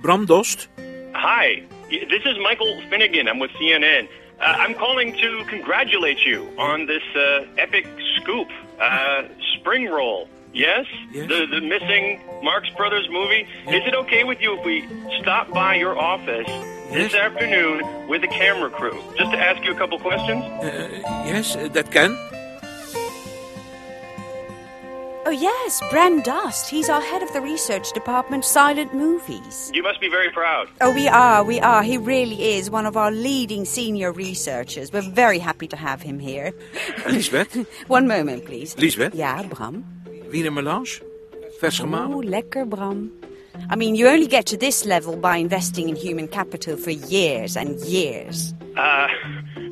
Speaker 6: Bram Dost.
Speaker 5: Hi, y- this is Michael Finnegan. I'm with CNN. Uh, I'm calling to congratulate you on this uh, epic scoop, uh, Spring Roll. Yes? The, the missing Marx Brothers movie. Is it okay with you if we stop by your office this afternoon with a camera crew just to ask you a couple questions.
Speaker 6: Yes, eh, that can.
Speaker 3: Oh, yes, Bram Dust. He's our head of the research department, Silent Movies.
Speaker 5: You must be very proud.
Speaker 3: Oh, we are, we are. He really is one of our leading senior researchers. We're very happy to have him here.
Speaker 6: Lisbeth?
Speaker 3: <laughs> One moment, please.
Speaker 6: Lisbeth?
Speaker 3: Ja, Bram.
Speaker 6: Wiener melange? Vers gemalen?
Speaker 3: Oh, lekker, Bram. I mean, you only get to this level by investing in human capital for years and years.
Speaker 5: Uh,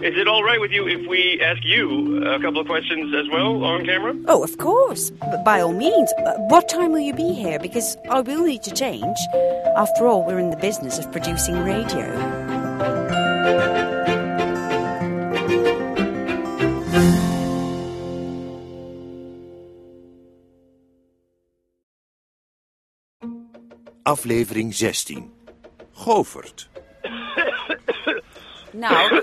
Speaker 5: is it all right with you if we ask you a couple of questions as well on camera?
Speaker 3: Oh, of course. B- by all means. Uh, what time will you be here? Because I will need to change. After all, we're in the business of producing radio.
Speaker 32: Aflevering 16. Govert.
Speaker 3: <coughs> Nou,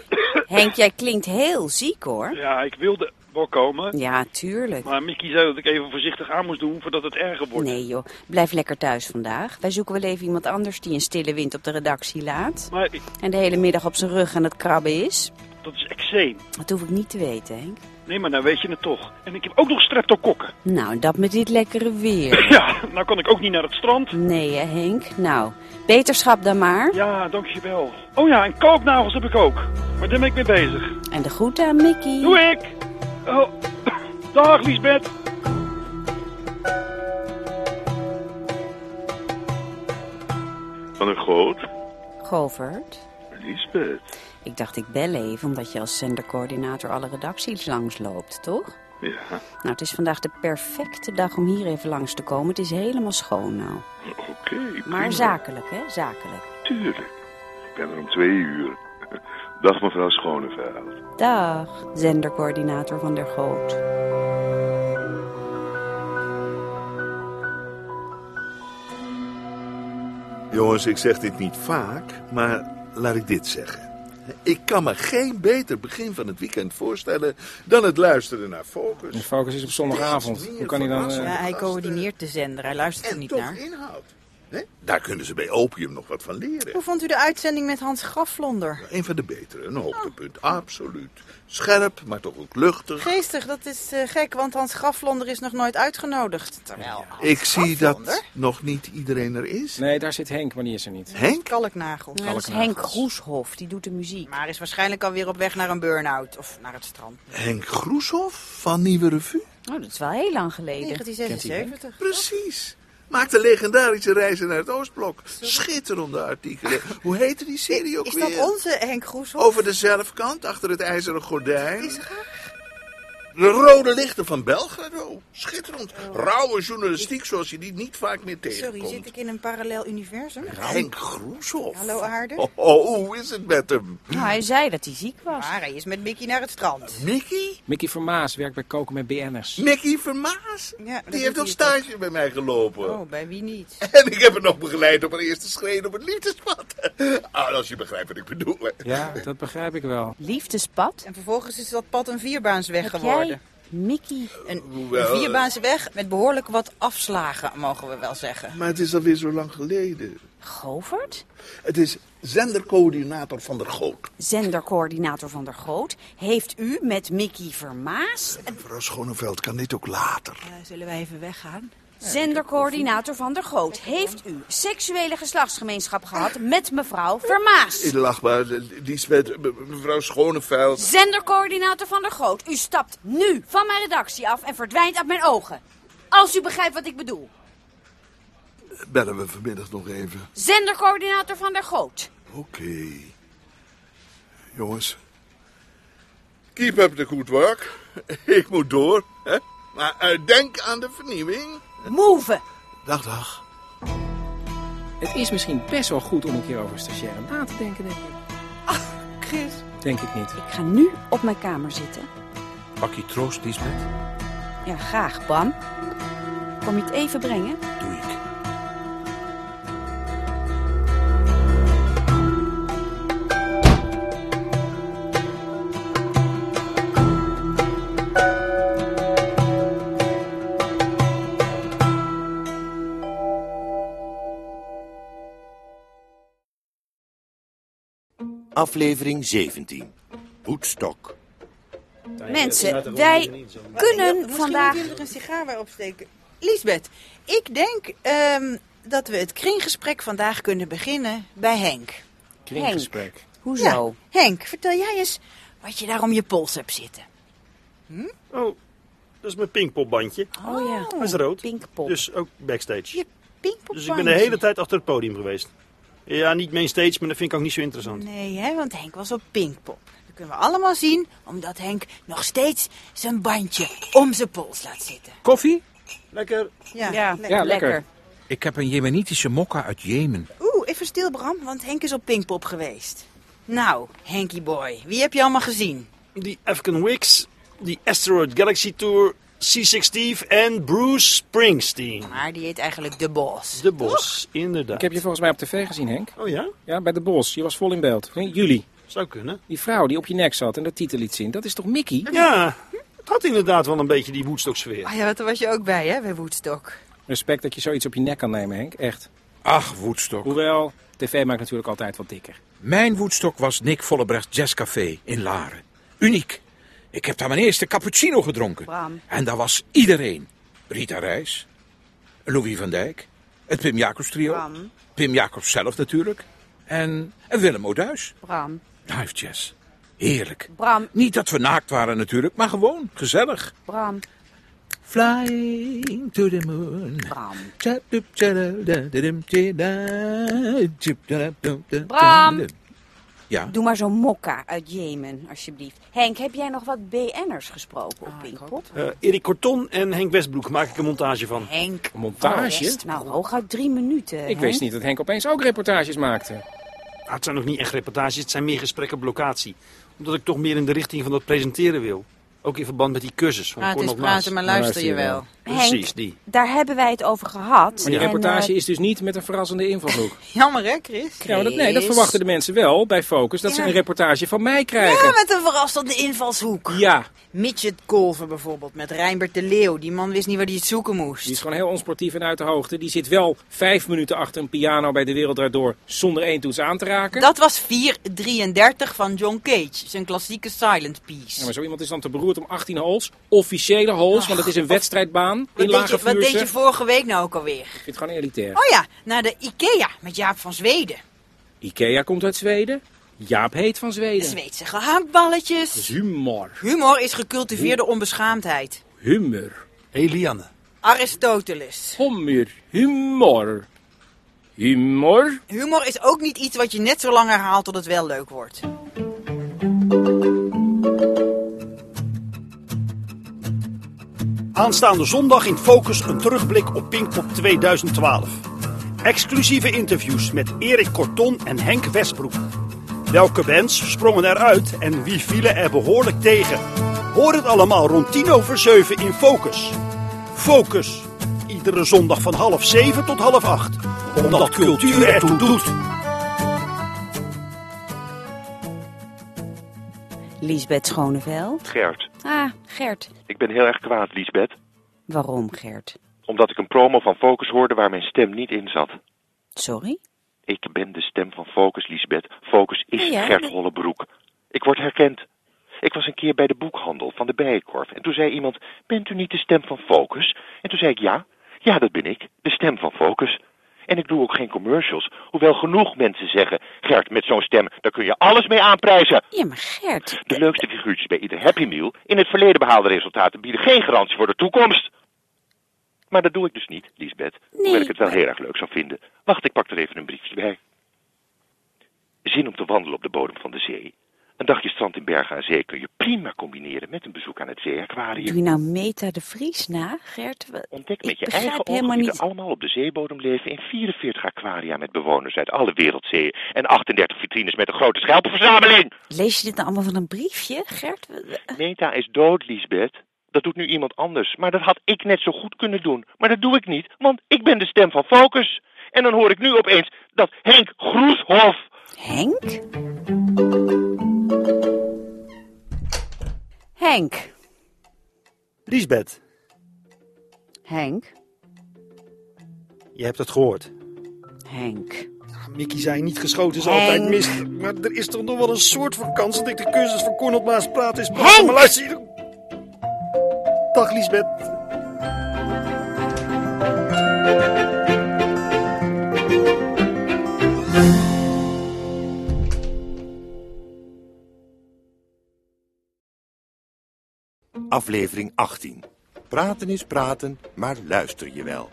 Speaker 3: Henk, jij klinkt heel ziek hoor.
Speaker 33: Ja, ik wilde wel komen.
Speaker 3: Ja, tuurlijk.
Speaker 33: Maar Mickey zei dat ik even voorzichtig aan moest doen voordat het erger wordt.
Speaker 3: Nee joh, blijf lekker thuis vandaag. Wij zoeken wel even iemand anders die een stille wind op de redactie laat.
Speaker 33: Maar ik-
Speaker 3: En de hele middag op zijn rug aan het krabben is.
Speaker 33: dat is eczeem.
Speaker 3: Dat hoef ik niet te weten, Henk.
Speaker 33: Nee, maar nou weet je het toch. En ik heb ook nog streptokokken.
Speaker 3: Nou, dat met dit lekkere weer.
Speaker 33: <laughs> Ja, nou kan ik ook niet naar het strand.
Speaker 3: Nee hè, Henk? Nou, beterschap dan maar.
Speaker 33: Ja, dankjewel. Oh ja, en kalknagels heb ik ook. Maar daar ben ik mee bezig.
Speaker 3: En de groeten aan Mickey.
Speaker 33: Doe ik! Oh, dag Liesbeth.
Speaker 17: Van een groot.
Speaker 3: Govert,
Speaker 17: Liesbeth.
Speaker 3: ik dacht ik bel even omdat je als zendercoördinator alle redacties langsloopt, toch?
Speaker 17: Ja,
Speaker 3: Nou, het is vandaag de perfecte dag om hier even langs te komen. Het is helemaal schoon nou.
Speaker 17: oké. prima.
Speaker 3: Maar zakelijk, hè? Zakelijk.
Speaker 17: Tuurlijk. Ik ben er om twee uur. <laughs> Dag mevrouw Schoneveld.
Speaker 3: Dag, zendercoördinator van der Goot.
Speaker 34: Jongens, ik zeg dit niet vaak, maar laat ik dit zeggen. Ik kan me geen beter begin van het weekend voorstellen dan het luisteren naar Focus.
Speaker 35: De focus is op zondagavond. Hoe kan hij dan... eh,
Speaker 12: Ja, hij coördineert de zender. Hij luistert er niet naar.
Speaker 34: Daar kunnen ze bij Opium nog wat van leren.
Speaker 4: Hoe vond u de uitzending met Hans Grafvlonder?
Speaker 34: Een van de betere, een hoogtepunt, absoluut. Scherp, maar toch ook luchtig.
Speaker 4: Geestig, dat is eh, gek, want Hans Grafvlonder is nog nooit uitgenodigd. Terwijl
Speaker 34: Ik zie dat nog niet iedereen er is.
Speaker 35: Nee, daar zit Henk, maar die is er niet.
Speaker 34: Henk?
Speaker 4: Kalknagel.
Speaker 35: Ja, dat is Henk Kalknagels.
Speaker 4: Groeshof, die doet de muziek. Maar is waarschijnlijk alweer op weg naar een burn-out of naar het strand.
Speaker 34: Henk Groeshoff van Nieuwe Revue.
Speaker 3: Oh, dat is wel heel lang geleden.
Speaker 4: 1976.
Speaker 34: Precies. Maakte legendarische reizen naar het Oostblok. Schitterende artikelen. Hoe heette die serie ook
Speaker 4: Is
Speaker 34: weer?
Speaker 4: dat onze Henk Groeshof?
Speaker 34: Over de zelfkant, achter het ijzeren gordijn. De rode lichten van Belgrado. Schitterend. Rauwe journalistiek zoals je die niet vaak meer tegenkomt.
Speaker 4: Oh. Sorry, zit ik in een parallel universum?
Speaker 34: Henk Groeshoff.
Speaker 4: Hallo aarde.
Speaker 34: Oh, oh, hoe is het met hem?
Speaker 4: Nou, hij zei dat hij ziek was. Maar hij is met Mickey naar het strand.
Speaker 34: Mickey?
Speaker 35: Mickey Vermaas werkt bij Koken met BN'ers.
Speaker 34: Mickey Vermaas? die heeft ook stage bij mij gelopen.
Speaker 4: Oh, bij wie niet?
Speaker 34: En ik heb hem nog begeleid op haar eerste schreden op het liefdespad. <laughs> Ah, als je begrijpt wat ik bedoel. hè.
Speaker 35: Ja, dat begrijp ik wel.
Speaker 4: Liefdespad. En vervolgens is dat pad een vierbaansweg
Speaker 34: Heb
Speaker 4: geworden.
Speaker 34: jij,
Speaker 4: Mickey. Een,
Speaker 34: Hoewel,
Speaker 4: een vierbaansweg met behoorlijk wat afslagen, mogen we wel zeggen.
Speaker 34: Maar het is alweer zo lang geleden.
Speaker 3: Govert?
Speaker 34: Het is zendercoördinator van der Goot.
Speaker 3: Zendercoördinator van der Goot. Heeft u met Mickey Vermaas...
Speaker 34: Mevrouw Schoneveld kan dit ook later.
Speaker 3: zullen wij even weggaan? Zendercoördinator van der Goot. Heeft u seksuele geslachtsgemeenschap gehad met mevrouw Vermaas?
Speaker 34: Lachbaar, Lisbeth, me- mevrouw Schoneveld.
Speaker 3: Zendercoördinator van der Goot. U stapt nu van mijn redactie af en verdwijnt uit mijn ogen. Als u begrijpt wat ik bedoel.
Speaker 34: Bellen we vanmiddag nog even.
Speaker 3: Zendercoördinator van der Goot.
Speaker 34: Oké. Jongens. Keep up the good work. <laughs> Ik moet door. Hè? Maar eh, denk aan de vernieuwing.
Speaker 3: Move.
Speaker 34: Dag, dag.
Speaker 35: Het is misschien best wel goed om een keer over stagiaire na te denken, denk ik.
Speaker 3: Chris.
Speaker 35: Denk ik niet.
Speaker 3: Ik ga nu op mijn kamer zitten.
Speaker 6: Pak je troost, Lisbeth.
Speaker 3: Ja, graag, Bram. Kom je het even brengen?
Speaker 6: Doe ik.
Speaker 2: Aflevering 17. Woodstock.
Speaker 3: Mensen, wij kunnen
Speaker 4: Misschien
Speaker 3: vandaag...
Speaker 4: moet je er een sigaar bij opsteken. Lisbeth, ik denk ehm, dat we het kringgesprek vandaag kunnen beginnen bij Henk.
Speaker 7: Kringgesprek.
Speaker 4: Hoezo? Henk, vertel jij eens wat je daar om je pols hebt zitten.
Speaker 8: Oh, dat is mijn pingpopbandje.
Speaker 3: Oh ja.
Speaker 8: Dat is rood. Dus ook backstage. Dus ik ben de
Speaker 4: Bandje.
Speaker 8: hele tijd achter het podium geweest. Ja, niet mainstage, maar dat vind ik ook niet zo interessant.
Speaker 4: Nee, hè, want Henk was op Pinkpop. Dat kunnen we allemaal zien, omdat Henk nog steeds zijn bandje om zijn pols laat zitten.
Speaker 6: Koffie?
Speaker 8: Lekker.
Speaker 4: Ja,
Speaker 3: Ah,
Speaker 6: Ik heb een jemenitische mokka uit Jemen.
Speaker 4: Oeh, even stil Bram, want Henk is op Pinkpop geweest. Nou, Henkie boy, wie heb je allemaal gezien?
Speaker 8: Die African Wicks, die Asteroid Galaxy Tour, C6 Steve en Bruce Springsteen.
Speaker 4: Maar die heet eigenlijk De Bos.
Speaker 8: De Bos, inderdaad.
Speaker 7: Ik heb je volgens mij op tv gezien, Henk.
Speaker 8: Oh ja?
Speaker 7: Ja, bij de Bos. Je was vol in beeld. Nee, Jullie.
Speaker 8: Zou kunnen.
Speaker 7: Die vrouw die op je nek zat en dat titel liet zien. Dat is toch Mickey?
Speaker 8: Ja, het had inderdaad wel een beetje die woodstock sfeer.
Speaker 4: Ah ja, want daar was je ook bij, hè, bij Woodstock.
Speaker 7: Respect dat je zoiets op je nek kan nemen, Henk. Echt.
Speaker 6: Ach, Woodstock.
Speaker 7: Hoewel, tv maakt natuurlijk altijd wat dikker.
Speaker 6: Mijn Woodstock was Nick Vollebrecht Jazzcafé in Laren. Uniek. Ik heb daar mijn eerste cappuccino gedronken.
Speaker 3: Bram.
Speaker 6: En daar was iedereen. Rita Reis, Louis van Dijk, het Pim Jacobs trio.
Speaker 3: Bram.
Speaker 6: Pim Jacobs zelf natuurlijk. En, en Willem Oduis.
Speaker 3: Bram,
Speaker 6: Live jazz. Heerlijk.
Speaker 3: Bram,
Speaker 6: Niet dat we naakt waren natuurlijk, maar gewoon gezellig.
Speaker 3: Bram.
Speaker 6: Flying to the moon.
Speaker 3: Bram.
Speaker 6: Ja,
Speaker 3: Doe maar zo'n mokka uit Jemen, alsjeblieft. Henk, heb jij nog wat BN'ers gesproken
Speaker 4: Ah,
Speaker 3: op Pinkpop?
Speaker 8: Eh, Erik Corton en Henk Westbroek maak ik een montage van.
Speaker 3: Henk.
Speaker 7: Montage?
Speaker 3: Oh, nou, hooguit drie minuten.
Speaker 7: Ik
Speaker 3: hè?
Speaker 7: wist niet dat Henk opeens ook reportages maakte.
Speaker 8: Ah, het zijn nog niet echt reportages, het zijn meer gesprekken op locatie. Omdat ik toch meer in de richting van dat presenteren wil. Ook in verband met die cursus. van
Speaker 4: Praat
Speaker 8: Cornel
Speaker 4: Ah, is praten,
Speaker 8: Maas.
Speaker 4: maar
Speaker 7: Nou,
Speaker 4: luister Luister je je wel. wel.
Speaker 8: Precies,
Speaker 3: Henk.
Speaker 8: die.
Speaker 3: Daar hebben wij het over gehad.
Speaker 7: Maar die
Speaker 3: En,
Speaker 7: reportage
Speaker 3: eh,
Speaker 7: is dus niet met een verrassende invalshoek.
Speaker 4: Jammer, hè, Chris?
Speaker 7: Ja, maar dat, nee, dat verwachten de mensen wel bij Focus. Dat ze een reportage van mij
Speaker 4: Ja,
Speaker 7: krijgen.
Speaker 4: met een verrassende invalshoek.
Speaker 7: Ja,
Speaker 4: Midget Golven bijvoorbeeld, met Reinbert de Leeuw. Die man wist niet waar hij het zoeken moest.
Speaker 7: die is gewoon heel onsportief en uit de hoogte. Die zit wel vijf minuten achter een piano bij de wereld Draait door zonder één toets aan te raken.
Speaker 4: Dat was 433 van John Cage, zijn klassieke silent piece.
Speaker 7: Ja, maar zo iemand is dan te beroerd om 18 holes. Officiële holes, want het is een wedstrijdbaan in
Speaker 4: Wat deed,
Speaker 7: lage
Speaker 4: je, wat deed
Speaker 7: vuurse.
Speaker 4: je
Speaker 7: Ik
Speaker 4: vorige week nou ook alweer?
Speaker 7: vind het gewoon elitair.
Speaker 4: Oh ja, naar de Ikea met Jaap van Zweden.
Speaker 7: Ikea komt uit Zweden. Jaap heet van
Speaker 4: De
Speaker 7: Zweden.
Speaker 4: Zweedse gehaktballetjes.
Speaker 7: is humor.
Speaker 4: Humor is gecultiveerde onbeschaamdheid.
Speaker 7: Humor.
Speaker 8: Eliane.
Speaker 4: Aristoteles.
Speaker 7: Humor. Humor. Humor.
Speaker 4: Humor is ook niet iets wat je net zo lang herhaalt tot het wel leuk wordt.
Speaker 8: Aanstaande zondag in Focus een terugblik op Pinkpop 2012. Exclusieve interviews met Erik Corton en Henk Westbroek. Welke bands sprongen eruit en wie vielen er behoorlijk tegen? Hoor het allemaal rond 10 over 7 in Focus. Focus. Iedere zondag van half 7 tot half 8. Omdat cultuur ertoe doet.
Speaker 3: Liesbeth Schoneveld.
Speaker 25: Gert,
Speaker 3: Ah, Gert.
Speaker 25: ik ben heel erg kwaad, Liesbeth.
Speaker 3: Waarom, Gert?
Speaker 25: Omdat ik een promo van Focus hoorde waar mijn stem niet in zat.
Speaker 3: Sorry?
Speaker 25: Ik ben de stem van Focus, Liesbeth. Focus is
Speaker 3: Ja, ja,
Speaker 25: Gert
Speaker 3: maar-
Speaker 25: Hollebroek. Ik word herkend. Ik was een keer bij de boekhandel van de Bijenkorf. En toen zei iemand, bent u niet de stem van Focus? En toen zei ik, ja. Ja, dat ben ik. De stem van Focus. En ik doe ook geen commercials. Hoewel genoeg mensen zeggen, Gert, met zo'n stem, daar kun je alles mee aanprijzen.
Speaker 3: Ja, maar Gert.
Speaker 25: De leukste figuurtjes bij ieder Happy Meal in het verleden behaalde resultaten bieden geen garantie voor de toekomst. Maar dat doe ik dus niet, Lisbeth. hoewel ik het wel heel erg leuk zou vinden. Wacht, ik pak er even een briefje bij. Zin om te wandelen op de bodem van de zee. Een dagje strand in Bergen aan Zee kun je prima combineren met een bezoek aan het
Speaker 3: Doe
Speaker 25: zeeaquarium.
Speaker 3: je nou Meta de Vries na, Gert? Wa-
Speaker 25: Ontdek met
Speaker 3: ik
Speaker 25: je
Speaker 3: begrijp
Speaker 25: eigen
Speaker 3: helemaal
Speaker 25: ogen die
Speaker 3: niet-
Speaker 25: er allemaal op de zeebodem leven in 44 aquaria met bewoners uit alle wereldzeeën en 38 vitrines met een grote schelpenverzameling.
Speaker 3: Lees je dit nou allemaal van een briefje, Gert? Wa- wa-
Speaker 25: Meta is dood, Liesbeth. Dat doet nu iemand anders. Maar dat had ik net zo goed kunnen doen. Maar dat doe ik niet, want ik ben de stem van Focus. En dan hoor ik nu opeens dat Henk Groeshof...
Speaker 3: Henk? Henk.
Speaker 8: Liesbeth,
Speaker 3: Henk.
Speaker 8: je hebt het gehoord.
Speaker 3: Henk.
Speaker 8: Mickey zei niet geschoten is
Speaker 3: Henk.
Speaker 8: altijd mis. Maar er is toch nog wel een soort van kans dat ik de cursus van Cornel Maas praat is.
Speaker 3: Henk.
Speaker 8: Maar luister hier. Dag Liesbeth.
Speaker 32: Aflevering 18. Praten is praten, maar luister je wel.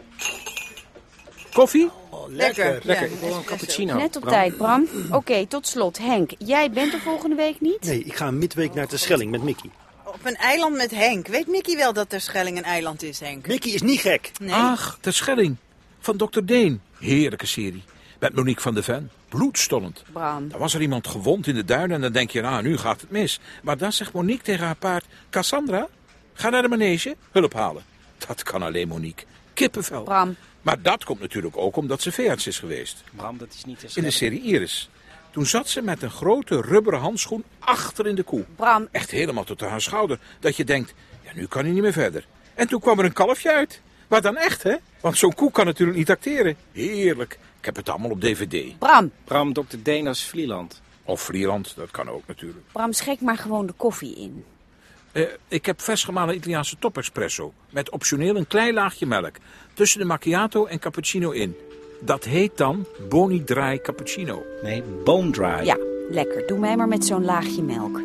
Speaker 7: Koffie?
Speaker 3: Lekker.
Speaker 7: Oh, Lekker, ik wil een cappuccino.
Speaker 3: Net op
Speaker 7: Bram. Mm.
Speaker 3: tijd, Bram. Oké, tot slot. Henk, jij bent er volgende week niet?
Speaker 1: Nee, ik ga midweek naar de Schelling met Mickey.
Speaker 4: Op een eiland met Henk. Weet Mickey wel dat Terschelling een eiland is, Henk?
Speaker 1: Mickey is niet gek.
Speaker 4: Nee.
Speaker 6: Ach, de Schelling. Van Dr. Deen. Heerlijke serie. Met Monique van der Ven. Bloedstollend.
Speaker 3: Bram.
Speaker 6: Dan was er iemand gewond in de duinen en dan denk je, nou, nu gaat het mis. Maar dan zegt Monique tegen haar paard, Cassandra, ga naar de manege, hulp halen. Dat kan alleen Monique. Kippenvel.
Speaker 3: Bram.
Speaker 6: Maar dat komt natuurlijk ook omdat ze veearts is geweest.
Speaker 7: Bram, dat is niet te
Speaker 6: In de serie Iris. Toen zat ze met een grote rubberen handschoen achter in de koe.
Speaker 3: Bram.
Speaker 6: Echt helemaal tot aan haar schouder. Dat je denkt, ja, nu kan hij niet meer verder. En toen kwam er een kalfje uit. Maar dan echt, hè? Want zo'n koe kan natuurlijk niet acteren. Heerlijk. Ik heb het allemaal op dvd.
Speaker 3: Bram.
Speaker 7: Bram, Dr. Deen als Vlieland.
Speaker 6: Of Vlieland, dat kan ook natuurlijk.
Speaker 3: Bram, schrik maar gewoon de koffie in.
Speaker 6: Eh, ik heb versgemalen Italiaanse topespresso. Met optioneel een klein laagje melk. Tussen de macchiato en cappuccino in. Dat heet dan Boni Dry Cappuccino.
Speaker 7: Nee, Bone Dry.
Speaker 3: Ja, lekker. Doe mij maar met zo'n laagje melk.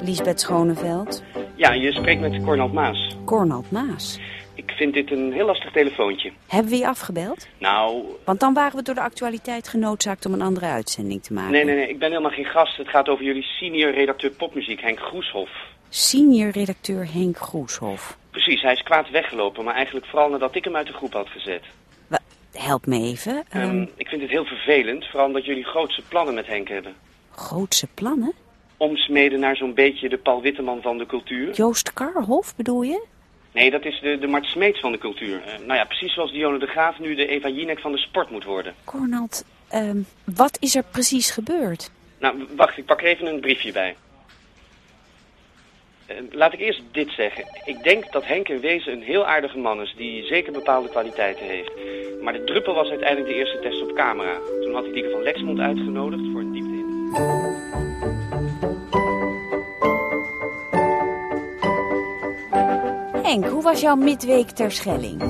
Speaker 3: Lisbeth Schoneveld,
Speaker 36: Ja, je spreekt met Cornald Maas.
Speaker 3: Cornald Maas.
Speaker 36: Ik vind dit een heel lastig telefoontje.
Speaker 3: Hebben we je afgebeld?
Speaker 36: Nou,
Speaker 3: Want dan waren we door de actualiteit genoodzaakt om een andere uitzending te maken.
Speaker 36: nee, nee, nee, ik ben helemaal geen gast. Het gaat over jullie senior redacteur popmuziek, Henk Groeshoff.
Speaker 3: Senior redacteur Henk Groeshoff.
Speaker 36: Precies, hij is kwaad weggelopen, maar eigenlijk vooral nadat ik hem uit de groep had gezet.
Speaker 3: Wa- Help me even.
Speaker 36: Ehm,
Speaker 3: Ehm,
Speaker 36: ik vind het heel vervelend, vooral omdat jullie grootse plannen met Henk hebben.
Speaker 3: grootse plannen?
Speaker 36: Omsmeden naar zo'n beetje de Paul Witteman van de cultuur.
Speaker 3: Joost Karhoff bedoel je?
Speaker 36: Nee, dat is de, de Mart Smeets van de cultuur. Eh, nou ja, precies zoals Dionne de Graaf nu de Eva Jinek van de sport moet worden.
Speaker 3: Cornald, ehm, wat is er precies gebeurd?
Speaker 36: Nou, w- wacht, ik pak er even een briefje bij. Eh, Laat ik eerst dit zeggen. Ik denk dat Henk in wezen een heel aardige man is, die zeker bepaalde kwaliteiten heeft. Maar de druppel was uiteindelijk de eerste test op camera. Toen had hij Lieke van Lexmond uitgenodigd voor een diepte in.
Speaker 3: Henk, hoe was jouw midweek ter Schelling?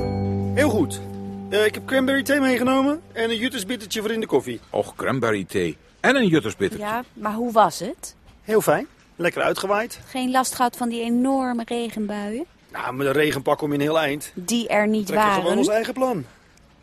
Speaker 8: Heel goed. Eh, ik heb cranberry thee meegenomen en een juttersbittertje voor in de koffie.
Speaker 6: Och, cranberry thee. En een juttersbitter.
Speaker 3: Ja, maar hoe was het?
Speaker 8: Heel fijn. Lekker uitgewaaid.
Speaker 3: Geen last gehad van die enorme regenbuien?
Speaker 8: Nou, met een regenpak om in heel eind.
Speaker 3: Die er niet
Speaker 8: Trekken
Speaker 3: waren.
Speaker 8: gewoon ons eigen plan.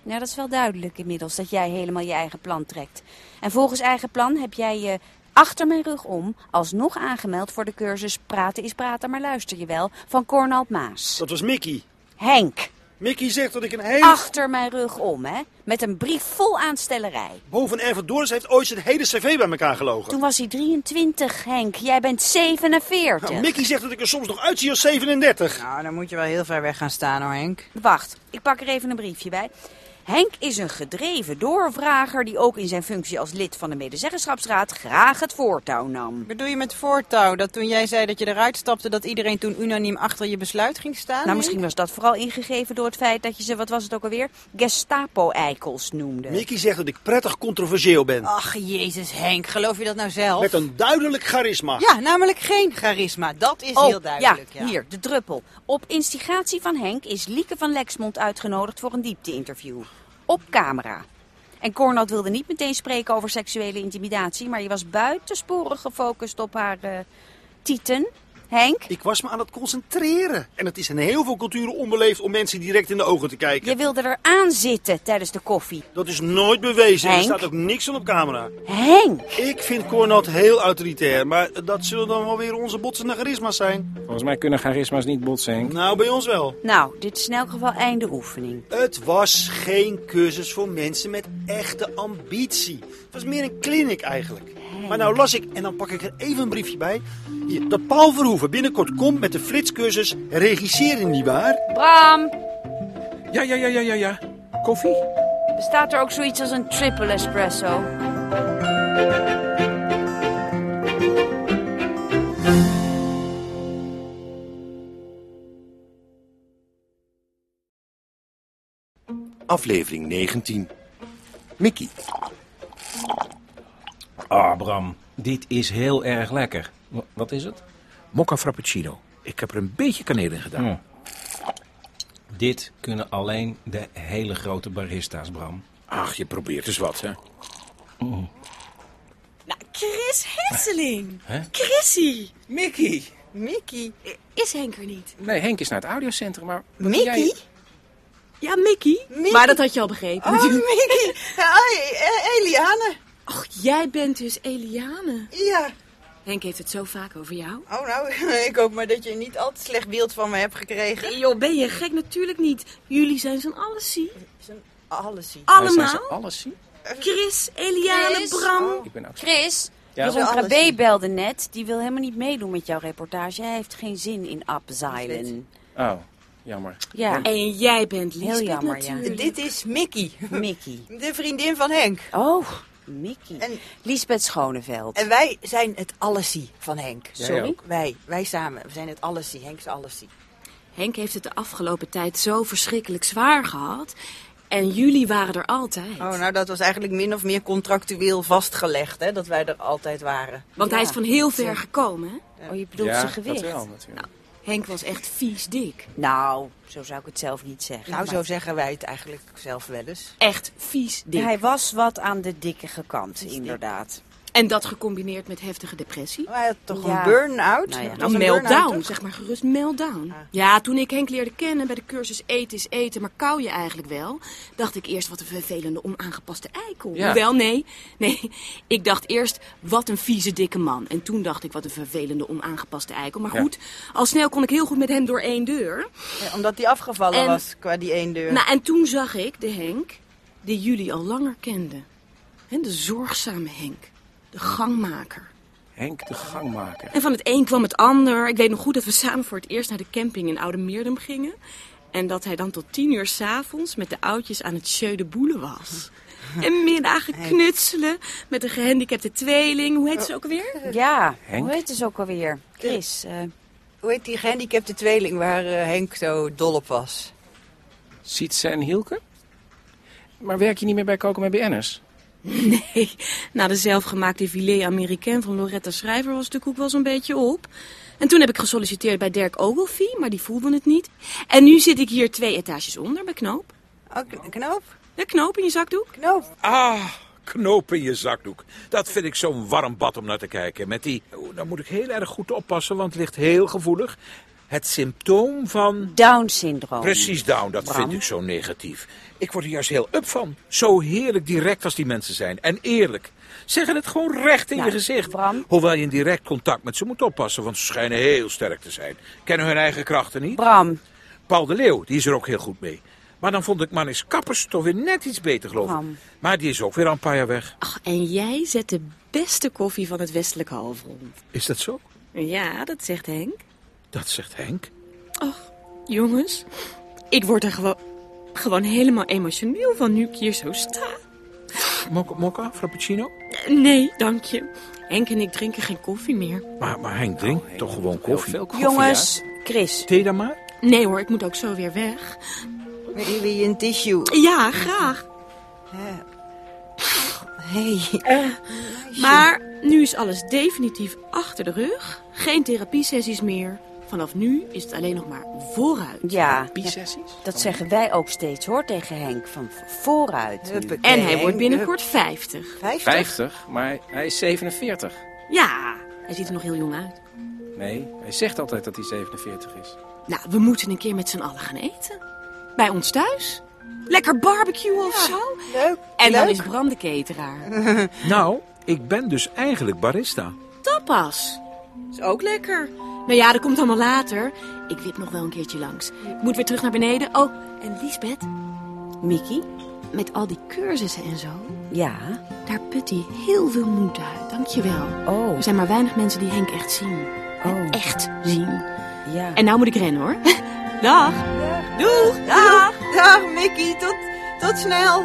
Speaker 3: Nou, dat is wel duidelijk inmiddels dat jij helemaal je eigen plan trekt. En volgens eigen plan heb jij je achter mijn rug om alsnog aangemeld voor de cursus Praten is praten, maar luister je wel van Cornald Maas.
Speaker 8: Dat was Mickey.
Speaker 3: Henk,
Speaker 8: Mickey zegt dat ik een hele...
Speaker 3: achter mijn rug om, hè? Met een brief vol aanstellerij.
Speaker 8: Boven Ervan Doris heeft ooit zijn hele cv bij elkaar gelogen.
Speaker 3: Toen was hij 23, Henk. Jij bent 47.
Speaker 8: Nou, Mickey zegt dat ik er soms nog uitzie als 37.
Speaker 12: Nou, dan moet je wel heel ver weg gaan staan hoor, Henk.
Speaker 3: Wacht, ik pak er even een briefje bij. Henk is een gedreven doorvrager die ook in zijn functie als lid van de medezeggenschapsraad graag het voortouw nam.
Speaker 12: Bedoel je met voortouw dat toen jij zei dat je eruit stapte, dat iedereen toen unaniem achter je besluit ging staan?
Speaker 3: Nou, misschien was dat vooral ingegeven door het feit dat je ze, wat was het ook alweer, Gestapo-eikels noemde.
Speaker 8: Mickey zegt dat ik prettig controversieel ben.
Speaker 12: Ach, jezus Henk, geloof je dat nou zelf?
Speaker 8: Met een duidelijk charisma.
Speaker 12: Ja, namelijk geen charisma. Dat is
Speaker 3: Oh,
Speaker 12: heel duidelijk.
Speaker 3: ja, hier, de druppel. Op instigatie van Henk is Lieke van Lexmond uitgenodigd voor een diepte-interview. Op camera. En Cornald wilde niet meteen spreken over seksuele intimidatie, maar je was buitensporig gefocust op haar eh, tieten. Henk,
Speaker 8: Ik was me aan het concentreren. En het is in heel veel culturen onbeleefd om mensen direct in de ogen te kijken.
Speaker 3: je wilde er aan zitten tijdens de koffie.
Speaker 8: Dat is nooit bewezen. en Er
Speaker 3: Henk?
Speaker 8: staat ook niks van op camera.
Speaker 3: Henk!
Speaker 8: Ik vind Cornat heel autoritair. Maar dat zullen dan wel weer onze botsende charisma's zijn.
Speaker 7: Volgens mij kunnen charisma's niet botsen, Henk.
Speaker 8: Nou, bij ons wel.
Speaker 3: Nou, dit is in elk geval einde oefening.
Speaker 8: Het was geen cursus voor mensen met echte ambitie. Het was meer een clinic eigenlijk. Maar nou las ik, en dan pak ik er even een briefje bij... Hier, dat Paul Verhoeven binnenkort komt met de flitscursus Regisseren, nietwaar?
Speaker 3: Bram,
Speaker 6: Ja, ja, ja, ja, ja, ja. Koffie?
Speaker 3: bestaat er ook zoiets als een triple espresso?
Speaker 32: aflevering 19. Mickey.
Speaker 7: Ah, Bram, dit is heel erg lekker. Wa- Wat is het?
Speaker 6: Mokka frappuccino. Ik heb er een beetje kaneel in gedaan.
Speaker 7: Mm.
Speaker 35: Hm.
Speaker 7: Dit kunnen alleen de hele grote barista's, Bram.
Speaker 6: Ach, je probeert eens wat, hè?
Speaker 37: Nou, Chris Hesseling.
Speaker 7: Hè?
Speaker 37: Chrissy.
Speaker 35: Mickey.
Speaker 37: Mickey. Is Henk er niet?
Speaker 35: Nee, Henk is naar het audiocentrum, maar...
Speaker 37: Mickey? Ja, Mickey. Maar dat had je al begrepen.
Speaker 35: Oh,
Speaker 37: Mickey. Hoi,
Speaker 4: Eliane.
Speaker 37: Och, jij bent dus Eliane.
Speaker 4: Ja.
Speaker 37: Henk heeft het zo vaak over jou.
Speaker 4: Oh, nou, <laughs> ik hoop maar dat je niet al te slecht beeld van me hebt gekregen.
Speaker 37: Nee, joh, ben je gek? Natuurlijk niet. Jullie zijn zo'n allesie. Zijn
Speaker 4: allesie.
Speaker 35: Wij zijn
Speaker 37: Allemaal?
Speaker 35: ze allesie?
Speaker 37: Chris, Eliane,
Speaker 3: Chris?
Speaker 37: Bram.
Speaker 35: Oh, Ik ben ook...
Speaker 3: Chris,
Speaker 35: Ja?
Speaker 3: Jeroen
Speaker 35: Alles
Speaker 3: Krabbe belde net. Die wil helemaal niet meedoen met jouw reportage. Hij heeft geen zin in Abzeilen.
Speaker 35: Oh, jammer.
Speaker 3: Ja.
Speaker 37: En jij bent
Speaker 3: Heel
Speaker 37: Lisbeth
Speaker 3: jammer,
Speaker 37: natuurlijk.
Speaker 3: ja.
Speaker 4: Dit is Mickey.
Speaker 3: Mickey.
Speaker 4: De vriendin van Henk.
Speaker 3: Oh, Mickey. Lisbeth Schoneveld.
Speaker 4: En wij zijn het allesie van Henk.
Speaker 3: Jij Sorry? ook?
Speaker 4: Wij, wij samen. We zijn het allesie. Henk's allesie.
Speaker 37: Henk heeft het de afgelopen tijd zo verschrikkelijk zwaar gehad. En jullie waren er altijd.
Speaker 4: Oh, nou dat was eigenlijk min of meer contractueel vastgelegd, hè, dat wij er altijd waren.
Speaker 37: Want hij is van heel ver gekomen. hè? Nou,
Speaker 3: Oh, je
Speaker 4: bedoelt Ja, zijn gewicht. dat wel,
Speaker 37: natuurlijk. Henk was echt vies dik.
Speaker 3: Nou, zo zou ik het zelf niet zeggen.
Speaker 4: Nou,
Speaker 3: maar-
Speaker 4: zo zeggen wij het eigenlijk zelf wel eens.
Speaker 37: Echt vies dik.
Speaker 3: Hij was wat aan de dikke kant, inderdaad.
Speaker 37: En dat gecombineerd met heftige depressie.
Speaker 4: hij had toch
Speaker 3: Ja.
Speaker 4: een burn-out?
Speaker 3: Nou ja.
Speaker 4: Dat
Speaker 37: Een,
Speaker 4: was een burn-out,
Speaker 37: meltdown,
Speaker 4: toch? Ah.
Speaker 37: zeg maar gerust meltdown. Ja, toen ik Henk leerde kennen bij de cursus Eten is eten, maar kou je eigenlijk wel, dacht ik eerst wat een vervelende onaangepaste eikel.
Speaker 35: Ja.
Speaker 37: Hoewel, nee, nee, ik dacht eerst wat een vieze dikke man. En toen dacht ik wat een vervelende onaangepaste eikel. Maar
Speaker 4: Ja.
Speaker 37: goed, al snel kon ik heel goed met hem door één deur.
Speaker 4: Ja, omdat hij afgevallen
Speaker 37: En-
Speaker 4: was qua die één deur.
Speaker 37: Nou, en toen zag ik de Henk die jullie al langer kenden. Hè, de zorgzame Henk, de gangmaker.
Speaker 35: Henk de gangmaker.
Speaker 37: En van het een kwam het ander. Ik weet nog goed dat we samen voor het eerst naar de camping in Oude Meerdum gingen. En dat hij dan tot tien uur s'avonds met de oudjes aan het Sjeu de Boele
Speaker 3: <laughs>
Speaker 37: was. En middagen knutselen met een gehandicapte tweeling. Hoe heet ze ook alweer?
Speaker 3: Oh. Ja,
Speaker 37: Henk?
Speaker 3: hoe heet ze ook alweer? Chris. eh,
Speaker 4: Hoe heet die gehandicapte tweeling waar eh, Henk zo dol op was?
Speaker 35: Sietse en Hielke? Maar werk je niet meer bij Koken met BN'ers?
Speaker 37: Nee, na de zelfgemaakte filet américain van Loretta Schrijver was de koek wel zo'n beetje op. En toen heb ik gesolliciteerd bij Dirk Ogilvie, maar die voelde het niet. En nu zit ik hier twee etages onder bij Knoop.
Speaker 4: Oh, Knoop?
Speaker 37: De Knoop in je zakdoek?
Speaker 4: Knoop.
Speaker 6: Ah, knoop in je zakdoek. Dat vind ik zo'n warm bad om naar te kijken. Met die, oh, nou moet ik heel erg goed oppassen, want het ligt heel gevoelig. Het symptoom van...
Speaker 37: Oh,
Speaker 3: Down-syndroom.
Speaker 6: Precies down, dat vind ik zo negatief. Ik word er juist heel up van. Zo heerlijk direct als die mensen zijn. En eerlijk. Zeggen het gewoon recht in
Speaker 3: Nou,
Speaker 6: je gezicht. Hoewel je in direct contact met ze moet oppassen, want ze schijnen heel sterk te zijn. Kennen hun eigen krachten niet.
Speaker 3: Bram.
Speaker 6: Paul de Leeuw, die is er ook heel goed mee. Maar dan vond ik Manis Kappers toch weer net iets beter, geloof ik.
Speaker 37: Bram.
Speaker 6: Maar die is ook weer al een paar jaar weg.
Speaker 37: Ach, en jij zet de beste koffie van het westelijke halfrond.
Speaker 6: Is dat zo?
Speaker 37: Ja, dat zegt Henk.
Speaker 6: Dat zegt Henk.
Speaker 37: Ach, jongens, ik word er gewoon, gewoon helemaal emotioneel van nu ik hier zo sta.
Speaker 6: Mokka, mokka frappuccino?
Speaker 37: Eh, Nee, dank je. Henk en ik drinken geen koffie meer.
Speaker 6: Maar, maar Nou, Henk drinkt toch gewoon koffie?
Speaker 37: Jongens,
Speaker 3: Chris.
Speaker 6: Thee dan maar?
Speaker 37: Nee hoor, ik moet ook zo weer weg.
Speaker 4: Wil je een tissue?
Speaker 37: Ja, graag.
Speaker 4: Hey.
Speaker 37: Eh, Maar nu is alles definitief achter de rug. Geen therapiesessies meer. Vanaf nu is het alleen nog maar vooruit.
Speaker 3: Ja,
Speaker 37: Therapiesessies?
Speaker 3: dat zeggen wij ook steeds hoor tegen Henk. Van vooruit.
Speaker 37: Huppakee, En hij wordt binnenkort 50.
Speaker 35: 50, maar hij is 47.
Speaker 37: Ja, hij ziet er nog heel jong uit.
Speaker 35: Nee, hij zegt altijd dat hij 47 is.
Speaker 37: Nou, we moeten een keer met z'n allen gaan eten. Bij ons thuis. Lekker barbecue of zo. Leuk. En dan
Speaker 6: leuk.
Speaker 37: is Bram de cateraar.
Speaker 6: <laughs> Nou, ik ben dus eigenlijk barista.
Speaker 37: Tapas. Is ook lekker. Nou ja, dat komt allemaal later. Ik wip nog wel een keertje langs. Ik moet weer terug naar beneden. Oh, en Liesbeth,
Speaker 3: Mickey?
Speaker 37: met al die cursussen en zo,
Speaker 3: Ja.
Speaker 37: daar put hij heel veel moed uit. Dankjewel.
Speaker 3: Oh.
Speaker 37: Er zijn maar weinig mensen die Henk echt zien.
Speaker 3: Oh.
Speaker 37: Echt zien.
Speaker 3: Ja.
Speaker 37: En nou moet ik rennen hoor. <laughs> Dag. Doeg.
Speaker 4: Dag, dag Mickey, tot, tot snel.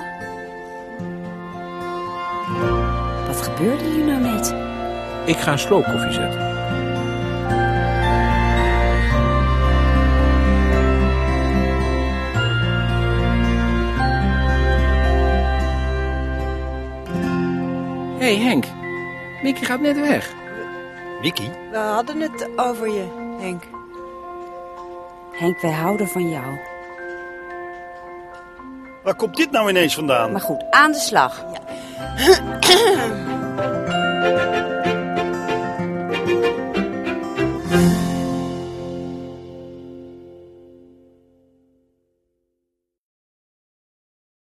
Speaker 3: Wat gebeurde hier nou net?
Speaker 6: Ik ga een sloop koffie zetten.
Speaker 7: hey Henk, Mickey gaat net weg.
Speaker 38: Mickey?
Speaker 37: We hadden het over je, Henk.
Speaker 3: Henk, wij houden van jou.
Speaker 8: Waar komt dit nou ineens vandaan?
Speaker 3: Maar goed, aan de slag.